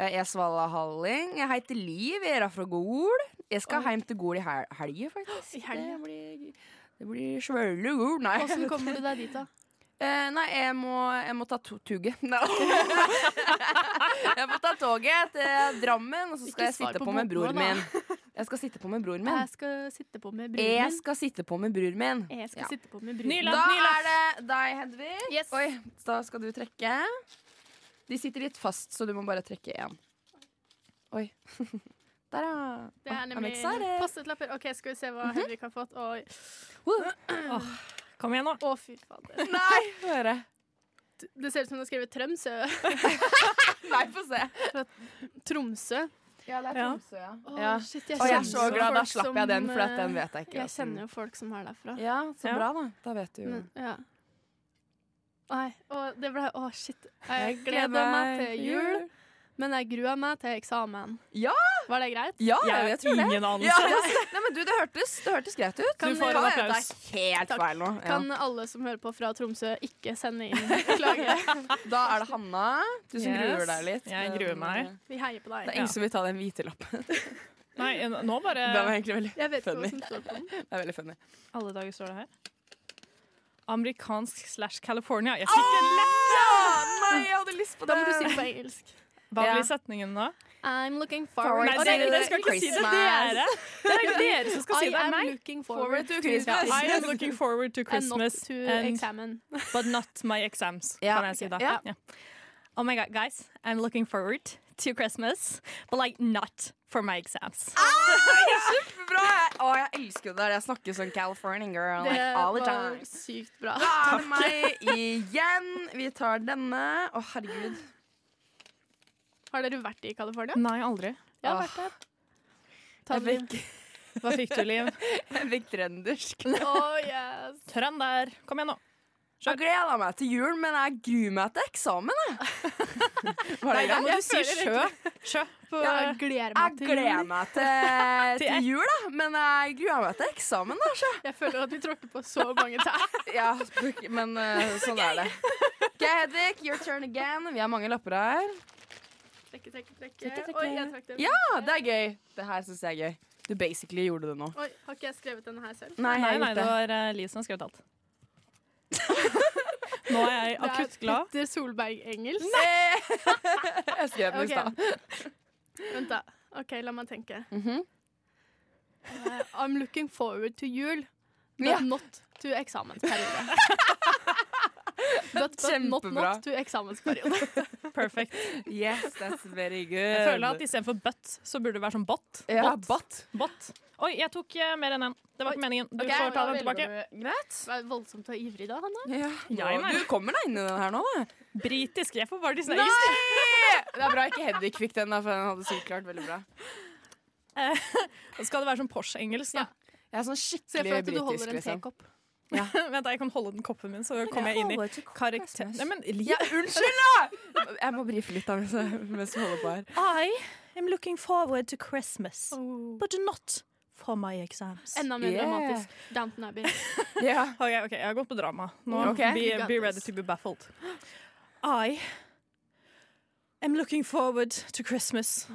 S6: Eh, Jeg svala halling. Jeg heter Liv. Jeg er fra Gol. Jeg skal hjem til Gol i hel helga, faktisk.
S5: I helga?
S6: Det blir, det blir svølle Gol. Nei.
S5: Hvordan kommer du deg dit, da?
S6: Eh, nei, jeg må, jeg må ta to tuget. Nei. jeg må ta toget til Drammen, og så
S5: Ikke
S6: skal jeg
S5: svar
S6: sitte
S5: på
S6: på, med
S5: bokmål,
S6: broren
S5: da.
S6: min. Jeg skal sitte på med broren min.
S5: Jeg skal sitte på med broren
S6: Jeg
S5: min.
S6: skal sitte på med broren min.
S5: Jeg skal
S6: Ja.
S5: sitte på med
S7: Ny
S5: broren
S7: lapp,
S6: Da
S7: ny lapp.
S6: er det deg, Hedvig.
S5: Yes.
S6: Oi, da skal du trekke. De sitter litt fast, så du må bare trekke én. Oi. Der, ja.
S5: Det er
S6: I'm
S5: nemlig
S6: excited.
S5: Post-it-lapper. OK, skal vi se
S6: Mhm.
S5: hva Henrik har fått. Oi.
S7: Kom igjen, nå.
S5: Å, fy fader.
S6: Nei, få høre.
S5: Det ser ut som du har skrevet Trømsø.
S6: Nei, få se.
S5: Tromsø.
S6: Ja, det er
S7: Ja.
S6: Tromsø, ja.
S5: Å,
S6: Ja.
S5: shit, jeg
S6: Og jeg er
S5: kjenner
S6: så
S5: jo
S6: glad, da
S5: folk
S6: slapp jeg den,
S5: som,
S6: for at den
S5: eh,
S6: vet jeg ikke.
S5: Jeg
S6: hvordan-
S5: kjenner jo folk Mm. som er derfra.
S6: Ja, så
S7: Ja.
S6: bra, da. Da vet du jo.
S5: Men, ja. Nei, og det ble Å, shit. Jeg gleder meg til jul, men jeg gruer meg til eksamen.
S6: Ja!
S5: Var det greit?
S6: Ja,
S7: Jeg
S6: jeg,
S7: har
S6: tror det.
S7: ingen
S6: Ja,
S7: anelse.
S6: Nei, men du, det hørtes, det hørtes greit ut.
S5: Kan-
S7: får en
S6: Kan hende
S7: applaus.
S6: Det er helt
S5: Takk.
S6: feil nå. Ja.
S5: Kan alle som hører på fra Tromsø, ikke sende inn klage?
S6: Da er det Hanna. Du som
S7: Yes.
S6: gruer deg litt.
S7: Jeg gruer meg.
S5: Vi heier på
S6: Det er
S5: deg.
S7: Ja.
S6: ingen som vil ta den hvite lappen.
S7: Nei, nå bare
S6: Den er egentlig veldig,
S5: Jeg vet ikke
S6: funny.
S5: hva som står på den.
S6: Det er veldig funny.
S7: Alle dager står det her. Amerikansk slash California. Jeg fikk det lett.
S6: nei, jeg hadde lyst på
S5: Da må du si det på engelsk.
S7: Hva
S6: Ja.
S7: blir setningen da?
S5: I'm looking forward
S7: Nei,
S5: to
S7: dere, dere skal ikke si det.
S6: Christmas.
S7: Dere. Det er dere som skal si
S5: I
S7: det. Det er
S5: am
S7: meg.
S5: looking forward to
S7: Ja,
S5: Christmas.
S7: I am looking forward to
S5: And not
S7: Christmas,
S5: to
S7: and,
S5: examen.
S7: but not my exams,
S6: Ja.
S7: kan jeg si da.
S6: Ja.
S7: Ja. Oh my god, guys, I'm looking forward to Christmas, but like not for my exams.
S6: Bra! Å, jeg elsker jo det der jeg snakker sånn Californian girl
S5: Det
S6: like all the
S5: var
S6: time.
S5: sykt
S7: Ah,
S5: bra.
S6: Da er det meg igjen. Vi tar denne. Å, herregud.
S5: Har dere vært i California?
S7: Nei, aldri.
S5: Jeg har
S6: Åh.
S5: vært der. Ta
S6: Jeg
S5: den.
S6: fikk,
S7: Hva fikk du, Liv?
S6: jeg fikk trøndersk.
S5: Oh, yes.
S7: Trønder. Kom igjen nå.
S6: Jeg gleder meg til jul, men jeg gruer meg til eksamen. Jeg. Var det
S7: Nei, da
S6: greit?
S7: må du si sjø. Sjø. På,
S5: Ja, jeg gleder meg
S6: Jeg
S5: til
S6: gleder meg til,
S7: Til et-
S6: til jul, da, men jeg gruer meg til eksamen. Da.
S5: jul. Jeg føler at vi tråkker på så mange tær.
S6: Ja, men eh, sånn er det. OK, Hedvig, your turn again. Vi har mange lapper her.
S5: Trekke, trekke,
S6: Trekke,
S5: trekke.
S6: trekke.
S5: Oi, jeg trakk den.
S6: Ja, det er gøy. Det her syns jeg er gøy. Du basically gjorde det nå.
S5: Oi, har ikke jeg skrevet denne her selv?
S6: Nei, jeg
S7: Nei,
S6: har
S7: nei,
S6: gjort
S7: det
S6: det.
S7: var eh, Liv som har skrevet alt. Nå er jeg
S5: Det er
S7: akutt glad.
S5: Petter Solberg-engelsk.
S6: Jeg skrev den i stad.
S5: Vent, da. OK, la meg tenke.
S6: Mhm.
S5: Eh, I'm looking forward to jul, but
S6: Ja.
S5: not to eksamensperiode. but, but not,
S6: Kjempebra.
S5: not to eksamensperiode.
S7: Perfect.
S6: Yes, that's very good.
S7: Jeg føler at istedenfor butt, så burde det være sånn bot.
S6: ja,
S7: eh, Bot.
S6: bot.
S7: Bot. Oi, jeg tok eh, mer enn én. Det var ikke meningen. Du
S5: Ok,
S7: får ta
S5: da
S7: den
S5: velger
S7: tilbake.
S6: Greit.
S5: Du er voldsomt og ivrig da, Hanna.
S6: Ja.
S7: Jeg mener.
S6: Du kommer deg inn i den her nå, da.
S7: Britisk. Jeg får bare Disney.
S6: Det er bra ikke Hedvig fikk den, da, for den hadde sikkert klart veldig bra.
S7: Skal det være sånn Porsche-engelsk, da?
S6: Jeg er sånn
S5: Se for
S6: skikkelig
S5: at du holder
S6: britisk,
S5: en
S6: liksom.
S5: tekopp.
S7: Vent, da, jeg kan holde den koppen min, så kommer jeg inn i karakter... Nei, men Liv,
S6: Ja, unnskyld, da! Jeg må brife litt da, mens jeg mens vi holder på her.
S7: I am looking forward to Christmas,
S5: Oh.
S7: but not for my exams.
S5: Enda mer
S6: Yeah.
S5: dramatisk. Downton Abbey.
S6: Ja.
S7: Ok, ok, Jeg har gått på drama. Nå
S6: Ok.
S7: be,
S5: You got
S7: be
S5: this.
S7: ready to be baffled. I am looking forward to Christmas,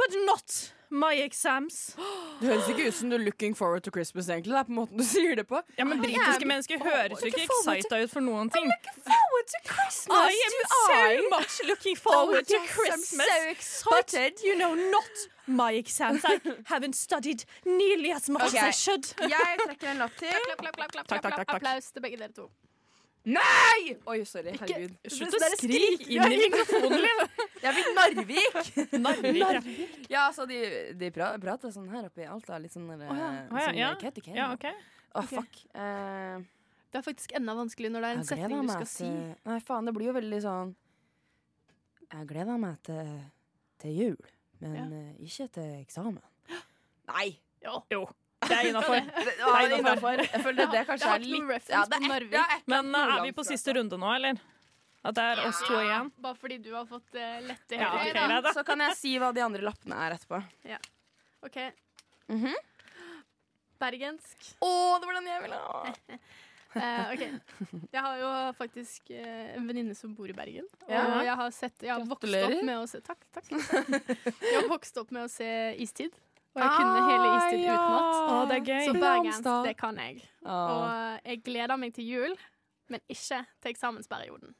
S8: But not my exams.
S6: Det høres ikke ut som du er looking forward to Christmas, egentlig. Det er på måten du sier det på.
S7: Ja, men Britiske mennesker høres jo ikke excita ut for noen ting.
S6: Forward to Christmas!
S7: I am so much Oh, looking forward to Christmas. But, you know, not my exams. I haven't studied nearly as much as I
S6: Okay.
S7: should.
S6: Jeg trekker en lapp til.
S5: Klapp, klapp, klapp, klapp,
S7: Takk, takk, takk,
S5: klapp,
S7: takk.
S5: Applaus til begge dere to.
S6: Nei! Oi, sorry. Herregud.
S7: Slutt å skrike inn i mikrofonen, Liv.
S6: Jeg fikk Narvik!
S7: Narvik. ja.
S6: Ja, altså, de, de pra prater sånn her oppe i Alta. Litt sånn der, eh,
S7: Å ja,
S6: sånn
S7: ja.
S6: Katy Kane.
S7: Ja, ok.
S6: Å, fuck. Eh,
S5: Det er faktisk enda vanskelig når det er en
S6: jeg gleder
S5: setning du
S6: meg
S5: skal si.
S6: til- Nei, faen, det blir jo veldig sånn Jeg gleder meg til, til jul, men eh, ikke til eksamen. Nei!
S7: Jo, det er innafor.
S6: Det,
S7: Nei, det er innenfor.
S6: Jeg føler det kanskje
S5: Jeg har
S6: er
S5: ikke noen
S6: litt
S5: reference
S6: ja, det
S5: på
S6: er,
S5: Narvik.
S6: ja, et eller
S7: Men
S6: annet
S7: eh, er vi på siste runde nå, eller? At det er oss to igjen?
S5: Bare fordi du har fått eh, lette
S7: Ja, ok,
S5: høyre.
S7: greit, da.
S6: Så kan jeg si hva de andre lappene er etterpå.
S5: Ok.
S6: Mhm.
S5: Bergensk.
S6: Å, det var den jeg ville ha!
S5: Eh, ok. Jeg har jo faktisk eh, en venninne som bor i Bergen. Og
S6: Ja.
S5: jeg har, sett, jeg har vokst
S6: Gratulerer.
S5: opp med å se Takk, takk. Jeg har vokst opp med å se Istid. Og jeg kunne hele Istid utenat.
S7: Å, det er
S5: Så
S7: gøy.
S5: bergensk,
S6: Blomster.
S5: det kan jeg.
S6: Å,
S5: Og eh, jeg gleder meg til jul, men ikke til eksamensperioden.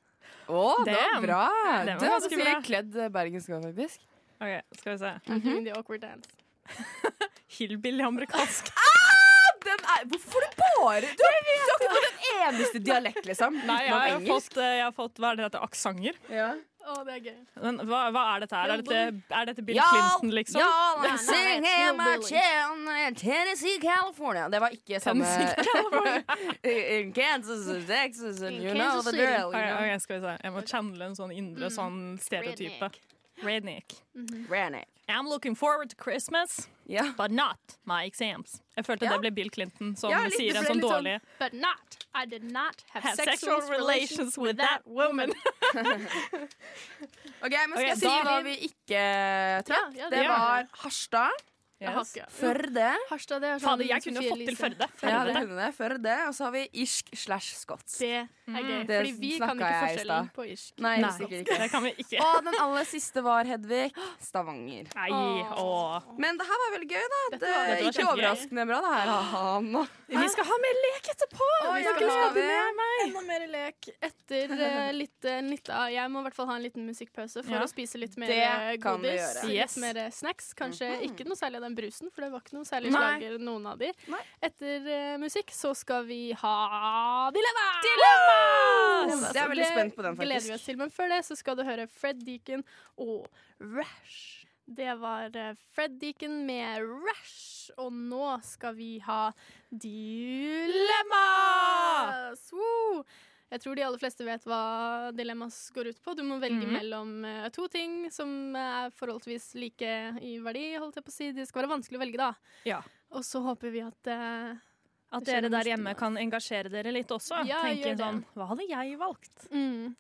S6: Å, det var
S7: Damn.
S6: bra!
S7: Det var
S6: Du hadde
S7: ganske
S6: sikkert
S7: bra.
S6: kledd eh, bergensk òg, faktisk.
S7: Ok, skal vi se.
S5: I'm doing the awkward dance.
S7: Hillbilly amerikansk.
S6: Ah, Den er, hvorfor du bare Du, har- du har ikke fått den eneste dialekt, liksom.
S7: Nei, jeg har
S6: utenom
S7: jo fått, eh, jeg har fått Hva er det dette? Aksanger?
S6: Ja.
S5: Å, det er gøy.
S7: Men hva, hva er dette her? Er dette, er dette Bill
S6: Ja,
S7: Clinton, liksom?
S6: Y'all
S5: Nei, nei,
S6: are singing
S5: nei,
S6: in my
S5: hillbilly.
S6: chin- Tennessee, California. Det var ikke samme
S7: Tennessee,
S6: In Kansas and Texas and
S5: In
S6: you know
S5: Kansas
S6: the
S5: City.
S6: drill.
S7: Ok,
S6: You know.
S7: ok, skal vi se. Jeg må channele en sånn indre sånn stereotype.
S5: Redneck.
S7: Redneck.
S6: Redneck.
S7: I'm looking forward to Christmas,
S6: Ja.
S7: but not my exams. Jeg følte
S6: Ja.
S7: det ble Bill Clinton som
S6: Ja, litt-
S7: sier
S6: det
S7: en
S6: ble
S7: sånn
S6: litt sånn-
S7: dårlig
S5: But not. I did not have,
S7: Have
S5: sexual, relations with that woman.
S6: Ok, men Skal
S7: Ok,
S6: jeg si
S7: da-
S6: hva vi ikke
S5: Ja,
S6: trakk?
S5: ja,
S6: det
S7: ja.
S6: var Harstad.
S5: Jeg har ikke-
S6: Førde.
S5: Harstad, det er sånn
S7: Fader, jeg kunne
S5: Sophie
S7: fått til
S5: Elise.
S7: Førde.
S6: Ja, det
S7: Helvete.
S6: kunne det. Førde. Og så har vi irsk slash skotsk.
S5: Det er gøy,
S6: Det
S5: fordi vi kan
S6: snakka
S5: ikke
S6: jeg i stad.
S5: forskjellen på irsk.
S6: Nei,
S7: Nei,
S6: sikkert ikke.
S7: det kan vi ikke.
S6: Og den aller siste var Hedvig. Stavanger.
S7: Nei, åh.
S6: Men det her var veldig gøy, da. Det,
S7: var- dette var
S6: ikke
S7: kjempegøy.
S6: overraskende bra, det her. Ha-ha.
S7: Vi skal ha mer lek etterpå!
S6: Å,
S7: Vi
S6: ja,
S7: skal
S6: har
S7: ha
S6: vi.
S7: med meg.
S5: Enda mer lek etter eh, litt eh, nytt av Jeg må i hvert fall ha en liten musikkpause for
S7: Ja.
S5: å spise litt mer
S6: Det
S5: eh,
S6: kan vi
S5: godis.
S6: gjøre. Mhm.
S7: Yes.
S5: Litt mer eh, snacks. Kanskje ikke noe særlig av den brusen, for det var ikke noe særlig
S6: Nei.
S5: slager, noen av de.
S6: Nei.
S5: Etter eh, musikk så skal vi ha Dilemma!
S6: Det er jeg veldig
S5: altså, Det
S6: spent på den,
S5: gleder vi oss
S6: faktisk.
S5: til, men før det så skal du høre Fred Deacon og Rush. Det var eh, Fred Deacon med Rush, og nå skal vi ha Dilemmas! Woo! Jeg tror de aller fleste vet hva dilemmas går ut på. Du må velge mellom eh, to ting som er forholdsvis like i verdi, holdt jeg på å si. Det skal være vanskelig å velge, da.
S7: Ja.
S5: Og så håper vi at eh,
S7: At
S5: Det skjer
S7: dere der
S5: neste
S7: hjemme
S5: måned.
S7: kan engasjere dere litt også.
S5: Ja,
S7: Tenke
S5: gjør det.
S7: sånn Hva hadde jeg valgt?
S5: mm,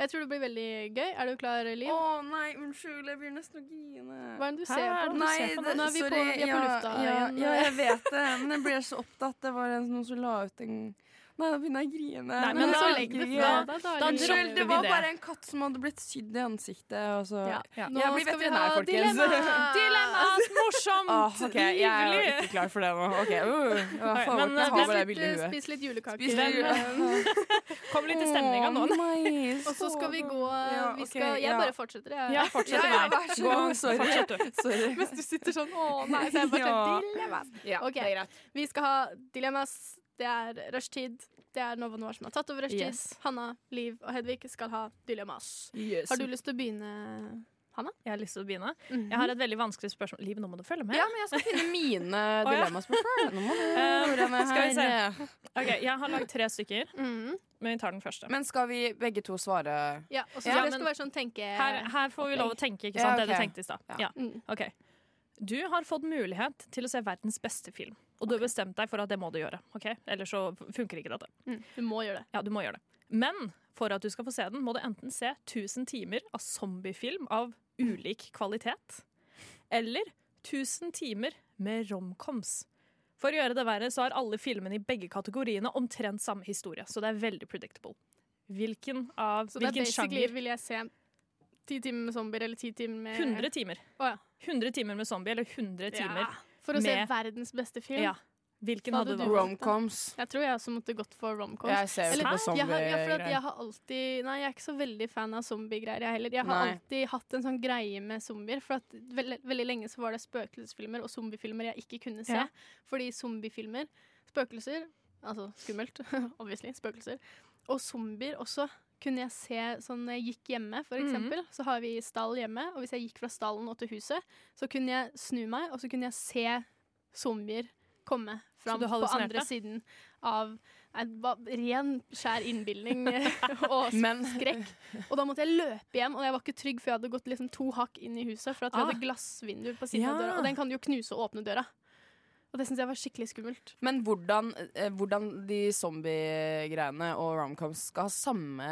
S5: Jeg tror det blir veldig gøy. Er du klar, Liv?
S6: Å nei, unnskyld. Jeg blir nesten å grine.
S5: Hva er det du
S7: Hæ,
S5: ser
S7: hva er
S5: på?
S7: det du
S6: Nei,
S7: ser på
S6: det,
S5: Nå er vi på,
S6: sorry,
S5: vi er på lufta
S6: ja,
S5: igjen. eh.
S6: Ja, jeg vet det, men jeg ble så opptatt. Det var en- noen som la ut en Nei, da begynner jeg å grine.
S7: Nei,
S5: Men
S7: men
S5: så
S7: da-
S5: legg det
S7: ja.
S5: fra
S7: Da
S5: deg, da. Liv.
S7: dropper
S6: Unnskyld, det
S7: vi
S6: var
S7: det.
S6: bare en katt som hadde blitt sydd i ansiktet, og så
S7: Ja.
S5: Nå
S6: Jeg blir
S5: skal vi
S6: veterinær,
S5: ha
S6: folkens.
S5: dilemma.
S7: Dilemmas! Morsomt!
S6: Åh, Mm, Ah, ok, Jeg er jo
S7: Livlig!
S6: ikke klar for det nå. Ok, uh,
S7: Ok,
S6: jeg får
S7: men,
S6: bort- jeg
S7: eh,
S6: har bare det
S5: Spis
S6: bildet i
S5: litt,
S6: huet.
S5: spis litt julekaker.
S6: Spis litt julekaker.
S7: Kom litt i stemninga nå.
S5: Og så skal vi gå
S6: Ja,
S5: vi
S6: ok,
S5: skal, Jeg
S6: ja.
S5: bare fortsetter, jeg.
S7: Ja, fortsett
S6: Ja, ja,
S7: meg.
S6: vær så
S7: Gå,
S6: god. Sorry.
S7: fortsett du.
S6: Sorry.
S5: Mens du sitter sånn Å nei, så jeg bare
S6: Ja.
S5: Dilemmas.
S6: Ja,
S5: Ok.
S6: det er greit.
S5: Vi skal ha dilemmas. Det er rushtid. Det er Nova Noir som har tatt over rushtid.
S7: Yes.
S5: Hanna, Liv og Hedvig skal ha dilemmas.
S6: Yes.
S5: Har du lyst til å begynne?
S7: Jeg har lyst til å begynne.
S5: Mhm.
S7: Jeg har et veldig vanskelig spørsmål. Liv, nå må du følge med.
S6: Ja, men jeg skal finne mine dilemmaspørsmål. Nå må du
S7: Eh,
S6: høre meg
S7: skal vi se.
S6: her.
S7: Ok, Jeg har lagd tre stykker,
S5: Mhm.
S7: men vi tar den første.
S6: Men skal vi begge to svare
S5: Ja, og så
S7: Ja,
S5: det
S7: men-
S5: skal være sånn tenke...
S7: Her, her får vi lov å tenke, ikke sant?
S6: Ja,
S7: Det du
S6: ok.
S7: tenkte i stad. Ja.
S5: Mm.
S7: Ok. Du har fått mulighet til å se verdens beste film, og du har bestemt deg for at det må du gjøre. ok? Ellers så funker ikke dette.
S5: Mm. Du må gjøre det.
S7: Ja, du må gjøre det. Men for at du skal få se den, må du enten se 1000 timer av zombiefilm av ulik kvalitet, eller 1000 timer med romcoms. For å gjøre det verre, så har alle filmene i begge kategoriene omtrent samme historie, så det er veldig predictable. Hvilken av
S5: Så det er
S7: hvilken
S5: basically
S7: sjanger
S5: vil jeg se ti timer med zombier eller ti timer med
S7: 100 timer.
S5: Å, ja.
S7: 100 timer med zombie, eller 100 timer.
S5: For å se
S7: med-
S5: verdens beste film.
S7: Ja. Hvilken
S5: Hva
S7: hadde
S5: hadde
S7: du
S5: du
S7: valgt?
S5: valgt?
S6: Romcoms.
S5: Jeg tror jeg også måtte gått for romcom.
S6: Jeg ser
S5: Eller-
S6: jo ikke på
S5: jeg, har, ja, for at jeg
S6: zombiegreier.
S5: har alltid Nei, jeg er ikke så veldig fan av zombiegreier, jeg heller. Jeg har
S6: Nei.
S5: alltid hatt en sånn greie med zombier. For at veldig, veldig lenge så var det spøkelsesfilmer og zombiefilmer jeg ikke kunne se.
S7: Ja.
S5: Fordi zombiefilmer Spøkelser Altså skummelt, obviously. Spøkelser. Og zombier også kunne jeg se sånn når jeg gikk hjemme, for
S7: Mhm.
S5: eksempel. Så har vi stall hjemme, og hvis jeg gikk fra stallen og til huset, så kunne jeg snu meg, og så kunne jeg se zombier komme fram
S7: du
S5: på
S7: hallusinerte?
S5: andre siden av Nei, det var ren, skjær innbilning og
S6: Men
S5: skrekk. Og da måtte jeg løpe hjem, og jeg var ikke trygg, for jeg hadde gått liksom to hakk inn i huset. For at vi
S7: Ah.
S5: hadde glassvinduer på siden av
S7: Ja.
S5: døra, og den kan jo knuse og åpne døra. Og det syns jeg var skikkelig skummelt.
S6: Men hvordan, eh, hvordan de zombiegreiene og romcoms skal ha samme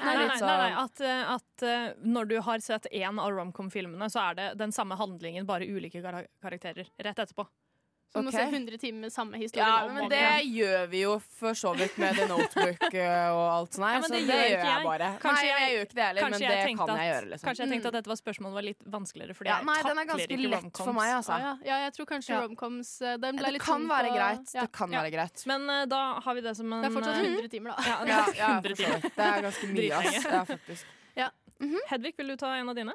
S7: Nei,
S6: er
S7: nei, nei,
S6: litt
S7: nei,
S6: sånn
S7: at, eh, at eh, når du har sett én av romcom-filmene, så er det den samme handlingen, bare ulike kar karakterer rett etterpå.
S5: Så du må se
S6: Ok.
S5: 100 timer med samme historie.
S6: Ja,
S5: om og
S6: men
S5: om
S6: det
S5: igjen.
S6: gjør vi jo for så vidt med The Notebook eh, og alt sånt
S7: Ja,
S6: her,
S7: men
S6: så det
S7: det gjør
S6: gjør,
S7: ikke
S6: jeg
S7: jeg.
S6: bare.
S7: Kanskje
S6: nei, jeg
S7: jeg-
S6: gjør ikke det heller, men det
S7: jeg tenkte
S6: kan jeg
S7: at-
S6: gjøre, liksom. Mm.
S7: Kanskje jeg tenkte at dette var spørsmålet var litt vanskeligere, fordi
S6: Ja,
S7: jeg
S6: nei, den er
S7: takler
S6: ganske
S7: ikke
S6: lett for
S7: romcoms.
S6: meg,
S5: Ah,
S6: altså.
S5: ja. ja, jeg tror kanskje
S6: Ja.
S5: romcoms eh, Den ble
S6: Det
S5: litt
S6: kan
S5: tung
S6: være
S5: på-
S6: greit.
S5: Ja.
S6: Det kan
S7: sånn Ja.
S6: være greit.
S7: Men eh, da har vi det som en
S5: Det er fortsatt
S7: eh,
S5: 100 timer, da.
S7: ja,
S6: Ja, ja,
S7: 100
S6: for så
S7: timer.
S6: vidt. Det er ganske mye, ass.
S7: Dritlenge.
S6: Ja, faktisk.
S7: Hedvig, vil du ta en av dine?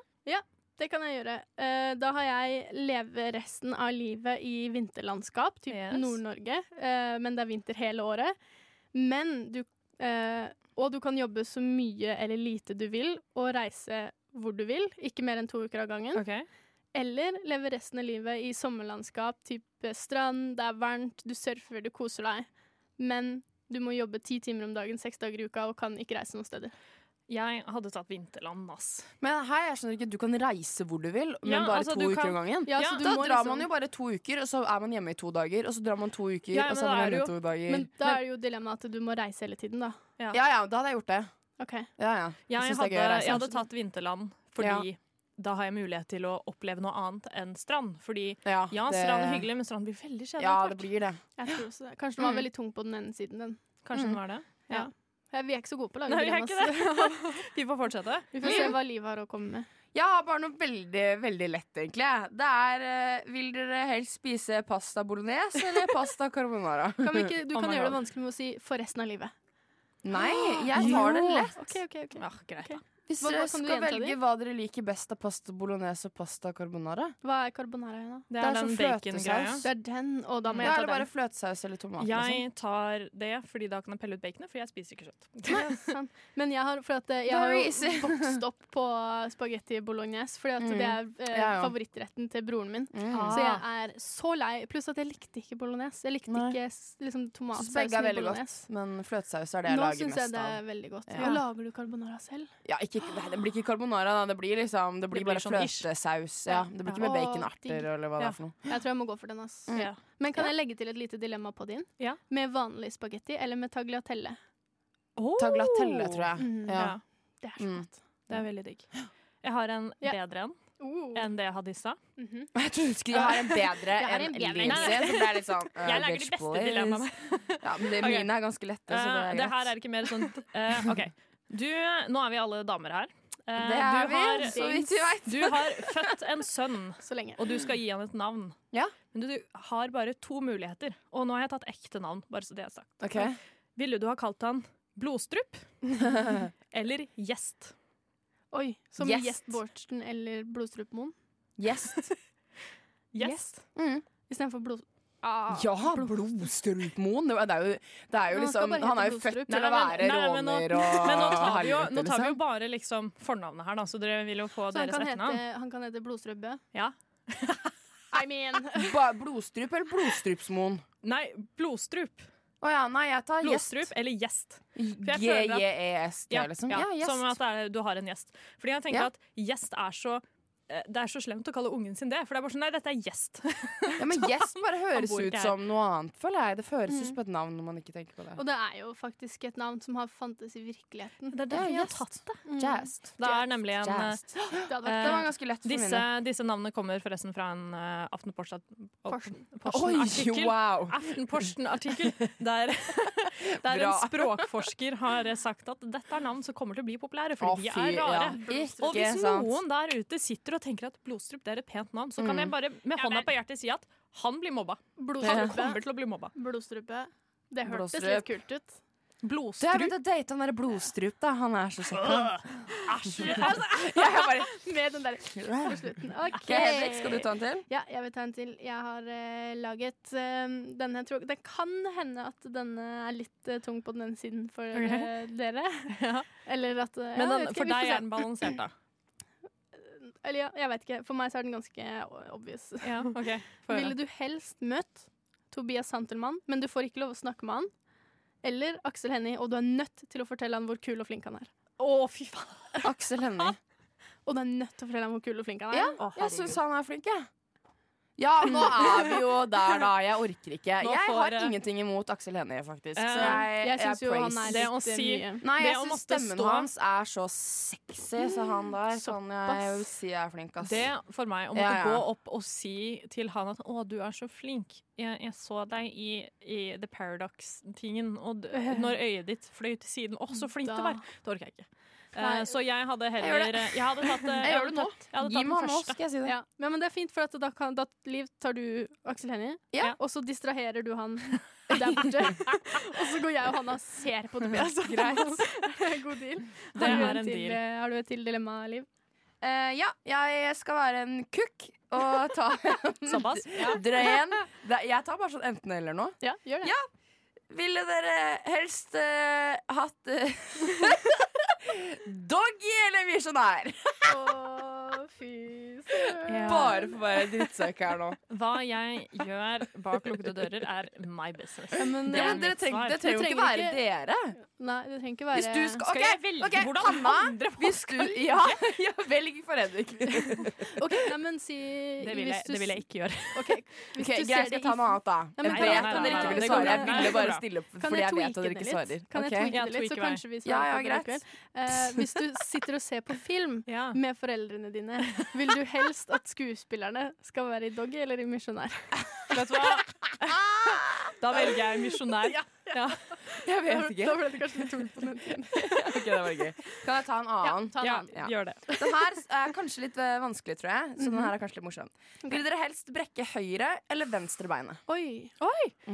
S5: Det kan jeg gjøre. Eh, da har jeg leve resten av livet i vinterlandskap, typ
S7: Yes.
S5: Nord-Norge, eh, men det er vinter hele året. Men du eh, Og du kan jobbe så mye eller lite du vil, og reise hvor du vil, ikke mer enn to uker av gangen.
S6: Mm.
S5: Eller leve resten av livet i sommerlandskap, type strand, det er varmt, du surfer, du koser deg. Men du må jobbe ti timer om dagen, seks dager i uka, og kan ikke reise noen steder.
S7: Jeg hadde tatt vinterland, ass.
S6: Men hei, jeg skjønner ikke, du kan reise hvor du vil, men
S7: Ja,
S6: bare
S7: altså,
S6: to
S7: du
S6: uker
S7: kan-
S6: om gangen.
S5: Ja,
S7: Ja,
S5: så du
S6: Da
S5: må
S6: drar
S5: liksom-
S6: man jo bare to uker, og så er man hjemme i to dager. Og så drar man to uker,
S7: Ja, ja,
S6: og så
S7: men
S6: er
S7: da
S6: man
S7: er det
S6: hjemme
S7: jo-
S6: to dager.
S5: Men da er det jo dilemmaet at du må reise hele tiden, da.
S6: ja ja, da hadde jeg gjort det.
S5: Ok.
S6: Ja, ja.
S7: Jeg,
S6: synes det er
S7: hadde,
S6: gøy å reise.
S7: jeg hadde tatt vinterland fordi da har jeg mulighet til å oppleve noe annet enn strand. Fordi
S6: Ja,
S7: ja, strand er hyggelig, men strand blir veldig kjedelig.
S6: Ja,
S7: etter
S6: det
S7: hvert.
S6: blir det.
S5: Jeg tror også det. Kanskje den var
S6: Mm.
S5: veldig tung på den ene siden. Den.
S7: Kanskje den var det.
S5: Ja, Vi er ikke Mm. så gode på å lage
S7: Nei, vi er
S5: dilemmas.
S7: ikke det. Vi får fortsette.
S5: Vi får se hva livet har å komme med.
S6: Jeg har bare noe veldig, veldig lett, egentlig. jeg. Det er eh, Vil dere helst spise pasta bolognese eller pasta carbonara?
S5: Kan vi ikke, du
S7: Oh
S5: kan
S7: my
S5: gjøre det
S7: God.
S5: vanskelig med å si 'for resten av livet'.
S6: Nei, jeg tar det lett.
S5: Ok, ok, ok.
S7: Ja, greit. da.
S6: Hvis
S5: Hva- hva
S6: dere
S5: kan du
S6: skal
S5: gjenta
S6: velge
S5: de?
S6: hva dere liker best av pasta bolognese og pasta carbonara
S5: Hva er carbonara igjen, da?
S7: Det er, den
S6: sånn
S7: bacon-greia.
S6: fløtesaus.
S5: Det er den, og da
S6: Da
S5: må jeg
S6: er det
S5: ta
S6: bare
S5: den.
S6: fløtesaus eller tomat. liksom.
S7: Jeg tar det, fordi da kan jeg pelle ut baconet, for jeg spiser ikke kjøtt.
S5: Ja, sant. Men jeg har, for at, eh, jeg har
S6: Very
S5: jo
S6: easy.
S5: vokst opp på spagetti bolognese, fordi at
S6: Mm.
S5: det er eh,
S6: Ja, ja.
S5: favorittretten til broren min.
S6: Mm.
S5: Så jeg er så lei. Pluss at jeg likte ikke bolognese. Jeg likte
S6: Nei.
S5: ikke s- liksom,
S6: Synes begge er
S5: tomatsausen i
S6: veldig godt,
S5: bolognese.
S6: men fløtesaus er det jeg
S5: Nå
S6: lager
S5: syns
S6: mest
S5: jeg det
S6: av.
S5: er veldig godt.
S6: Ja.
S5: Lager du carbonara selv?
S6: Ja, ikke, nei, det blir ikke carbonara, da. Det blir liksom Det blir,
S7: blir
S6: bare
S7: sånn ish.
S6: fløtesaus. Ja, det blir ikke med
S5: Ja. Å,
S6: baconerter
S5: digg.
S6: eller hva det
S7: Ja.
S6: er for noe.
S5: Jeg tror jeg må gå for den. ass.
S6: Mm.
S7: Ja.
S5: Men kan jeg legge til et lite dilemma på din?
S7: Ja.
S5: Med vanlig spagetti eller med tagliatelle?
S6: Taglatelle, tror jeg.
S7: Oh! Mm,
S6: Ja.
S7: Ja.
S5: Det er så
S6: Mm.
S5: godt.
S7: Det er veldig digg. Jeg har en
S5: Ja.
S7: bedre en
S5: Oh.
S7: enn det jeg hadde i stad.
S5: Mhm.
S6: Jeg trodde du skulle jeg har en bedre
S5: Jeg har en
S6: enn
S5: bedre.
S6: Lindsay.
S7: Nei, nei.
S6: Så ble jeg litt sånn uh,
S7: Jeg lager de
S6: bitch
S7: beste
S6: boys.
S7: dilemmaene.
S6: Ja, men det,
S7: Ok.
S6: Mine er ganske lette, så det
S7: Eh,
S6: er
S7: det her
S6: greit.
S7: er ikke mer sånn eh, OK. Du, nå er vi alle damer her. Eh,
S6: Det er
S7: du
S6: vi,
S7: har,
S6: så vidt vi vet.
S7: Du har født en sønn,
S5: Så lenge.
S7: og du skal gi han et navn.
S6: Ja.
S7: Men du har bare to muligheter, og nå har jeg tatt ekte navn. bare så det er sagt.
S6: Ok.
S7: Ville du ha kalt han Blodstrup eller Gjest?
S5: Oi, Som
S6: Gjest.
S5: Gjest Bårdsen eller Blodstrupemoen?
S6: Gjest.
S7: Gjest?
S6: Mm.
S5: Istedenfor blod... Ah.
S6: Ja, Blodstrupmoen. Det er- det er jo, det er jo
S5: Han skal
S6: liksom
S5: bare
S6: Han er
S5: hete
S6: jo
S5: Blodstrup.
S6: født til
S7: Nei,
S6: å
S7: men-
S6: være
S7: nei, men nå-
S6: råner og
S7: Men nå tar vi jo, nå
S6: helvete,
S7: tar vi jo
S6: liksom.
S7: bare liksom fornavnet her, da, så dere vil jo få
S5: Så han
S7: deres
S5: kan,
S7: ekte
S5: hete,
S7: navn.
S5: han kan hete Blodstrøbø?
S7: Ja.
S5: I mean
S6: liksom. Ba- Blodstrup eller Blodstrupsmoen?
S7: Nei, Blodstrup.
S6: Å ja, nei, jeg tar gjest.
S7: Blodstrup eller Gjest. jeg føler at-
S6: E G-J-E-S-T, liksom. Ja,
S7: Som
S6: gjest.
S7: at det er, du har en gjest. Fordi jeg tenker
S6: Ja.
S7: at gjest er så eh, det er så slemt å kalle ungen sin det. For det er bare sånn, nei, dette er gjest.
S6: Ja, men gjest bare høres
S7: bor
S6: ut
S7: ikke her.
S6: som noe annet, føler jeg. Det høres
S7: Mm.
S6: ut som et navn når man ikke tenker på det.
S5: Og det er jo faktisk et navn som har fantes i virkeligheten.
S7: Det er
S6: derfor
S7: derfor
S6: vi
S7: jeg
S6: har
S7: har tatt det.
S6: Mm. Jazz.
S7: Det er nemlig en eh,
S6: Jazz. Det
S5: hadde vært-
S6: var ganske lett for
S7: Disse,
S6: mine.
S7: disse navnene kommer forresten fra en uh,
S5: Porsen.
S6: Oi,
S7: Aftenposten-artikkel.
S6: wow!
S7: Aftenposten-artikkel der, der en
S6: Bra.
S7: språkforsker har eh, sagt at dette er navn som kommer til å bli populære,
S6: Å,
S7: fordi de er rare.
S6: ja.
S7: Og hvis
S6: Ikke sant.
S7: noen der ute sitter og tenker at blodstrup det er et pent navn,
S5: Mm.
S7: så kan jeg bare med hånda på hjertet si at han blir mobba. Han kommer til å bli mobba.
S5: Blodstrupe. Det hørtes
S6: Blodstrup.
S5: litt kult ut.
S6: Du, jeg
S7: Blodstrup.
S6: begynte å date han derre blodstrup, da. Han er så kjekk.
S5: Med den der på
S6: han.
S5: slutten. OK.
S6: Ok, Hedvig, skal du ta en til?
S5: Ja, jeg vil ta en til. Jeg har eh, laget eh, denne. jeg Tror, det kan hende at denne er litt eh, tung på den ene siden for eh, dere.
S7: Ja.
S5: Eller at eh,
S7: Men
S5: ja,
S7: den,
S5: jeg vet ikke,
S7: for
S5: vi får
S7: deg
S5: se.
S7: er den balansert, da.
S5: Eller ja, jeg vet ikke. For meg så er den ganske o- obvious.
S7: Ja, ok. Få høre.
S5: Ville du helst møtt Tobias Santelmann, men du får ikke lov å snakke med han? Eller Aksel Hennie, og du er nødt til å fortelle han hvor kul og flink han er.
S7: Å, fy faen.
S6: Aksel Hennie.
S5: Og du er nødt til å fortelle han hvor kul og flink han er.
S6: Ja, jeg syns han er flink, jeg. Ja, nå er vi jo der, da. Jeg orker ikke.
S7: Nå
S6: Jeg
S7: får,
S6: har
S7: eh,
S6: ingenting imot Aksel Hennie, faktisk. Så
S7: Eh,
S6: jeg,
S5: Jeg syns jo han er
S6: praise.
S7: Det å
S5: litt eh,
S7: si-
S5: mye.
S6: Nei,
S7: det
S6: jeg
S7: å
S6: syns
S7: måtte
S6: stemmen
S7: stå-
S6: hans er så sexy, Mm, så han der kan jeg jo si jeg er flink, ass.
S7: Det for meg å måtte
S6: Ja, ja.
S7: gå opp og si til han at 'Å, du er så flink. Jeg, jeg så deg i, i The Paradox-tingen, og d når øyet ditt fløy til siden. Å, så flink du
S5: Da.
S7: var!' Det orker jeg ikke. Eh,
S5: Nei.
S7: så jeg hadde heller Jeg, hadde tatt eh,
S6: Jeg gjør det nå.
S7: tatt- Jeg hadde
S6: Gi
S7: tatt
S6: meg
S7: den
S6: han nå,
S7: første.
S6: skal jeg si det.
S5: Ja. Men, men det er fint, for at da, kan, da Liv, tar du Aksel Hennie,
S6: Ja.
S5: og så distraherer du han der borte. og så går jeg og Hanna og ser på Tobias. Greit. God deal.
S7: Det
S5: Har du,
S7: er
S5: en
S7: en
S5: til,
S7: deal.
S5: eh, har du et til dilemma, Liv?
S6: Eh, ja, jeg skal være en kukk og ta
S7: Såpass. Ja.
S6: drøy en. Det- Jeg tar bare sånn enten-eller nå.
S5: Ja, gjør det.
S6: Ville dere helst eh, hatt eh, doggy eller misjonær?
S5: Å, fy søren.
S6: Bare for å være drittsekk her nå.
S7: Hva jeg gjør bak lukkede dører, er my business.
S5: men,
S7: Det
S6: Ja,
S7: er
S6: men eh, dere
S7: mitt
S6: trenger,
S7: svar.
S6: det trenger jo ikke
S5: trenger
S6: være dere.
S5: Nei, det trenger ikke være
S6: Hvis du skal,
S7: Skal jeg velge
S6: ok,
S7: hvordan
S6: Hanna,
S7: andre folk
S6: hvis du, ja, ja, velg for Henrik.
S5: OK, nei, men si
S7: Det vil jeg,
S5: hvis du,
S7: det vil jeg ikke gjøre.
S5: OK, hvis du
S6: Ok, Greit,
S5: ser det
S6: skal ta
S5: i
S6: noe annet, da.
S5: Ja, men
S6: Jeg
S5: kan
S6: vet
S5: jeg-
S6: at
S5: nei, nei,
S6: dere ikke
S5: nei,
S6: ville
S5: det går
S6: svare. Jeg
S5: bra.
S6: ville
S7: Nei,
S6: bare
S7: det
S6: stille opp
S5: Kan
S6: fordi
S5: jeg
S6: jeg vet at
S5: tweake
S6: dere
S5: det
S6: ikke
S5: litt?
S6: svarer.
S5: Kan jeg
S6: Ok?
S7: Ja,
S5: tweake det litt, så
S7: tweake meg.
S5: kanskje vi
S6: Ja, ja,
S5: svarer på det
S6: greit.
S5: likevel. Eh, hvis du sitter og ser på film
S7: Ja.
S5: med foreldrene dine, vil du helst at skuespillerne skal være i Doggy eller i Misjonær?
S7: Vet du hva? Da velger jeg misjonær. Ja.
S6: Jeg
S5: Da
S6: vet ikke.
S5: ble det kanskje litt tungt på den tiden.
S6: Ok, det var gøy. Kan jeg ta en annen?
S7: Ja,
S6: Ja.
S7: gjør det.
S6: Den her er kanskje litt eh, vanskelig, tror jeg. Så
S5: Mhm.
S6: den her er kanskje litt morsom. Vil dere helst brekke høyre eller venstre beinet?
S5: Oi. Mhm.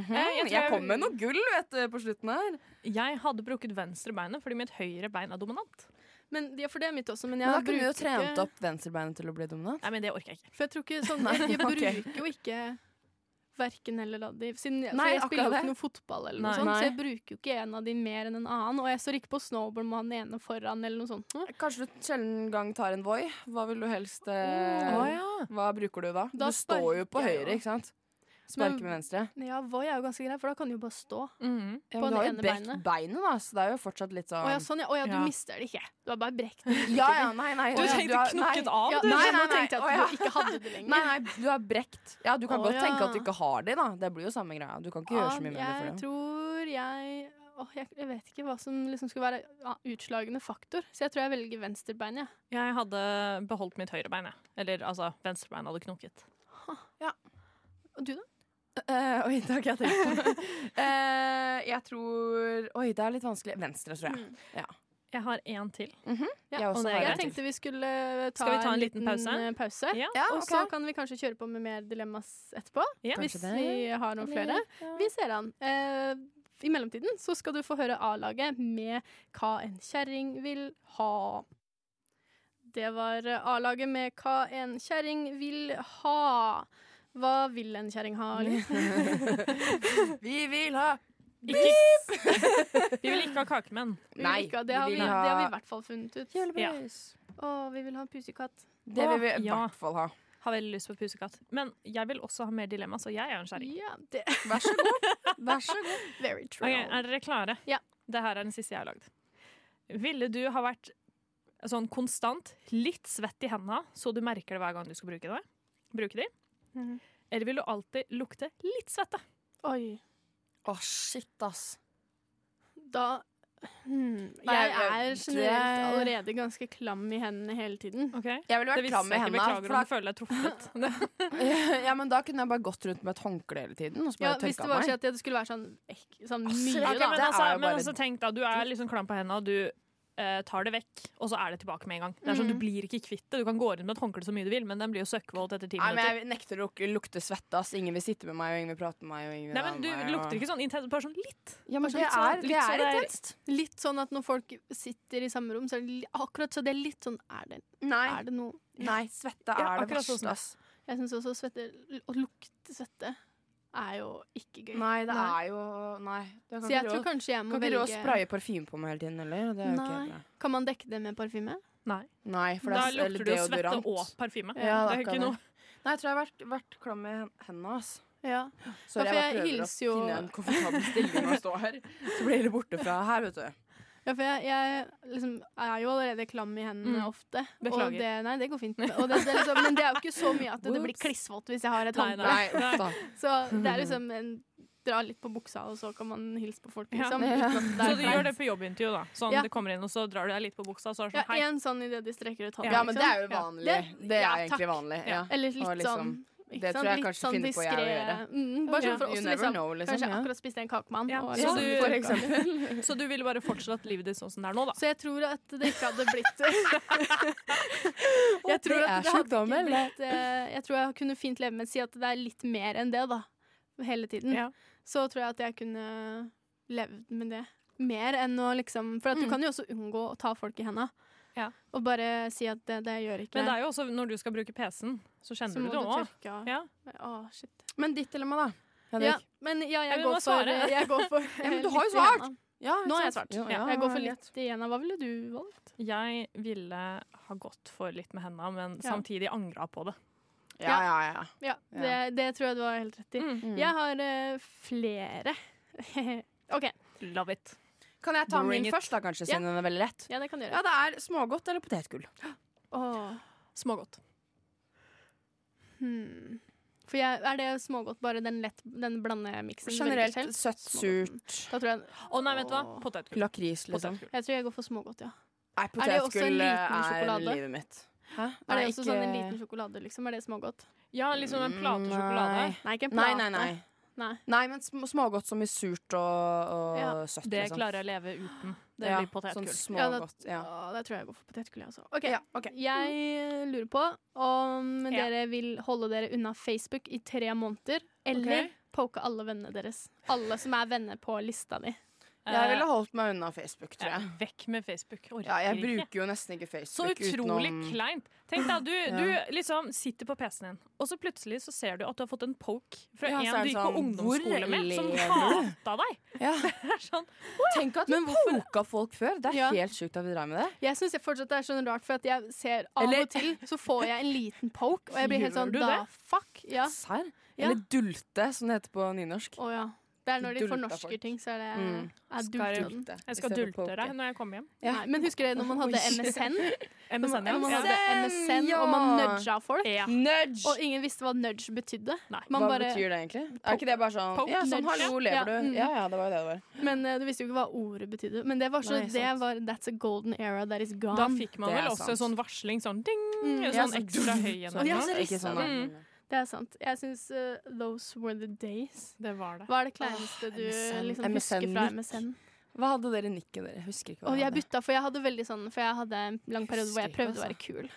S7: Eh, jeg
S6: Jeg,
S7: tror jeg-
S6: kom med noe gull vet du, på slutten her.
S7: Jeg hadde brukket venstre beinet fordi mitt høyre bein er dominant.
S5: Men, ja, for det er mitt også, men jeg
S6: Men da kunne vi jo
S5: bruker ikke-
S6: trent opp venstrebeinet til å bli dominant.
S7: Nei, men det orker jeg ikke.
S5: For jeg tror ikke sånn
S6: Nei,
S5: Jeg, jeg
S6: ok.
S5: bruker jo ikke verken eller da de siden jeg, for
S6: Nei,
S5: jeg spiller jo
S6: akkurat
S5: ikke
S6: det.
S5: noe fotball eller
S7: Nei.
S5: noe sånt,
S6: Nei.
S5: så jeg bruker jo ikke en av de mer enn en annen. Og jeg står ikke på snowboard med han ene foran eller noe sånt. noe.
S6: Kanskje du sjelden gang tar en Voi. Hva vil du helst eh,
S7: Mm.
S6: Hva bruker du da?
S5: Da
S6: du står jo på
S5: sparker jeg
S6: høyre,
S5: jo.
S6: ikke sant? Sparker
S5: Men-
S6: med venstre.
S5: Men Ja, Voi er jo ganske grei, for da kan du jo bare stå.
S7: Mhm.
S6: Ja,
S5: på
S6: men du
S5: det
S6: har jo
S5: ene
S6: brekt
S5: beinet.
S6: beinet, da, så det er jo fortsatt litt sånn
S5: Å ja, sånn, ja. Å ja, du
S7: Ja.
S5: mister det ikke. Du har bare brekt det.
S6: Ja, ja, nei, nei.
S7: Du
S6: ja,
S7: tenkte
S6: har-
S7: knokket
S6: nei.
S7: av?
S5: Ja,
S7: du?
S5: nei,
S6: nei,
S5: nå
S6: nei,
S5: tenkte jeg at
S6: å ja.
S5: du ikke hadde det lenger.
S6: Nei, nei, du har brekt. Ja, du kan
S5: Å,
S6: godt
S5: ja.
S6: tenke at du ikke har det, da. Det blir jo samme greia. Du kan ikke gjøre så mye med det.
S5: jeg
S6: For det.
S5: tror jeg Åh, jeg, jeg vet ikke hva som liksom skulle være ja, utslagende faktor, så jeg tror jeg velger venstrebeinet. jeg.
S7: Jeg hadde beholdt mitt høyre bein, jeg. Eller altså, venstre bein hadde knokket.
S5: Og du, da?
S6: Eh, oi, det har ikke jeg tenkt på. Eh, jeg tror Oi, det er litt vanskelig. Venstre, tror jeg.
S7: Jeg har én til.
S5: Ja,
S7: og det
S6: Jeg også
S7: er
S6: har
S7: greit.
S5: Jeg tenkte vi skulle ta,
S7: Skal vi ta en liten pause?
S5: eh, pause.
S7: Ja.
S6: Ja,
S5: Og
S6: ok.
S5: så kan vi kanskje kjøre på med mer dilemmas etterpå,
S7: Ja,
S6: Kanskje
S7: hvis,
S6: det.
S5: vi har noen flere. Vi ser an. Eh, I mellomtiden så skal du få høre A-laget med Hva en kjerring vil ha. Det var eh, A-laget med Hva en kjerring vil ha. Hva vil en kjerring ha? Liv?
S6: Vi vil ha
S7: ikke, vi vil ikke ha kakemenn.
S5: Vi vil
S6: Nei,
S5: ikke ha-
S6: vi
S5: det har vi,
S6: vil
S5: det
S6: ha-
S5: har vi i hvert fall funnet ut.
S7: Ja.
S5: Å, vi vil ha en pusekatt.
S6: Det vil vi i
S7: Å, ja.
S6: hvert fall ha.
S7: Har veldig lyst på pusekatt. Men jeg vil også ha mer dilemma, så jeg er en kjerring.
S5: Ja, det
S6: Vær så god. Vær så god.
S5: Very true.
S7: Ok, er dere klare?
S5: Ja.
S7: Det her er den siste jeg har lagd. Ville du ha vært sånn konstant, litt svett i hendene, så du merker det hver gang du skal bruke det? Bruke de?
S5: Mhm.
S7: Eller vil du alltid lukte litt svette?
S5: Oi.
S6: Å, shit, ass.
S5: Da hmm,
S6: Nei,
S5: Jeg
S6: jeg-
S5: er
S6: det-
S5: generelt allerede ganske klam i hendene hele tiden.
S7: Ok.
S6: Jeg ville
S7: Det
S6: vært
S7: visste
S6: klam i
S7: jeg ikke.
S6: hendene.
S7: Beklager om du
S6: For
S7: føler deg truffet.
S6: da, ja, men da kunne jeg bare gått rundt med et håndkle hele tiden. Og så
S5: Ja,
S6: bare
S5: hvis
S6: tørka
S5: det var
S6: meg.
S5: sånn at det skulle være sånn, ek- sånn
S6: Absolutt.
S5: mye,
S7: Ok,
S5: da.
S7: men,
S6: det
S7: altså,
S6: er jo
S7: men
S6: bare-
S7: altså, tenk da, du er liksom klam på hendene, og du eh, tar det vekk, og så er det tilbake med en gang. Det er sånn,
S6: Mm.
S7: Du blir ikke kvitt det. Du kan gå rundt med et håndkle så mye du vil, men den blir jo søkkvåt etter ti
S6: Nei, men
S7: minutter.
S6: Jeg nekter å luk- lukte svette. ass Ingen vil sitte med meg, og ingen vil prate med meg. Og ingen vil
S7: Nei, men Du lukter ikke sånn intens, bare sånn litt.
S6: ja, men
S7: Kanskje
S6: Det
S7: litt sånn-
S6: er, det
S7: litt sånn
S6: er
S7: der-
S6: intenst.
S5: Litt sånn at når folk sitter i samme rom, så er det li- akkurat så det er litt sånn Er det,
S6: Nei,
S5: er det noe
S6: nei svette er
S7: Ja,
S6: det
S7: akkurat sånn.
S6: verste, ass.
S5: Jeg syns også svette Å lukte svette er jo ikke gøy.
S6: Nei, det
S5: Nei.
S6: er jo Nei. Du kan
S5: så jeg
S6: ikke
S5: tror
S6: råd.
S5: kanskje jeg må
S6: Kan ikke råd
S5: velge
S6: spraye parfyme på meg hele tiden heller. Det er jo
S5: Nei.
S6: ikke bra.
S5: Kan man dekke det med parfyme?
S7: Nei.
S6: Nei, for det
S7: Da
S6: er s-
S7: lukter
S6: eller
S7: du jo svette
S6: deodorant.
S7: og parfyme.
S6: Ja,
S7: det er
S6: akkurat
S7: ikke noe.
S6: Nei, jeg tror jeg har vært, vært klam i hen- hendene, ass.
S5: Ja.
S6: Sorry,
S5: Ja, for
S6: jeg,
S5: jeg
S6: bare prøver
S5: hilser jo-
S6: å finne en komfortabel stilling å stå her. Så blir det borte fra her, vet du.
S5: Ja, for jeg, jeg liksom, er jo allerede klam i hendene
S7: Mm.
S5: ofte.
S7: Beklager.
S5: Og det, nei, det går fint. Og det, det er liksom, men det er jo ikke så mye at det blir
S7: Whoops.
S5: klissvått hvis jeg har et
S7: Nei,
S5: håndkle.
S6: Nei, uff da.
S5: Så det er liksom en, dra litt på buksa, og så kan man hilse på folk,
S7: Ja.
S5: liksom.
S6: Ja.
S5: uten at
S7: Så
S5: er
S7: du
S5: flaut.
S7: gjør det på jobbintervju, da. Sånn
S5: Ja.
S7: du kommer inn, og så drar du deg litt på buksa, og så er det
S5: Ja,
S7: sånn hei.
S5: én sånn idet de strekker ut hånda.
S6: Ja, men det er jo
S5: Ja.
S6: vanlig. Det
S5: ja, takk.
S6: er egentlig vanlig.
S7: Ja.
S6: Ja.
S5: Eller
S6: Og
S5: litt
S6: liksom,
S5: sånn ikke
S6: det
S5: sant?
S6: tror jeg
S5: Litt
S6: kanskje finner på jeg å
S5: diskret- Mm, bare
S7: Ja.
S5: sånn for
S6: You
S5: oss,
S6: never
S5: liksom.
S6: know, liksom,
S5: Kanskje
S6: ja.
S5: akkurat spiste en kakemann.
S7: Ja.
S5: og
S7: Så,
S5: liksom-
S6: For
S7: du,
S6: eksempel.
S7: så du ville bare fortsatt livet ditt sånn som det er nå, da?
S5: Så jeg tror at det ikke hadde blitt Jeg tror at
S6: det er
S5: det hadde
S6: sjukdom,
S5: ikke
S6: eller?
S5: blitt eh, Jeg tror jeg kunne fint leve med å si at det er litt mer enn det, da. Hele
S6: Mm.
S5: tiden.
S7: Ja.
S5: Så tror jeg at jeg kunne levd med det. Mer enn å liksom For at du
S7: Mm.
S5: kan jo også unngå å ta folk i henda.
S7: Ja.
S5: Og bare si at det, det gjør ikke
S7: Men det
S5: jeg.
S7: er jo også når du skal bruke PC-en, så
S5: Så
S7: kjenner du
S5: må
S7: det
S5: du
S7: nå.
S5: tørke av.
S7: Ja.
S5: Å, shit.
S6: Men ditt dilemma, da? Henrik?
S5: Ja, men ja, jeg,
S7: men du må
S5: går for, eh,
S7: svare.
S5: jeg går for
S6: Ja, men du har
S5: litt
S6: jo
S5: i henda.
S6: svart!
S5: Nå
S6: Ja,
S5: har
S6: ikke
S5: jeg
S6: sant?
S5: svart.
S6: Jo,
S5: Ja, jeg går for
S6: greit.
S5: litt igjen. Hva ville du valgt?
S7: Jeg ville ha gått for litt med henda, men
S5: Ja.
S7: samtidig angra på det.
S6: Ja, ja, ja.
S5: Ja,
S6: Ja.
S5: Det, det tror jeg du har helt rett i.
S7: Mm.
S5: Jeg har eh, flere. OK.
S7: Love it.
S6: Kan jeg ta
S7: Bring
S6: min
S7: it.
S6: først, da, kanskje, siden den er veldig lett?
S5: Ja, det kan du gjøre.
S6: Ja, det er smågodt eller potetgull.
S5: Åh,
S7: Smågodt.
S5: hmm. For jeg, er det smågodt bare den, lett- den blandemiksen? du velger
S6: Generelt
S5: selv?
S6: søtt,
S5: Smågodt.
S6: surt,
S5: Da tror jeg,
S7: Å nei, vet du hva?
S5: Åh.
S7: Potetgull.
S6: lakris, liksom.
S5: jeg tror jeg går for smågodt, ja.
S6: Nei,
S5: Er det også en
S6: potetgull eh,
S5: liten
S6: er
S5: sjokolade?
S6: livet mitt. Hæ?
S5: Er det
S6: Nei,
S5: også
S6: ikke-
S5: sånn en liten sjokolade, liksom? Er det smågodt?
S7: Ja, liksom en plate sjokolade.
S6: Mm, Nei.
S5: Nei, ikke en
S6: Nei,
S5: plate.
S6: nei, nei.
S5: Nei.
S6: Nei, men sm- smågodt som i surt og, og
S5: Ja.
S6: søtt. liksom.
S7: Det klarer jeg å leve uten. Det blir potetgull.
S6: Sånn
S5: Ja, da-
S6: smågodt. Ja.
S5: Åh, da tror jeg jeg går for potetgull, jeg også. OK.
S6: Ja, ok.
S5: Jeg lurer på om
S7: Ja.
S5: dere vil holde dere unna Facebook i tre måneder, eller poke alle vennene deres. Alle som er venner på lista di.
S6: Jeg ville holdt meg unna Facebook, tror
S7: Eh,
S6: jeg.
S7: Vekk med Facebook. Orker
S6: Ja, jeg
S7: ikke.
S6: bruker jo nesten ikke Facebook
S7: Så utrolig
S6: utenom-
S7: kleint. Tenk deg, du, du liksom sitter på PC-en din, og så plutselig så ser du at du har fått en poke fra
S6: Ja,
S7: en
S6: så er
S7: du gikk
S6: det
S7: på
S6: sånn, hvor
S7: ungdomsskole med, som
S6: lever du?
S7: hata deg.
S6: Ja.
S7: Det er sånn
S6: Tenk at vi poka folk før. Det er
S5: Ja.
S6: helt sjukt at vi dreier med det.
S5: Jeg syns fortsatt det er sånn rart, for at jeg ser av
S6: Eller-
S5: og til så får jeg en liten poke, og jeg blir helt
S7: Gjør
S5: sånn
S7: du
S5: da
S7: det?
S5: fuck. Ja.
S6: Serr?
S5: Ja.
S6: Eller dulte, som det heter på nynorsk.
S5: Å ja. Det er når de
S6: Dulta
S5: fornorsker
S6: folk.
S5: ting, så er det
S6: Mm.
S5: er
S7: Skal jeg-
S5: dulten.
S7: Jeg skal
S6: istedenfor
S7: dulte
S6: poke.
S7: deg når jeg kommer hjem.
S5: Nei, men husker dere når man hadde
S6: Oi.
S5: MSN? Når man,
S7: MSN,
S5: når man
S7: ja.
S5: hadde MSN, og man
S6: Ja.
S5: nudga folk,
S7: Ja.
S6: Nudge!
S5: og ingen visste hva nudge betydde.
S7: Nei.
S5: Man
S6: hva
S5: bare,
S6: betyr det egentlig? Er ikke det bare sånn
S7: Poke
S6: Ja, sånn
S5: nudge.
S6: hallo, lever
S5: Ja,
S6: du?
S5: mm.
S6: Ja ja, det var jo det det var.
S5: men eh, du visste jo ikke hva ordet betydde. Men det var så,
S6: Nei, sant.
S5: det var That's a golden era that is gone.
S7: Da fikk man
S6: Det
S7: vel
S6: er
S7: også en sånn
S6: sant.
S7: varsling, sånn ding,
S5: Mm.
S7: en
S6: Ja,
S7: sånn
S6: sånn
S7: ekstra høy
S6: Sånn,
S7: gjennom.
S5: så
S6: ikke sånn,
S7: Mm.
S6: da.
S5: Det er sant. Jeg syns eh, those were the days.
S7: Det var det.
S5: Hva er det kleineste du
S6: MSN.
S5: liksom, husker fra
S6: MSN.
S5: MSN?
S6: Hva hadde dere i nikket dere? Jeg Husker ikke hva
S5: Og
S6: det
S5: jeg
S6: hadde.
S5: bytta, for jeg hadde veldig sånn For jeg hadde en lang periode hvor jeg
S6: Husker ikke,
S5: prøvde å være kul.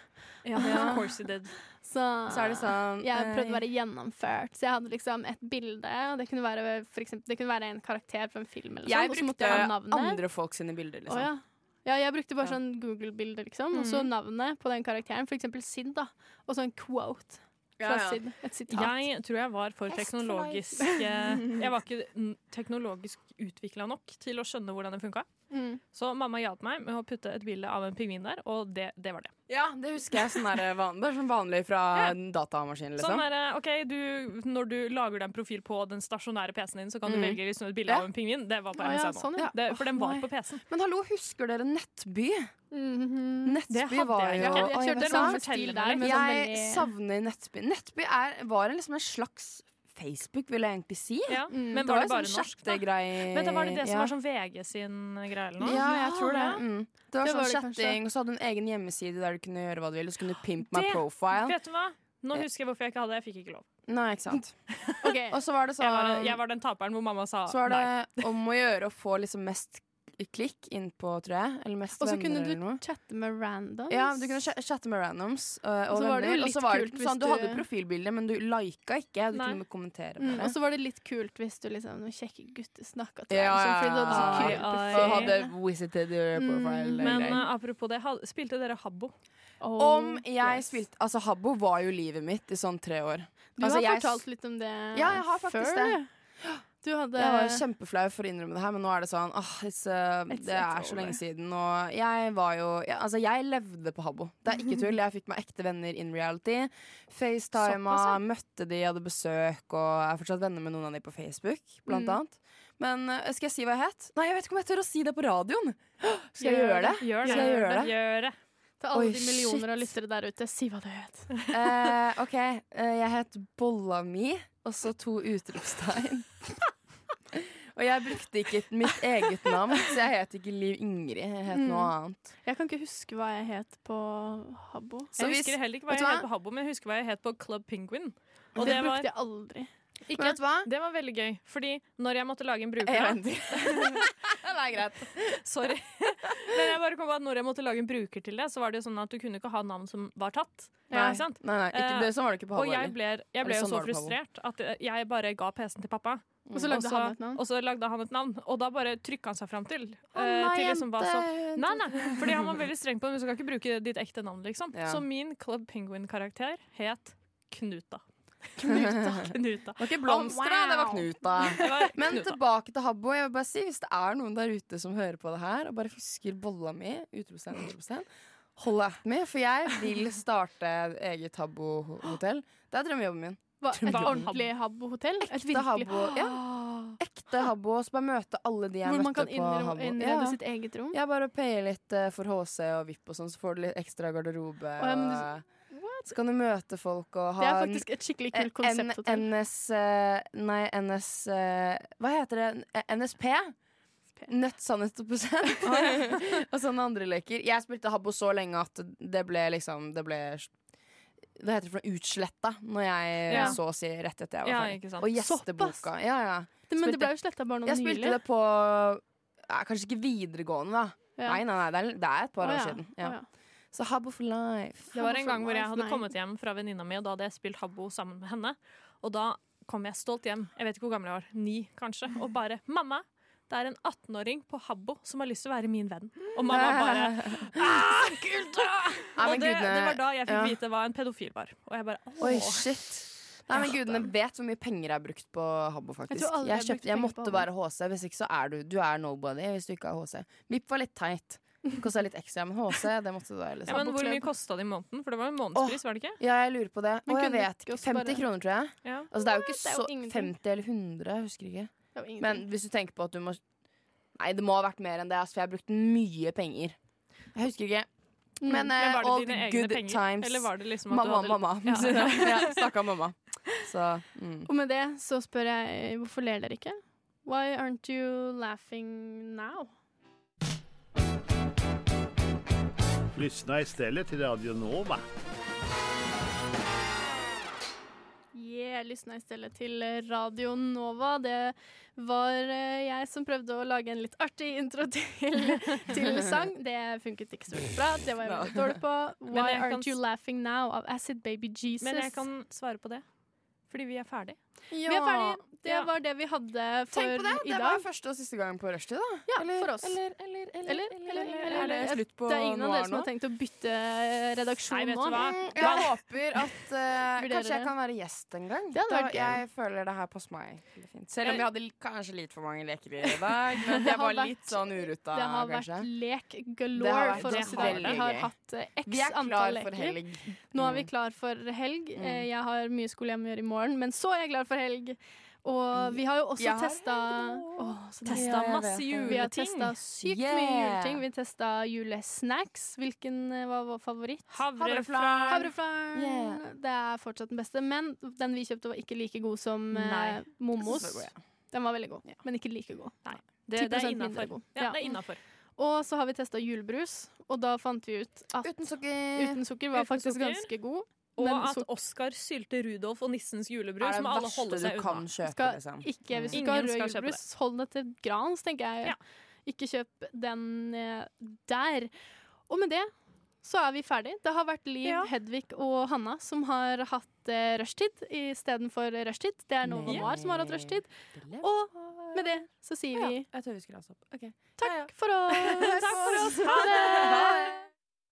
S7: Of course you did.
S5: Så,
S6: altså. Så er det sånn
S5: jeg prøvde å
S6: eh,
S5: være gjennomført. Så jeg hadde liksom et bilde, og det kunne være, for eksempel, det kunne være en karakter fra en film. Eller
S6: Jeg
S7: liksom,
S5: sånn, og så måtte
S6: brukte
S5: jeg ha navnet.
S6: andre folk sine bilder,
S5: Å,
S6: liksom.
S5: ja. ja, jeg brukte bare
S6: Ja. Mhm.
S5: sånn Google-bilder, liksom. Og så navnet på den karakteren. For eksempel Sid, da. Og så en quote fra Sid. Et sitat.
S7: Jeg tror jeg var for teknologisk eh, Jeg var ikke mm, teknologisk utvikla nok til å skjønne hvordan det funka.
S5: Mm.
S7: Så mamma hjalp meg med å putte et bilde av en pingvin der, og det, det var det.
S6: Ja, det husker jeg. Sånn der van, det er sånn vanlig fra
S7: Ja.
S6: en datamaskin,
S7: Sånn
S6: liksom.
S7: er det. ok, du, Når du lager den profil på den stasjonære PC-en din, så kan du
S6: Mm.
S7: velge liksom et bilde
S6: Ja.
S7: av en pingvin. Det var på
S5: Å ja,
S7: NSA nå.
S5: sånn, ja.
S7: det, for den var
S6: Åh, nei.
S7: på PC-en.
S6: Men hallo, husker dere Nettby? Nettby
S7: Mm,
S5: Mhm.
S7: Det hadde
S6: var
S7: jeg
S6: jo
S7: ikke. Jeg
S6: Oi,
S7: kjørte
S6: vet
S5: en
S6: du hva?
S5: sånn
S7: lang
S5: stil
S7: forteller
S5: der.
S7: meg
S5: Med sånn
S6: Jeg
S5: veldig
S6: savner Nettby. Nettby er, var en, liksom en slags Facebook, vil jeg egentlig si.
S7: Ja.
S5: Mm,
S7: Men var det
S6: var
S7: bare
S6: jo sånn
S7: norsk, da?
S6: chattegrei-
S7: Men det var det det som
S6: Eh, ja.
S7: var sånn VG sin greie eller noe?
S6: Ja, jeg tror det.
S5: Ja.
S6: Mm. Det var
S5: Det
S6: sånn
S5: var det kanskje.
S6: chatting, og så hadde du en egen hjemmeside der du kunne gjøre hva du ville. Og så kunne du pimp my
S7: Det-
S6: profile.
S7: Vet du hva? Nå
S6: Eh.
S7: husker jeg hvorfor jeg ikke hadde det. Jeg fikk ikke lov.
S6: Nei, ikke sant.
S5: Ok,
S6: Og så var det
S7: Jeg var,
S6: sånn
S7: jeg var den taperen hvor mamma sa
S6: Så var
S7: nei.
S6: det om å gjøre å få liksom mest klikk innpå, tror jeg. Eller mest
S5: Og så
S6: venner
S5: kunne du
S6: eller noe.
S5: chatte med randoms.
S6: Ja, du kunne cha- chatte med randoms øh,
S5: Og
S6: og
S5: så var det jo
S6: venner. Og
S5: litt
S6: så var det
S5: kult
S6: ikke sånn,
S5: hvis
S6: du hadde
S5: du-
S6: profilbilde, men du lika ikke. Du
S7: Nei.
S6: kunne kommentere
S5: Mm,
S6: bare.
S5: og så var det litt kult hvis du liksom noen kjekke gutter snakka til deg.
S6: Ja,
S5: sånn,
S6: ja,
S5: Fordi du hadde
S6: ja.
S5: sånn kul
S7: Ai,
S6: og
S5: profil.
S6: hadde visited your
S5: Mm,
S6: profile.
S7: Men
S6: greier.
S7: eh, apropos det, ha- spilte dere Habbo?
S5: Oh,
S6: øh, om jeg
S5: yes.
S6: spilte Altså, Habbo var jo livet mitt i sånn tre år.
S5: Du
S6: altså,
S5: har
S6: jeg s-
S5: fortalt litt om det
S6: Ja, jeg har faktisk
S5: før.
S6: det.
S5: du. Du hadde
S6: Jeg var jo kjempeflau for å innrømme det her, men nå er det sånn ah, it's, uh,
S5: It's-
S6: Det er
S5: it's
S6: så
S5: over.
S6: lenge siden. Og jeg var jo ja, Altså, jeg levde på Habbo. Det er ikke tull. Jeg fikk meg ekte venner in reality. FaceTima,
S5: Såpass, ja.
S6: møtte de, hadde besøk, og jeg er fortsatt venner med noen av de på Facebook, blant
S5: Mm.
S6: annet. Men uh, skal jeg si hva jeg het? Nei, jeg vet ikke om jeg tør å si det på radioen! Skal jeg
S5: Gjør
S6: gjøre det?
S7: Gjør det.
S6: Skal jeg gjøre det?
S7: Gjør det.
S5: Til alle
S6: Oi,
S5: de millioner av
S6: shit.
S5: lyttere der ute, si hva du het.
S6: Eh, OK. eh, jeg het Bolla mi, og så to utropstegn. og jeg brukte ikke mitt eget navn, så jeg het ikke Liv Ingrid. Jeg het noe
S7: Mm.
S6: annet.
S5: Jeg kan ikke huske hva jeg het på Habbo.
S6: Så
S7: jeg
S6: hvis-
S7: husker heller ikke hva
S6: vet du
S7: jeg
S6: hva?
S7: het på Habbo, men jeg husker hva jeg het på Club Penguin. Og
S5: det
S7: det var,
S5: brukte jeg aldri.
S6: Men
S7: ikke,
S6: vet du hva?
S7: det var veldig gøy, fordi når jeg måtte lage en
S6: Jeg
S7: bruker
S6: venter. det er greit.
S7: Sorry. Men jeg bare kom på at når jeg måtte lage en bruker til det, så var det jo sånn at du kunne ikke ha navn som var tatt.
S6: Nei,
S7: Ikke sant? Eh,
S6: nei, nei ikke, det, sånn var det ikke på
S7: Og
S6: Halvor.
S7: jeg
S6: heller.
S7: ble, jeg ble
S6: Eller
S7: jo
S6: sånn
S7: så
S6: var det på Habbo.
S7: frustrert at jeg bare ga PC-en til pappa.
S5: Og så lagde
S7: Og så-
S5: han et navn.
S7: Og så lagde han et navn, og da bare trykka han seg fram til.
S6: Å,
S7: eh,
S6: nei,
S7: til liksom hva som
S6: jente.
S7: Nei, nei, fordi han var veldig streng på det, men du skal ikke bruke ditt ekte navn, liksom.
S6: Ja.
S7: Så min Club Penguin-karakter het Knuta. Knuta.
S6: Det var ikke blomster, da. Det var Knut, da.
S7: Det var
S6: Men
S7: Knuta.
S6: tilbake til Habbo. Jeg vil bare si, Hvis det er noen der ute som hører på det her og bare husker bolla mi, utropstegn, utropstegn, hold at me, for jeg vil starte eget Habbo-hotell. Det er drømmejobben min.
S5: Hva, et
S7: Hva-
S5: ordentlig Habbo-hotell? Et
S6: Ekte
S5: virkelig Ah,
S6: Habbo. Ja. Ekte Habbo. Så bare møte alle de jeg
S5: Hvor man
S6: møtte
S5: kan
S6: på
S5: innre-
S6: Habbo.
S5: innrede
S6: Ja.
S5: sitt eget rom?
S6: Jeg bare payer litt eh, for HC og VIP og sånn, så får du litt ekstra garderobe.
S5: Å, ja, men du-
S6: og, eh, så kan du møte folk
S5: Det
S6: og ha
S5: er
S6: en-
S5: faktisk et skikkelig
S6: Eh,
S5: kult konsepthotell.
S6: N- NS eh, Nei, NS eh, Hva heter det? Eh, NSP? Nødt, sannhet og prosent. og sånne andre leker. Jeg spilte Habbo så lenge at det ble liksom Det ble Hva heter det for noe? Utsletta. Når jeg
S7: Ja.
S6: så å si rett etter jeg var
S7: Ja,
S6: ferdig.
S7: ikke sant.
S6: og gjesteboka. Ja, ja.
S5: Det- Men det ble jo sletta bare noe
S6: Jeg spilte
S5: nylig.
S6: det på eh, Kanskje ikke videregående, da.
S5: Ja.
S6: Nei, nei, nei, det er, det er et par
S5: Å,
S6: år
S5: ja.
S6: siden.
S5: Å,
S6: Ja.
S5: ja.
S6: Så Habbo for life.
S7: Det var en gang hvor jeg
S5: Hvorfor
S7: hadde
S5: meg?
S7: kommet hjem fra venninna mi, og da hadde jeg spilt Habbo sammen med henne. Og da kom jeg stolt hjem, jeg vet ikke hvor gammel jeg var, ni kanskje, og bare 'Mamma, det er en 18-åring på Habbo som har lyst til å være min venn'. Og mamma bare «Ah, kult, da!»
S6: Nei, men
S7: Og det,
S6: gudene-
S7: det var da jeg fikk
S6: ja.
S7: vite hva en pedofil var. Og jeg bare
S6: Oi,
S7: åh.
S6: shit. Nei, men Gudene vet hvor mye penger jeg har brukt på Habbo.
S5: Jeg
S6: faktisk
S5: tror
S6: Jeg,
S5: aldri jeg har
S6: kjøpte,
S5: brukt
S6: jeg
S5: penger
S6: måtte
S5: på Habbo.
S6: være HC, hvis ikke så er du Du er nobody hvis du ikke har HC. VIP var litt teit. Kosta litt ekstra, men HC, det måtte du være.
S7: Ja,
S6: Liksom.
S7: men hvor mye kosta det i måneden? For det var jo en månedspris, var det ikke?
S6: Ja, jeg lurer på det.
S5: Men
S6: Og jeg
S5: kunne
S6: vet
S5: ikke
S6: ikke.
S5: også
S6: 50
S5: bare-
S6: kroner, tror jeg.
S7: Ja.
S6: Altså, det er jo ikke
S5: Det er jo
S6: så
S5: ingenting.
S6: 50 eller 100, jeg husker ikke.
S5: Det var ingenting.
S6: Men hvis du tenker på at du må Nei, det må ha vært mer enn det, altså, for jeg har brukt mye penger. Jeg husker ikke. Men,
S7: Men
S6: eh,
S7: var det
S6: all
S7: dine egne
S6: good
S7: penger?
S6: times.
S7: Eller var det liksom at
S6: Mamma,
S7: du hadde
S6: mamma.
S7: Ja.
S6: Ja. Snakka mamma. Så mm.
S5: Og med det så spør jeg eh, hvorfor ler dere ikke? Why aren't you laughing now?
S9: Lyssna istället till Radio Nova.
S5: Yeah, lysna i stedet til Radio Nova. Det var eh, jeg som prøvde å lage en litt artig intro til, til sang. Det funket ikke så veldig bra. Det var jeg veldig dårlig på.
S7: Men
S5: Why
S7: jeg kan
S5: aren't you
S7: s-
S5: laughing now? av Acid Baby Jesus.
S7: Men jeg kan svare på det. Fordi vi er ferdig.
S5: Vi er
S6: ferdige.
S5: ferdige. Det
S7: Ja.
S5: var det vi hadde
S6: Tenk på
S5: for
S6: det!
S5: i
S6: Det var
S5: dag.
S6: første og siste gang på rushtid, da.
S5: Ja, for oss.
S6: Eller, eller, eller,
S5: Eller? Eller? Eller?
S6: Er det slutt på
S5: Det er ingen av
S6: noir
S5: dere som
S6: nå?
S5: har tenkt å bytte eh, redaksjon
S7: Nei, vet
S5: nå.
S7: du hva?
S6: Mm, Jeg håper at eh,
S5: Vurderer
S6: Kanskje jeg
S5: det.
S6: kan være gjest en gang.
S5: Det hadde
S6: Da
S5: vært gøy.
S6: jeg føler det her passer meg. veldig fint. Selv om vi
S7: Jeg-
S6: hadde l- kanskje litt for mange leker i dag. Men
S5: Det
S6: jeg
S5: har
S6: var
S5: vært-
S6: litt sånn uruta,
S5: Det har
S6: kanskje.
S5: vært lek
S6: Det har
S5: galore
S6: vært
S5: for oss i dag.
S7: veldig
S5: Vi har
S6: gøy.
S5: hatt eh, x
S6: Vi er
S5: antall
S6: klar for
S5: leker.
S6: helg.
S5: Nå er vi
S6: Mm.
S5: klar for helg.
S6: Mm.
S5: Eh, Jeg har mye skole jeg må gjøre i morgen, men så er jeg klar for helg. Og vi har jo også
S6: Jeg har
S5: testa Åh, så deilig.
S7: Testa
S6: Ja, jeg
S7: masse
S6: vet det.
S5: Vi har
S7: juleting.
S5: testa sykt mye
S6: Yeah.
S5: juleting. Vi testa julesnacks. Hvilken eh, var vår favoritt?
S7: Havreflan.
S5: Havreflaren.
S6: Yeah.
S5: Det er fortsatt den beste, men den vi kjøpte var ikke like god som eh,
S7: Nei.
S5: Momos.
S6: Så det går, ja.
S5: Den var veldig god, men ikke like god.
S7: Det, det
S5: 10%
S7: er
S5: mindre
S7: innafor.
S5: god.
S7: Ja,
S5: Ja.
S7: det er innenfor.
S5: Og så har vi testa julebrus, og da fant vi ut at
S6: Uten sukker.
S5: uten sukker var
S7: Eh, Uten
S5: faktisk
S7: sukker.
S5: ganske god.
S8: Og
S5: Men
S8: at
S5: så-
S8: Oskar sylte Rudolf og nissens julebrus,
S6: er det
S8: må alle holde
S6: verste
S8: seg
S6: du
S8: unna.
S6: kan kjøpe,
S5: Skal
S6: liksom.
S5: Ikke, hvis du
S7: Mm.
S5: skal ha
S7: Ingen
S5: rød
S7: skal kjøpe
S5: julebrus, hold den til Grans, tenker jeg.
S7: Ja.
S5: Ikke kjøp den eh, der. Og med det så er vi ferdig. Det har vært Liv,
S8: Ja.
S5: Hedvig og Hanna som har hatt eh, rushtid istedenfor rushtid. Det er Nova
S6: Nei.
S5: Noir som har hatt rushtid. Og med det så sier vi
S6: Jeg tror vi skulle ha stopp. Ok.
S5: takk for oss.
S6: Takk for oss.
S5: Ha det!
S6: Ha det.